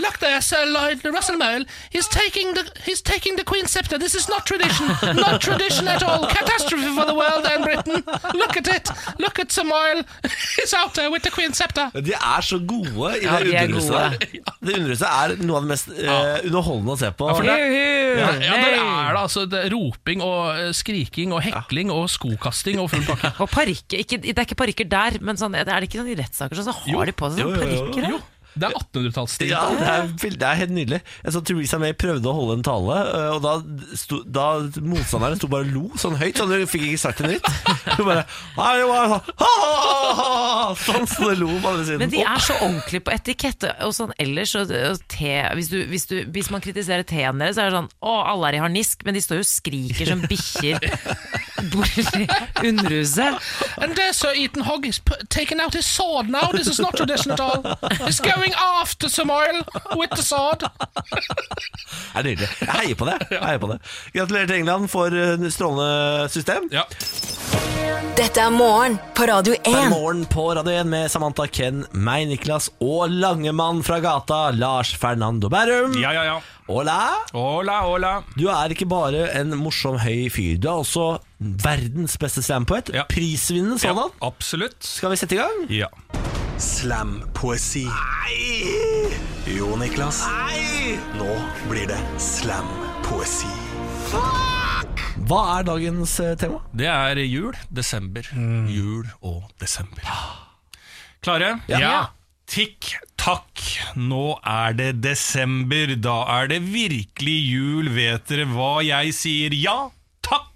Speaker 3: Look there, Sir Lloyd Russell Mole. He's taking the he's taking the Queen's scepter. This is not tradition. Not tradition at all. Catastrophe for the world and Britain. Look at it. Look at Sir Mole. *laughs* He's out there with the Queen's scepter.
Speaker 1: De er så gode i
Speaker 2: Ja,
Speaker 1: det
Speaker 2: de er
Speaker 1: underhuset
Speaker 2: gode.
Speaker 1: der. *laughs* Det underhuset er noe av det mest eh, underholdende å se på.
Speaker 3: for det- Ja,
Speaker 2: Juhu!
Speaker 3: ja, der er det altså det er roping og eh, skriking og hekling og skokasting og full pakke.
Speaker 2: Og parykker. ikke- Det er ikke parykker der, men sånn, er det ikke sånn i rettssaker sånn, så har de på seg
Speaker 1: Jo,
Speaker 2: sånn
Speaker 1: jo, jo, jo.
Speaker 2: parykker? da?
Speaker 3: Jo, det er 1800-tallsstil.
Speaker 1: Ja, det er, vel- det er helt nydelig. Jeg så Theresa May prøvde å holde en tale, eh, og da, sto, da motstanderen sto bare og lo sånn høyt, så du fikk ikke sagt en nytt. Hun bare «Nei, det var sånn, ha, ha, ha, ha», Sånn så det lo på andre siden.
Speaker 2: Men de er så ordentlige på etikette og sånn ellers. Og, og te, hvis, du, hvis, du, hvis man kritiserer teen deres, så er det sånn Å, alle er i harnisk, men de står jo og skriker som
Speaker 1: *laughs*
Speaker 2: bikkjer borti underhuset.
Speaker 3: And there, Sir Ethan Hogg is p- taking out his sword now. This is not tradition at all. He's going after Samuel with the sword.
Speaker 1: Det er nydelig. Jeg heier på det. Jeg heier på det. Gratulerer til England for eh, strålende system.
Speaker 3: Ja.
Speaker 4: Dette er morgen på Radio
Speaker 1: Det er
Speaker 4: 1.
Speaker 1: morgen på Radio 1 med Samantha Ken, meg, Niklas og langemann fra gata, Lars Fernando Bærum.
Speaker 10: Ja, ja, ja.
Speaker 1: Hola!
Speaker 10: Hola, hola.
Speaker 1: Du er ikke bare en morsom, høy fyr. Du er også verdens beste slampoet.
Speaker 10: Ja.
Speaker 1: Prisvinnende sådan.
Speaker 10: Ja, absolutt.
Speaker 1: Skal vi sette i gang?
Speaker 10: Sånn, Ja.
Speaker 11: Slampoesi. Nei! Jo, Niklas. Nei! Nå blir det slampoesi.
Speaker 1: Hva er dagens eh, tema?
Speaker 10: Det er jul, desember. Jul og desember. Klare?
Speaker 3: Ja.
Speaker 10: Tikk takk, nå er det desember. Da er det virkelig jul, vet dere hva jeg sier? Ja, takk!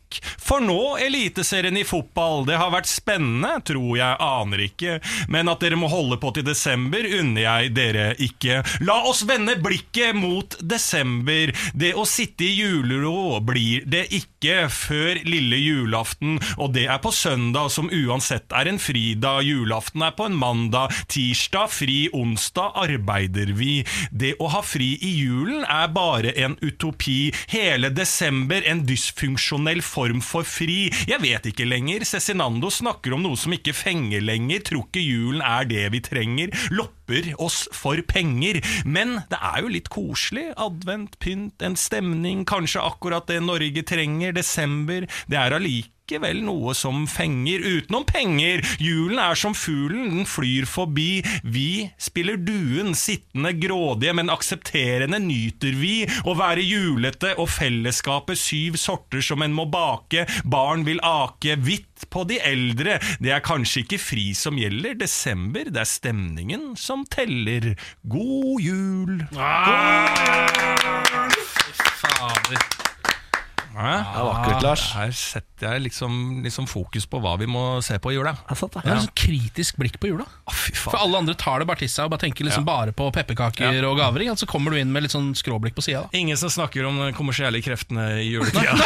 Speaker 10: For nå Eliteserien i fotball. Det har vært spennende, tror jeg, aner ikke. Men at dere må holde på til desember, unner jeg dere ikke. La oss vende blikket mot desember. Det å sitte i julero blir det ikke før lille julaften, og det er på søndag, som uansett er en fridag. Julaften er på en mandag, tirsdag fri, onsdag arbeider vi. Det å ha fri i julen er bare en utopi. Hele desember en dysfunksjonell form for fri. Jeg vet ikke lenger. Cezinando snakker om noe som ikke fenger lenger. Tror ikke julen er det vi trenger. Lopper oss for penger. Men det er jo litt koselig. Advent, pynt, en stemning. Kanskje akkurat det Norge trenger. Desember. Det er allikevel likevel noe som fenger, utenom penger. Julen er som fuglen, den flyr forbi. Vi spiller duen, sittende grådige, men aksepterende nyter vi å være julete og fellesskapet syv sorter som en må bake. Barn vil ake hvitt på de eldre. Det er kanskje ikke fri som gjelder, desember, det er stemningen som teller. God jul!
Speaker 3: Ah!
Speaker 10: Hæ?
Speaker 1: Det er vakkert, Lars.
Speaker 10: Her setter jeg liksom, liksom fokus på hva vi må se på i jula.
Speaker 1: Jeg satt
Speaker 3: Det er
Speaker 1: der.
Speaker 3: et sånn kritisk blikk på jula.
Speaker 10: Å, fy
Speaker 3: For alle andre tar det bare til seg og bare tenker liksom
Speaker 10: Ja.
Speaker 3: bare på pepperkaker og gaver. ikke sant? Så kommer du inn med litt sånn skråblikk på sida.
Speaker 10: Ingen som snakker om de kommersielle kreftene i
Speaker 3: *laughs*
Speaker 10: juletida.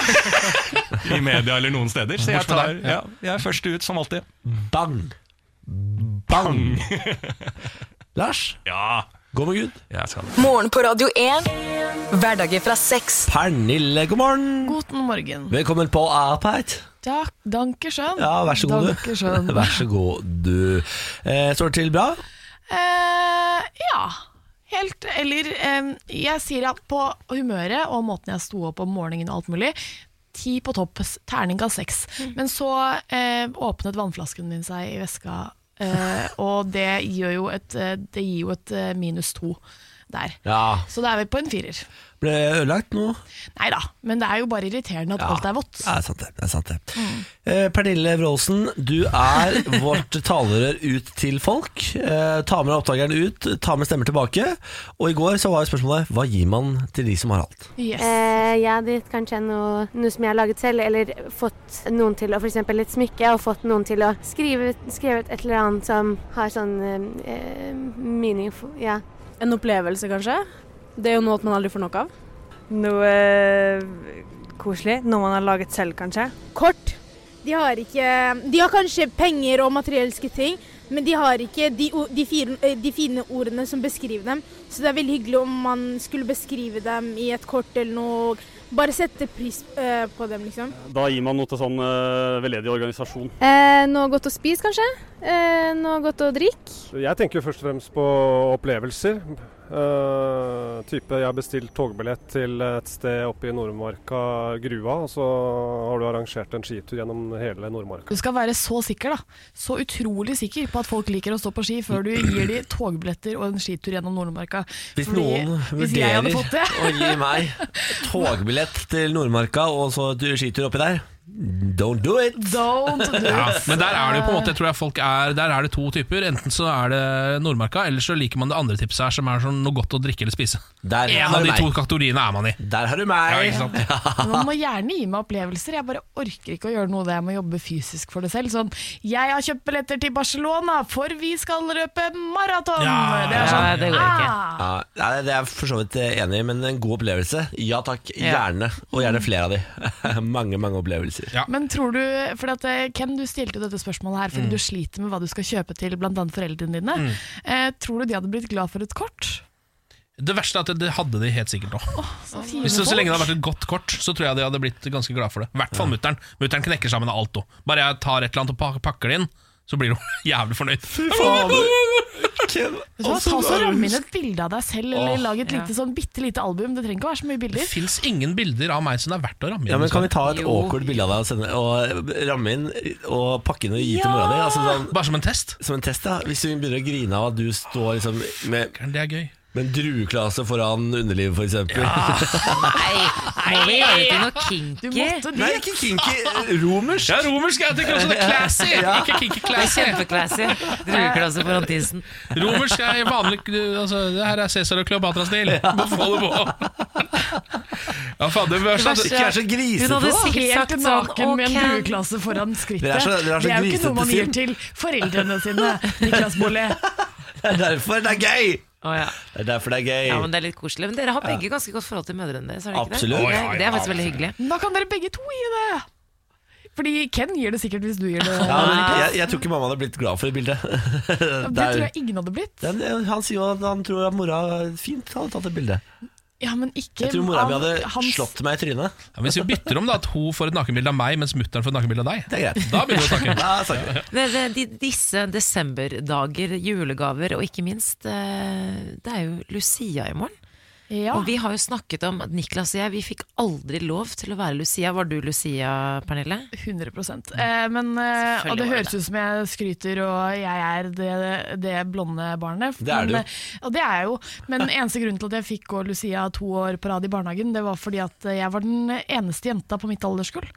Speaker 10: *laughs* I media eller noen steder. Så jeg,
Speaker 3: Bortsett fra
Speaker 10: tar,
Speaker 3: deg, ja.
Speaker 10: ja, jeg er først ut, som alltid.
Speaker 1: Bang! Bang! Lars,
Speaker 10: Ja,
Speaker 1: gå med Gud.
Speaker 10: jeg skal det.
Speaker 4: Morgen på Radio 1. Hverdager fra seks.
Speaker 1: Pernille, god morgen.
Speaker 9: Guten Morgen.
Speaker 1: Velkommen på Apeit.
Speaker 9: Ja, danke schön.
Speaker 1: Ja, vær så god,
Speaker 9: Danke schön.
Speaker 1: du. *laughs* Vær så god, du. Eh, står det til bra?
Speaker 9: Eh, ja. Helt, eller eh, jeg sier at på humøret og måten jeg sto opp om morgenen og alt mulig, ti på topp, s- terning av seks. Men så eh, åpnet vannflasken min seg i veska, eh, og det gir jo et, eh, det gir jo et eh, minus to der.
Speaker 1: Ja.
Speaker 9: Så da er vi på en firer.
Speaker 1: Ble det ødelagt nå?
Speaker 9: Nei da, men det er jo bare irriterende at alt er vått. Mm.
Speaker 1: Ja, det er sant det. det, er sant det. Eh, Pernille Wroldsen, du er vårt talerør ut til folk. Eh, ta med deg oppdageren ut, ta med stemmer tilbake. Og i går så var jo spørsmålet hva gir man til de som har alt?
Speaker 9: Yes.
Speaker 7: Eh, jeg hadde gitt kanskje noe, noe som jeg har laget selv, eller fått noen til å f.eks. et smykke, og fått noen til å skrive skrevet et eller annet som har sånn eh, meaning for, ja.
Speaker 9: En opplevelse, kanskje? Det er jo noe man aldri får nok av.
Speaker 7: Noe eh, koselig. Noe man har laget selv, kanskje.
Speaker 9: Kort.
Speaker 7: De har ikke De har kanskje penger og materielske ting, men de har ikke de, o- de, fire, eh, de fine ordene som beskriver dem. Så det er veldig hyggelig om man skulle beskrive dem i et kort eller noe. Bare sette pris eh, på dem, liksom.
Speaker 11: Da gir man noe til sånn veldedig organisasjon.
Speaker 7: noe godt å spise, kanskje. noe godt å drikke.
Speaker 11: Jeg tenker jo først og fremst på opplevelser.
Speaker 12: Eh, type jeg har bestilt togbillett til et sted oppe i Nordmarka, Grua, og så har du arrangert en skitur gjennom hele Nordmarka.
Speaker 9: Du skal være så sikker, da. Så utrolig sikker på at folk liker å stå på ski før du gir de togbilletter og en skitur gjennom Nordmarka.
Speaker 1: Hvis
Speaker 9: Fordi-
Speaker 1: noen
Speaker 9: hvis jeg
Speaker 1: vurderer
Speaker 9: hadde fått det
Speaker 1: å gi meg togbillett til Nordmarka og så et skitur oppi der, don't do it!
Speaker 3: Ja, men der er det jo på en måte Jeg tror jeg folk er Der er det to typer. Enten så er det Nordmarka, eller så liker man det andre tipset her, som er sånn noe godt å drikke eller spise.
Speaker 1: Der
Speaker 3: en
Speaker 1: har
Speaker 3: av
Speaker 1: du
Speaker 3: de
Speaker 1: meg.
Speaker 3: to kategoriene er man i.
Speaker 1: Der har du meg!
Speaker 3: Ja, ikke sant?
Speaker 9: Man må gjerne gi meg opplevelser. Jeg bare orker ikke å gjøre noe der jeg må jobbe fysisk for det selv. Sånn, jeg har kjøpt billetter til Barcelona, for vi skal løpe maraton!
Speaker 1: Ja,
Speaker 9: det er sånn.
Speaker 1: ja, det går ikke.
Speaker 9: Ah,
Speaker 1: Ja, nei, det er jeg for så vidt enig i, men en god opplevelse. Ja takk,
Speaker 9: Ja.
Speaker 1: gjerne. Og gjerne flere av de. *laughs* mange, mange opplevelser.
Speaker 9: Men tror du, for at, eh, Ken, du stilte jo dette spørsmålet her fordi
Speaker 1: Mm.
Speaker 9: du sliter med hva du skal kjøpe til bl.a. foreldrene dine.
Speaker 3: Mm.
Speaker 9: Eh, tror du de hadde blitt glad for et kort?
Speaker 3: Det verste er at det- det hadde de helt sikkert nå.
Speaker 9: Så fine
Speaker 3: Hvis det, så
Speaker 9: folk.
Speaker 3: lenge det hadde vært et godt kort, så tror jeg de hadde blitt ganske glad for det. I hvert fall mutter'n. Mutter'n knekker sammen av alt nå. Bare jeg tar et eller annet og pak- pakker det inn, så blir hun *laughs* jævlig fornøyd.
Speaker 9: Vet du hva, Ta så Ramme inn et bilde av deg selv, eller
Speaker 3: Åh.
Speaker 9: lag et
Speaker 3: Ja.
Speaker 9: lite sånn bitte lite album. Det trenger ikke å være så mye
Speaker 3: Det
Speaker 9: bilder.
Speaker 3: fins ingen bilder av meg som det er verdt å ramme inn.
Speaker 1: Ja, men Kan vi ta et
Speaker 3: Jo.
Speaker 1: awkward bilde av deg og, sende, og ramme inn og pakke inn og gi til mora di? Altså, sånn,
Speaker 3: Bare som en test?
Speaker 1: Som en test, ja Hvis hun begynner å grine av at du står liksom med
Speaker 3: Det er gøy
Speaker 1: Med en drueklase foran underlivet, for eksempel. *laughs*
Speaker 2: Må vi gjøre det til noe kinky?
Speaker 1: Nei, ikke kinky. eh, Romersk.
Speaker 3: Ja, romersk. Jeg tenker også det
Speaker 1: *laughs*
Speaker 3: er classy.
Speaker 2: Ja.
Speaker 3: Ikke kinky classy.
Speaker 2: Det er kjempeclassy. Drueklasse foran tissen.
Speaker 3: Romersk er vanlig altså, Det her er Cæsar og Kleopatra-stil. Hvorfor
Speaker 1: *laughs*
Speaker 3: holder du på? Ja, faen, det var sånn-
Speaker 9: Hun hadde
Speaker 2: sikkert
Speaker 9: sikkert
Speaker 2: sagt
Speaker 9: naken
Speaker 2: sånn,
Speaker 9: med en
Speaker 2: «Ok».
Speaker 9: drueklasse foran skrittet.
Speaker 1: Dere er så- dere er så
Speaker 9: det er jo ikke
Speaker 1: grisete
Speaker 9: noe man gir
Speaker 1: sinn.
Speaker 9: til foreldrene sine. Niklas Bolle.
Speaker 1: Det er derfor det er gøy!
Speaker 2: ja.
Speaker 1: Det er derfor det er gøy.
Speaker 2: Ja, men det er litt koselig. Men dere har begge ganske godt forhold til mødrene deres, har dere ikke
Speaker 1: Absolutt.
Speaker 2: det?
Speaker 1: Å, ja, ja,
Speaker 2: Det er faktisk veldig hyggelig.
Speaker 9: Da kan dere begge to gi det. Fordi Ken gir det sikkert hvis du gir det.
Speaker 1: Ja, men jeg,
Speaker 9: Niklas.
Speaker 1: jeg tror ikke mamma hadde blitt glad for det bildet. *laughs*
Speaker 9: det
Speaker 1: Det
Speaker 9: tror
Speaker 1: er-
Speaker 9: jeg ingen hadde blitt.
Speaker 1: Den, eh, han sier jo at han tror at mora fint hadde tatt et bilde.
Speaker 9: Ja, men ikke
Speaker 1: Jeg tror mora mi
Speaker 9: av
Speaker 1: hadde
Speaker 9: hans-
Speaker 1: slått meg i trynet.
Speaker 3: Ja, hvis vi bytter om da at hun får et nakenbilde av meg, mens mutter'n får et nakenbilde av deg,
Speaker 1: Det er greit.
Speaker 3: da begynner vi å snakke.
Speaker 9: *laughs*
Speaker 1: Da snakker vi.
Speaker 2: Det, det, de, disse desemberdager, julegaver og ikke minst eh, Det er jo Lucia i morgen. Og vi har jo snakket om at Niklas og jeg vi fikk aldri lov til å være Lucia. Var du Lucia, Pernille?
Speaker 9: 100 eh, men, eh, Og det
Speaker 2: Selvfølgelig var det
Speaker 9: høres ut som jeg skryter og jeg er det, det blonde barnet.
Speaker 1: Det er du
Speaker 9: men,
Speaker 1: jo.
Speaker 9: eh, Og det er jeg jo.
Speaker 1: *laughs*
Speaker 9: Men eneste grunnen til at jeg fikk gå Lucia to år på rad i barnehagen, det var fordi at jeg var den eneste jenta på mitt alderskull.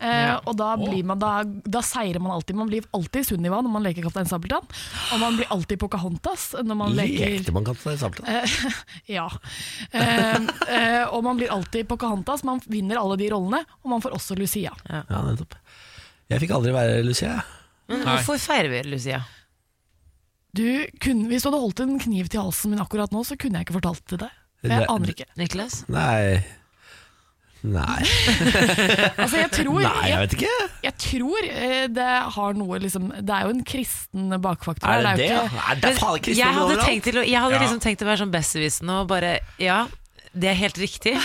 Speaker 9: Eh,
Speaker 2: Ja.
Speaker 9: Og da, blir man, da, da seirer man alltid. Man blir alltid Sunniva når man leker Kaptein Sabeltann. Og man blir alltid Pocahontas når man leker
Speaker 1: Lekte man katten i samtalen?
Speaker 9: Eh, ja. Eh, eh, og man blir alltid Pocahontas. Man vinner alle de rollene, og man får også Lucia.
Speaker 1: Ja, nettopp. Jeg fikk aldri være Lucia. jeg.
Speaker 2: Men
Speaker 1: Nei.
Speaker 2: hvorfor feirer vi Lucia?
Speaker 9: Du kunne, hvis du hadde holdt en kniv til halsen min akkurat nå, så kunne jeg ikke fortalt det deg. For Jeg
Speaker 1: Det-
Speaker 9: aner ikke.
Speaker 2: Niklas?
Speaker 1: Nei Nei.
Speaker 9: *laughs* Altså, jeg tror,
Speaker 1: Nei, jeg vet ikke.
Speaker 9: Jeg tror eh, det har noe liksom Det er jo en kristen bakfaktor.
Speaker 1: Er
Speaker 9: her,
Speaker 1: det det?
Speaker 9: jo
Speaker 1: ja?
Speaker 9: ikke-
Speaker 1: Nei, det er faen ikke
Speaker 2: jeg
Speaker 1: kristendom
Speaker 2: hadde,
Speaker 1: overalt.
Speaker 2: tenkt til å, jeg hadde
Speaker 1: Ja.
Speaker 2: liksom tenkt å være sånn besserwisser og bare Ja, det er helt
Speaker 9: *laughs*
Speaker 2: riktig,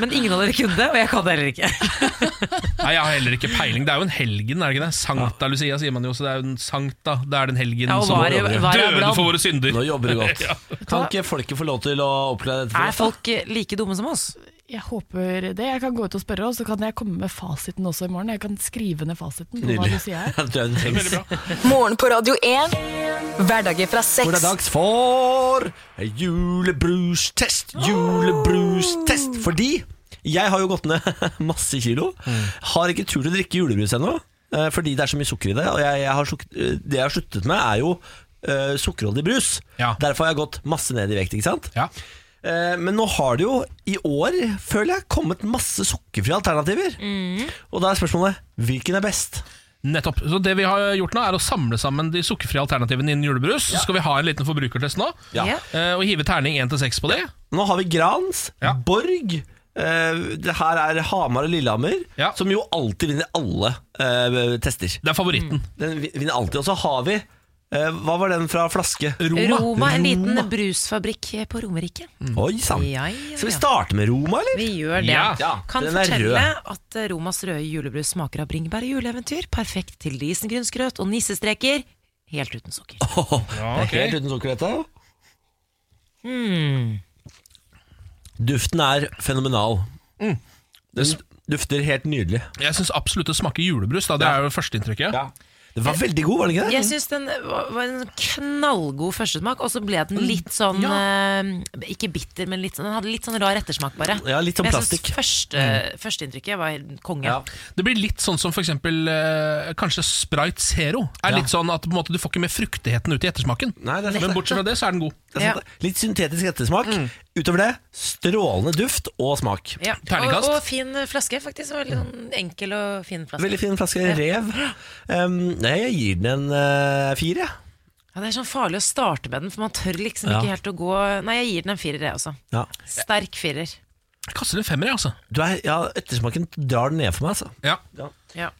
Speaker 2: men ingen av dere kunne det, og jeg kan det heller ikke.
Speaker 3: Nei, jeg har heller ikke peiling. Det er jo en helgen, er det ikke det? Sankta Lucia sier man jo, så det er jo en sankta. Det er den helgen
Speaker 2: Ja, og
Speaker 3: som
Speaker 2: var i- var i
Speaker 3: døde
Speaker 2: blant.
Speaker 3: for våre synder.
Speaker 1: Nå jobber det *laughs*
Speaker 3: *laughs*
Speaker 1: godt.
Speaker 3: Ja.
Speaker 1: Kan ikke folket få lov til å oppleve dette? for
Speaker 2: Er
Speaker 1: oss, da?
Speaker 2: folk eh, like dumme som oss?
Speaker 9: Jeg håper det. Jeg kan gå ut og spørre, og så kan jeg komme med fasiten også i morgen. Jeg kan skrive ned fasiten. på hva
Speaker 1: *laughs* Nydelig.
Speaker 9: Lucia
Speaker 1: *laughs*
Speaker 9: er.
Speaker 1: Jeg tror jeg trengs.
Speaker 4: Morgen på Radio 1. Hverdager fra
Speaker 1: Hvor det er
Speaker 4: seks.
Speaker 1: dags for julebrustest, julebrustest. Fordi jeg har jo gått ned *laughs* masse kilo. Har ikke tur til å drikke julebrus ennå, eh, fordi det er så mye sukker i det. Og jeg, jeg har suk eh, det jeg har sluttet med, er jo eh, sukkerholdig brus. Derfor har jeg gått masse ned i vekt, ikke sant?
Speaker 3: Ja.
Speaker 1: Eh, Men nå har det jo i år, føler jeg, kommet masse sukkerfrie alternativer.
Speaker 2: Mm.
Speaker 1: Og da er spørsmålet hvilken er best?
Speaker 3: Nettopp. Så det vi har gjort nå, er å samle sammen de sukkerfrie alternativene innen julebrus. Så skal vi ha en liten forbrukertest nå,
Speaker 1: Ja. Ja.
Speaker 3: eh, og hive terning 1-6 på de.
Speaker 1: Nå har vi Grans, Borg eh, Det her er Hamar og Lillehammer Som jo alltid vinner alle eh, tester
Speaker 3: Det er favoritten
Speaker 1: Den vi- vinner alltid Og så har vi, eh, hva var den fra flaske?
Speaker 2: Roma, en liten
Speaker 1: Roma.
Speaker 2: brusfabrikk på Romerike.
Speaker 1: Oi, sant
Speaker 2: Ja, ja,
Speaker 1: Skal vi
Speaker 2: ja.
Speaker 1: starte med Roma, eller?
Speaker 2: Vi gjør det.
Speaker 1: Ja,
Speaker 2: kan
Speaker 1: den er
Speaker 2: fortelle
Speaker 1: rød
Speaker 2: at eh, Romas røde julebrus smaker av bringebær og juleeventyr. Perfekt til risengrynsgrøt og nissestreker. Helt uten sukker.
Speaker 1: Det er Helt uten sukker dette Hmm. Duften er fenomenal.
Speaker 3: Mm.
Speaker 1: Det s- dufter helt nydelig.
Speaker 3: Jeg syns absolutt det smaker julebrus. Da. Det er jo førsteinntrykket.
Speaker 1: Den var veldig god, var den ikke det?
Speaker 2: Jeg syns den var var en knallgod førstesmak, og så ble den
Speaker 1: Mm.
Speaker 2: litt sånn eh, Ikke bitter, men litt sånn, den hadde litt sånn rar ettersmak, bare.
Speaker 3: Ja, litt sånn
Speaker 2: Men jeg synes
Speaker 3: plastikk.
Speaker 2: Første,
Speaker 1: Mm.
Speaker 2: Førsteinntrykket var helt konge.
Speaker 3: Det blir litt sånn som for eksempel, eh, kanskje Sprite Zero. Er
Speaker 1: Ja.
Speaker 3: litt sånn at på en måte, Du får ikke med fruktigheten ut i
Speaker 1: det
Speaker 3: ettersmaken.
Speaker 1: er sant
Speaker 3: Men
Speaker 1: det.
Speaker 3: bortsett fra det, så er den god.
Speaker 1: Det er sant, det. Litt syntetisk ettersmak. Utover det, strålende duft og smak.
Speaker 2: Ja. Og, og fin flaske, faktisk. Det var
Speaker 1: Mm.
Speaker 2: Veldig sånn enkel og fin flaske.
Speaker 1: Veldig fin flaske
Speaker 2: Ja.
Speaker 1: rev. Um, nei, jeg gir den en eh, fire, jeg.
Speaker 2: Ja, det er sånn farlig å starte med den, for man tør liksom
Speaker 1: Ja.
Speaker 2: ikke helt å gå Nei, jeg gir den en firer, jeg også.
Speaker 1: Ja.
Speaker 2: Sterk firer.
Speaker 3: Jeg kaster en femmer, jeg, altså.
Speaker 1: Du er, ja, ettersmaken drar den ned for meg, altså.
Speaker 3: Ja.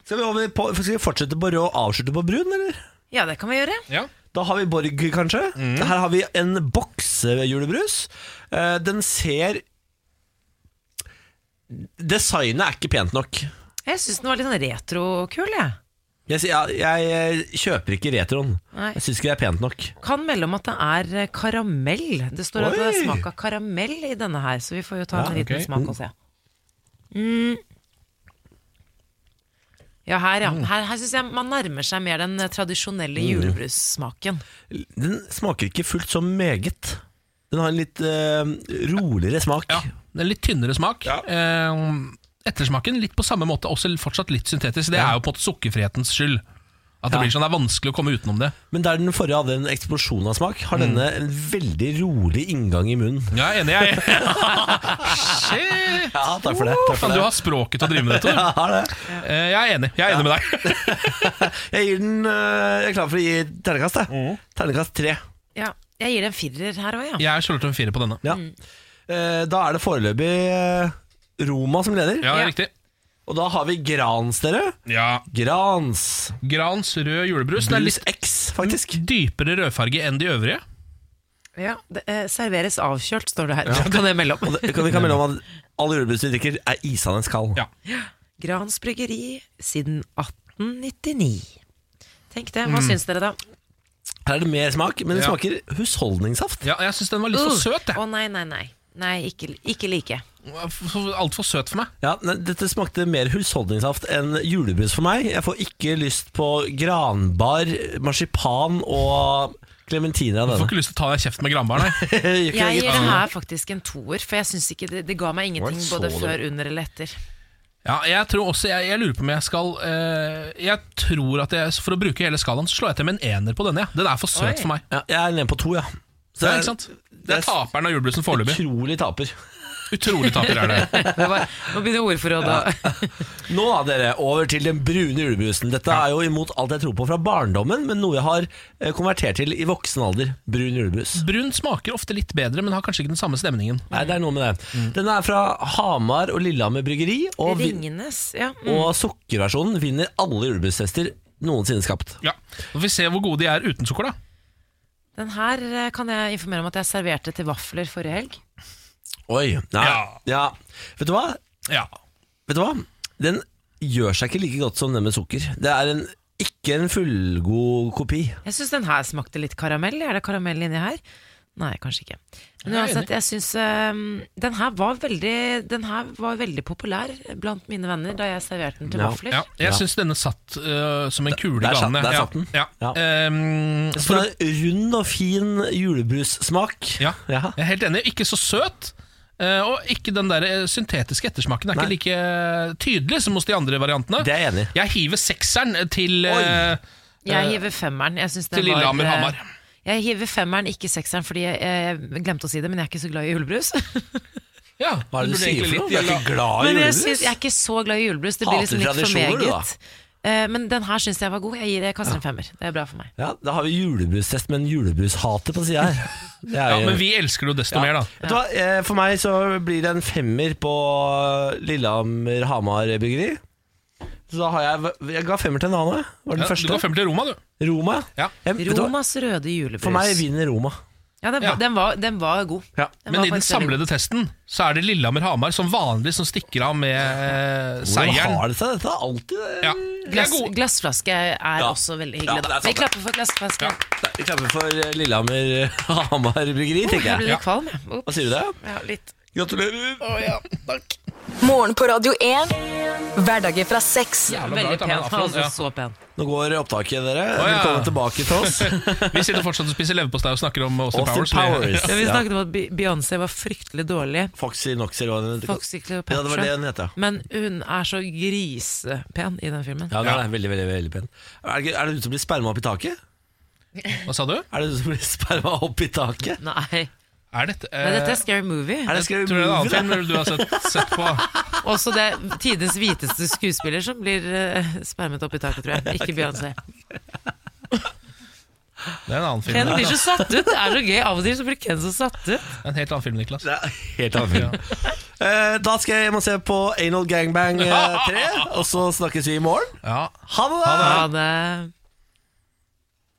Speaker 1: Skal, vi over på, skal vi fortsette på rød og avslutte på brun, eller?
Speaker 2: Ja, det kan vi gjøre.
Speaker 1: Da har vi Borg, kanskje. Her har vi en boksejulebrus. Eh, Den ser Designet er ikke pent nok.
Speaker 2: Jeg syns den var litt sånn retrokul, jeg.
Speaker 1: Jeg, sier- ja, jeg eh, kjøper ikke retroen.
Speaker 2: Nei.
Speaker 1: Jeg syns ikke det er pent nok.
Speaker 2: Kan melde om at det er eh, karamell. Det står at det er
Speaker 1: Oi!
Speaker 2: smak av karamell i denne her, så vi får jo ta
Speaker 1: Ja,
Speaker 2: en liten
Speaker 1: ok.
Speaker 2: smak og se. Mm. Ja, her, ja. Her, her syns jeg man nærmer seg mer den eh, tradisjonelle
Speaker 1: Mm.
Speaker 2: julebrussmaken.
Speaker 1: Den smaker ikke fullt så meget. Den har en litt eh, roligere smak. Ja,
Speaker 3: det er litt tynnere smak. Eh, ettersmaken litt på samme måte, også fortsatt litt syntetisk. Det er jo på en måte sukkerfrihetens skyld. At det
Speaker 1: Ja.
Speaker 3: blir sånn, det er vanskelig å komme utenom det.
Speaker 1: Men der den forrige hadde en eksplosjon av smak, har denne en veldig rolig inngang i munnen.
Speaker 3: Ja, jeg er enig, jeg.
Speaker 1: Ja, takk for det. Takk for
Speaker 3: *laughs* Faen,
Speaker 1: det.
Speaker 3: du har språket til å drive med dette.
Speaker 1: Ja, jeg har det.
Speaker 3: Eh, jeg er enig Jeg er enig med deg. *laughs*
Speaker 1: Jeg gir den eh, Jeg er klar for å gi terningkast, jeg. Terningkast tre.
Speaker 2: Ja, jeg gir det en firer her òg, ja.
Speaker 3: Jeg er skjulete en fire på denne.
Speaker 1: Ja. Eh, Da er det foreløpig eh, Roma som leder.
Speaker 3: Ja, Ja. riktig.
Speaker 1: Og da har vi Grans, dere. Grans.
Speaker 3: Grans rød julebrus. Den er Mm. litt dypere rødfarge enn de øvrige.
Speaker 2: Ja, det, eh, serveres avkjølt, står det her. *laughs* Kan jeg melde om?
Speaker 1: Og det- kan- Vi kan melde om at all julebrus vi drikker, er isende kald.
Speaker 2: Grans bryggeri siden 1899. Tenk det. Hva syns dere, da?
Speaker 1: Her er det mer smak, men det
Speaker 3: Ja.
Speaker 1: smaker husholdningssaft.
Speaker 3: Ja, jeg syns den var litt for søt.
Speaker 2: Å nei, nei, nei. Nei, ikke, ikke like.
Speaker 3: Altfor søt for meg.
Speaker 1: Ja, nei, dette smakte mer husholdningssaft enn julebrus for meg. Jeg får ikke lyst på granbar, marsipan og klementiner av
Speaker 3: Jeg får
Speaker 1: denne.
Speaker 3: ikke lyst til å ta deg i kjeften med granbar, *laughs* nei.
Speaker 2: Jeg gir det her faktisk en toer, for jeg syns ikke det, det ga meg ingenting
Speaker 3: så
Speaker 2: både
Speaker 3: dårlig.
Speaker 2: før, under eller *laughs* etter.
Speaker 3: Ja, jeg tror også, jeg, jeg lurer på om jeg skal eh, Jeg tror at jeg, For å bruke hele skalaen, så slår jeg til med en ener på denne. Ja. Den er for søt
Speaker 1: Oi.
Speaker 3: for meg.
Speaker 1: Ja, jeg er nede på to, ja.
Speaker 3: Ja, ikke sant? Det er taperen av julebrusen foreløpig. *laughs*
Speaker 1: Utrolig taper.
Speaker 3: Utrolig taper er det. *laughs*
Speaker 2: Nå begynner ordforrådet.
Speaker 1: Nå da, dere, over til den brune julebrusen. Dette er jo imot alt jeg tror på fra barndommen, men noe jeg har eh, konvertert til i voksen alder. Brun julebrus.
Speaker 3: Brun smaker ofte litt bedre, men har kanskje ikke den samme stemningen.
Speaker 1: Nei, det er noe med det.
Speaker 3: Mm.
Speaker 1: Den er fra Hamar og Lillehammer Bryggeri, og, vi-
Speaker 2: Ringenes, ja. Mm.
Speaker 1: og sukkerversjonen vinner alle julebrustester noensinne skapt.
Speaker 3: Ja, Nå får vi se hvor gode de er uten sukker, da.
Speaker 2: Den her eh, kan jeg informere om at jeg serverte til vafler forrige helg.
Speaker 1: Oi. Nei. Ja. Vet du hva? Vet du hva? Den gjør seg ikke like godt som den med sukker. Det er en, ikke en fullgod kopi.
Speaker 2: Jeg syns den her smakte litt karamell. Er det karamell inni her? Nei, kanskje ikke. Men
Speaker 1: Jeg er
Speaker 2: uansett,
Speaker 1: enig.
Speaker 2: jeg syns eh, den, her var veldig- den her var veldig populær blant mine venner da jeg serverte den til vafler.
Speaker 3: Ja, jeg syns denne satt øh, som en kule i
Speaker 1: der satt-
Speaker 3: ganene.
Speaker 1: der
Speaker 3: Ja,
Speaker 1: satt den.
Speaker 3: Ja. Ehm,
Speaker 1: Så
Speaker 3: for å-
Speaker 1: det Altså, er en rund og fin julebrussmak.
Speaker 3: ja, jeg er helt enig. Ikke så søt. eh, og ikke den der eh, syntetiske ettersmaken er ikke like eh, tydelig som hos de andre variantene.
Speaker 1: Det er Jeg enig
Speaker 3: Jeg hiver sekseren til eh,
Speaker 2: Jeg
Speaker 3: eh,
Speaker 2: hiver femmeren. Jeg synes den
Speaker 3: til
Speaker 2: var,
Speaker 3: Lillehammer,
Speaker 2: eh,
Speaker 3: Hamar.
Speaker 2: Jeg hiver femmeren, ikke sekseren, fordi jeg, jeg glemte å si det, men jeg er ikke så glad i julebrus.
Speaker 3: Ja,
Speaker 1: Hva er det du
Speaker 3: burde
Speaker 1: sier
Speaker 3: egentlig
Speaker 1: for noe?
Speaker 3: litt
Speaker 1: Du er ikke
Speaker 3: gjelde-
Speaker 2: *laughs*
Speaker 1: glad i
Speaker 2: men jeg,
Speaker 1: julebrus?
Speaker 2: synes, jeg er ikke så glad i julebrus. Det blir
Speaker 1: Hater
Speaker 2: liksom litt for
Speaker 1: tradisjoner, du, da.
Speaker 2: meget. Eh, Men den her syns jeg var god. Jeg gir jeg kaster en femmer. Det er bra for meg.
Speaker 1: Ja, Da har vi julebrustest med en julebrushater på sida
Speaker 3: *laughs*
Speaker 1: her. Det er
Speaker 3: Ja,
Speaker 1: jo-
Speaker 3: men vi elsker det jo desto
Speaker 1: Ja.
Speaker 3: mer, da.
Speaker 1: Vet du hva, eh, For meg så blir det en femmer på Lillehammer-Hamar bryggeri. Så da har jeg Jeg ga femmer til en annen. jeg. Var den
Speaker 3: Ja,
Speaker 1: første.
Speaker 3: Du går fem til Roma, du.
Speaker 1: Roma?
Speaker 3: Ja.
Speaker 1: Jeg- vet du hva?
Speaker 2: Romas røde julebrus.
Speaker 1: For meg vinner Roma.
Speaker 2: Ja, den, var-
Speaker 3: Ja.
Speaker 2: Den, var, den var god.
Speaker 3: Ja,
Speaker 2: Den
Speaker 3: Men
Speaker 2: var
Speaker 3: i den
Speaker 2: faktisk veldig
Speaker 3: samlede testen så er det Lillehammer-Hamar som vanlig som stikker av med eh,
Speaker 1: Hvordan
Speaker 3: seieren.
Speaker 1: har det seg? Dette er alltid eh,
Speaker 3: ja.
Speaker 2: Glass, glassflaske er
Speaker 1: Ja.
Speaker 2: også veldig
Speaker 1: Ja,
Speaker 2: hyggelig.
Speaker 1: det er
Speaker 2: da.
Speaker 1: sant,
Speaker 2: Vi
Speaker 1: det.
Speaker 2: klapper for glassflaske.
Speaker 1: Nei, Vi klapper for eh, *laughs* Lillehammer Hamar Bryggeri,
Speaker 2: Oh, jeg
Speaker 1: tenker
Speaker 2: ble
Speaker 1: jeg.
Speaker 2: litt kvalm, jeg. Ops.
Speaker 1: Hva sier du det?
Speaker 2: Ja, litt.
Speaker 1: Gratulerer.
Speaker 4: Morgen på Radio 1. Hverdager fra seks.
Speaker 2: Veldig pen. Han er også så pen.
Speaker 1: Nå går opptaket, dere.
Speaker 3: Å, ja.
Speaker 1: Velkommen tilbake til
Speaker 3: *laughs*
Speaker 1: oss.
Speaker 3: Vi sitter fortsatt og spiser leverpostei og snakker om Austin,
Speaker 1: Austin
Speaker 3: Powers.
Speaker 1: Powers.
Speaker 2: Ja, vi
Speaker 1: Ja.
Speaker 2: snakket om at Be- Beyoncé var fryktelig dårlig,
Speaker 1: Foxy Knoxer og
Speaker 2: Foxy
Speaker 1: Ja, det var det hun het,
Speaker 2: Cleopatra,
Speaker 1: ja.
Speaker 2: men hun er så grisepen i den filmen.
Speaker 1: Ja, den er veldig, veldig, veldig pen. Er det, er det du som blir sperma opp i taket?
Speaker 3: Hva sa du?
Speaker 1: Er det du som blir sperma opp i taket?
Speaker 2: Nei.
Speaker 3: Er dette, eh,
Speaker 2: Men dette er Scary Movie.
Speaker 1: Er det Scary
Speaker 3: tror jeg det er en annen
Speaker 1: Movie,
Speaker 3: film du har sett, sett på.
Speaker 2: Også det er tidenes hviteste skuespiller som blir eh, spermet opp i taket, tror jeg.
Speaker 1: *laughs*
Speaker 2: Ikke Beyoncé.
Speaker 3: Det er en annen film.
Speaker 2: Ken blir så satt ut. Det er så gøy. Av og til så blir Ken så satt ut.
Speaker 3: En helt annen film, Niklas.
Speaker 1: da? Helt annen film. *laughs* Eh, da skal jeg hjem og se på *laughs* Anal Gangbang eh, 3, og så snakkes vi i morgen.
Speaker 3: Ja.
Speaker 1: Ha det! da!
Speaker 2: Ha det.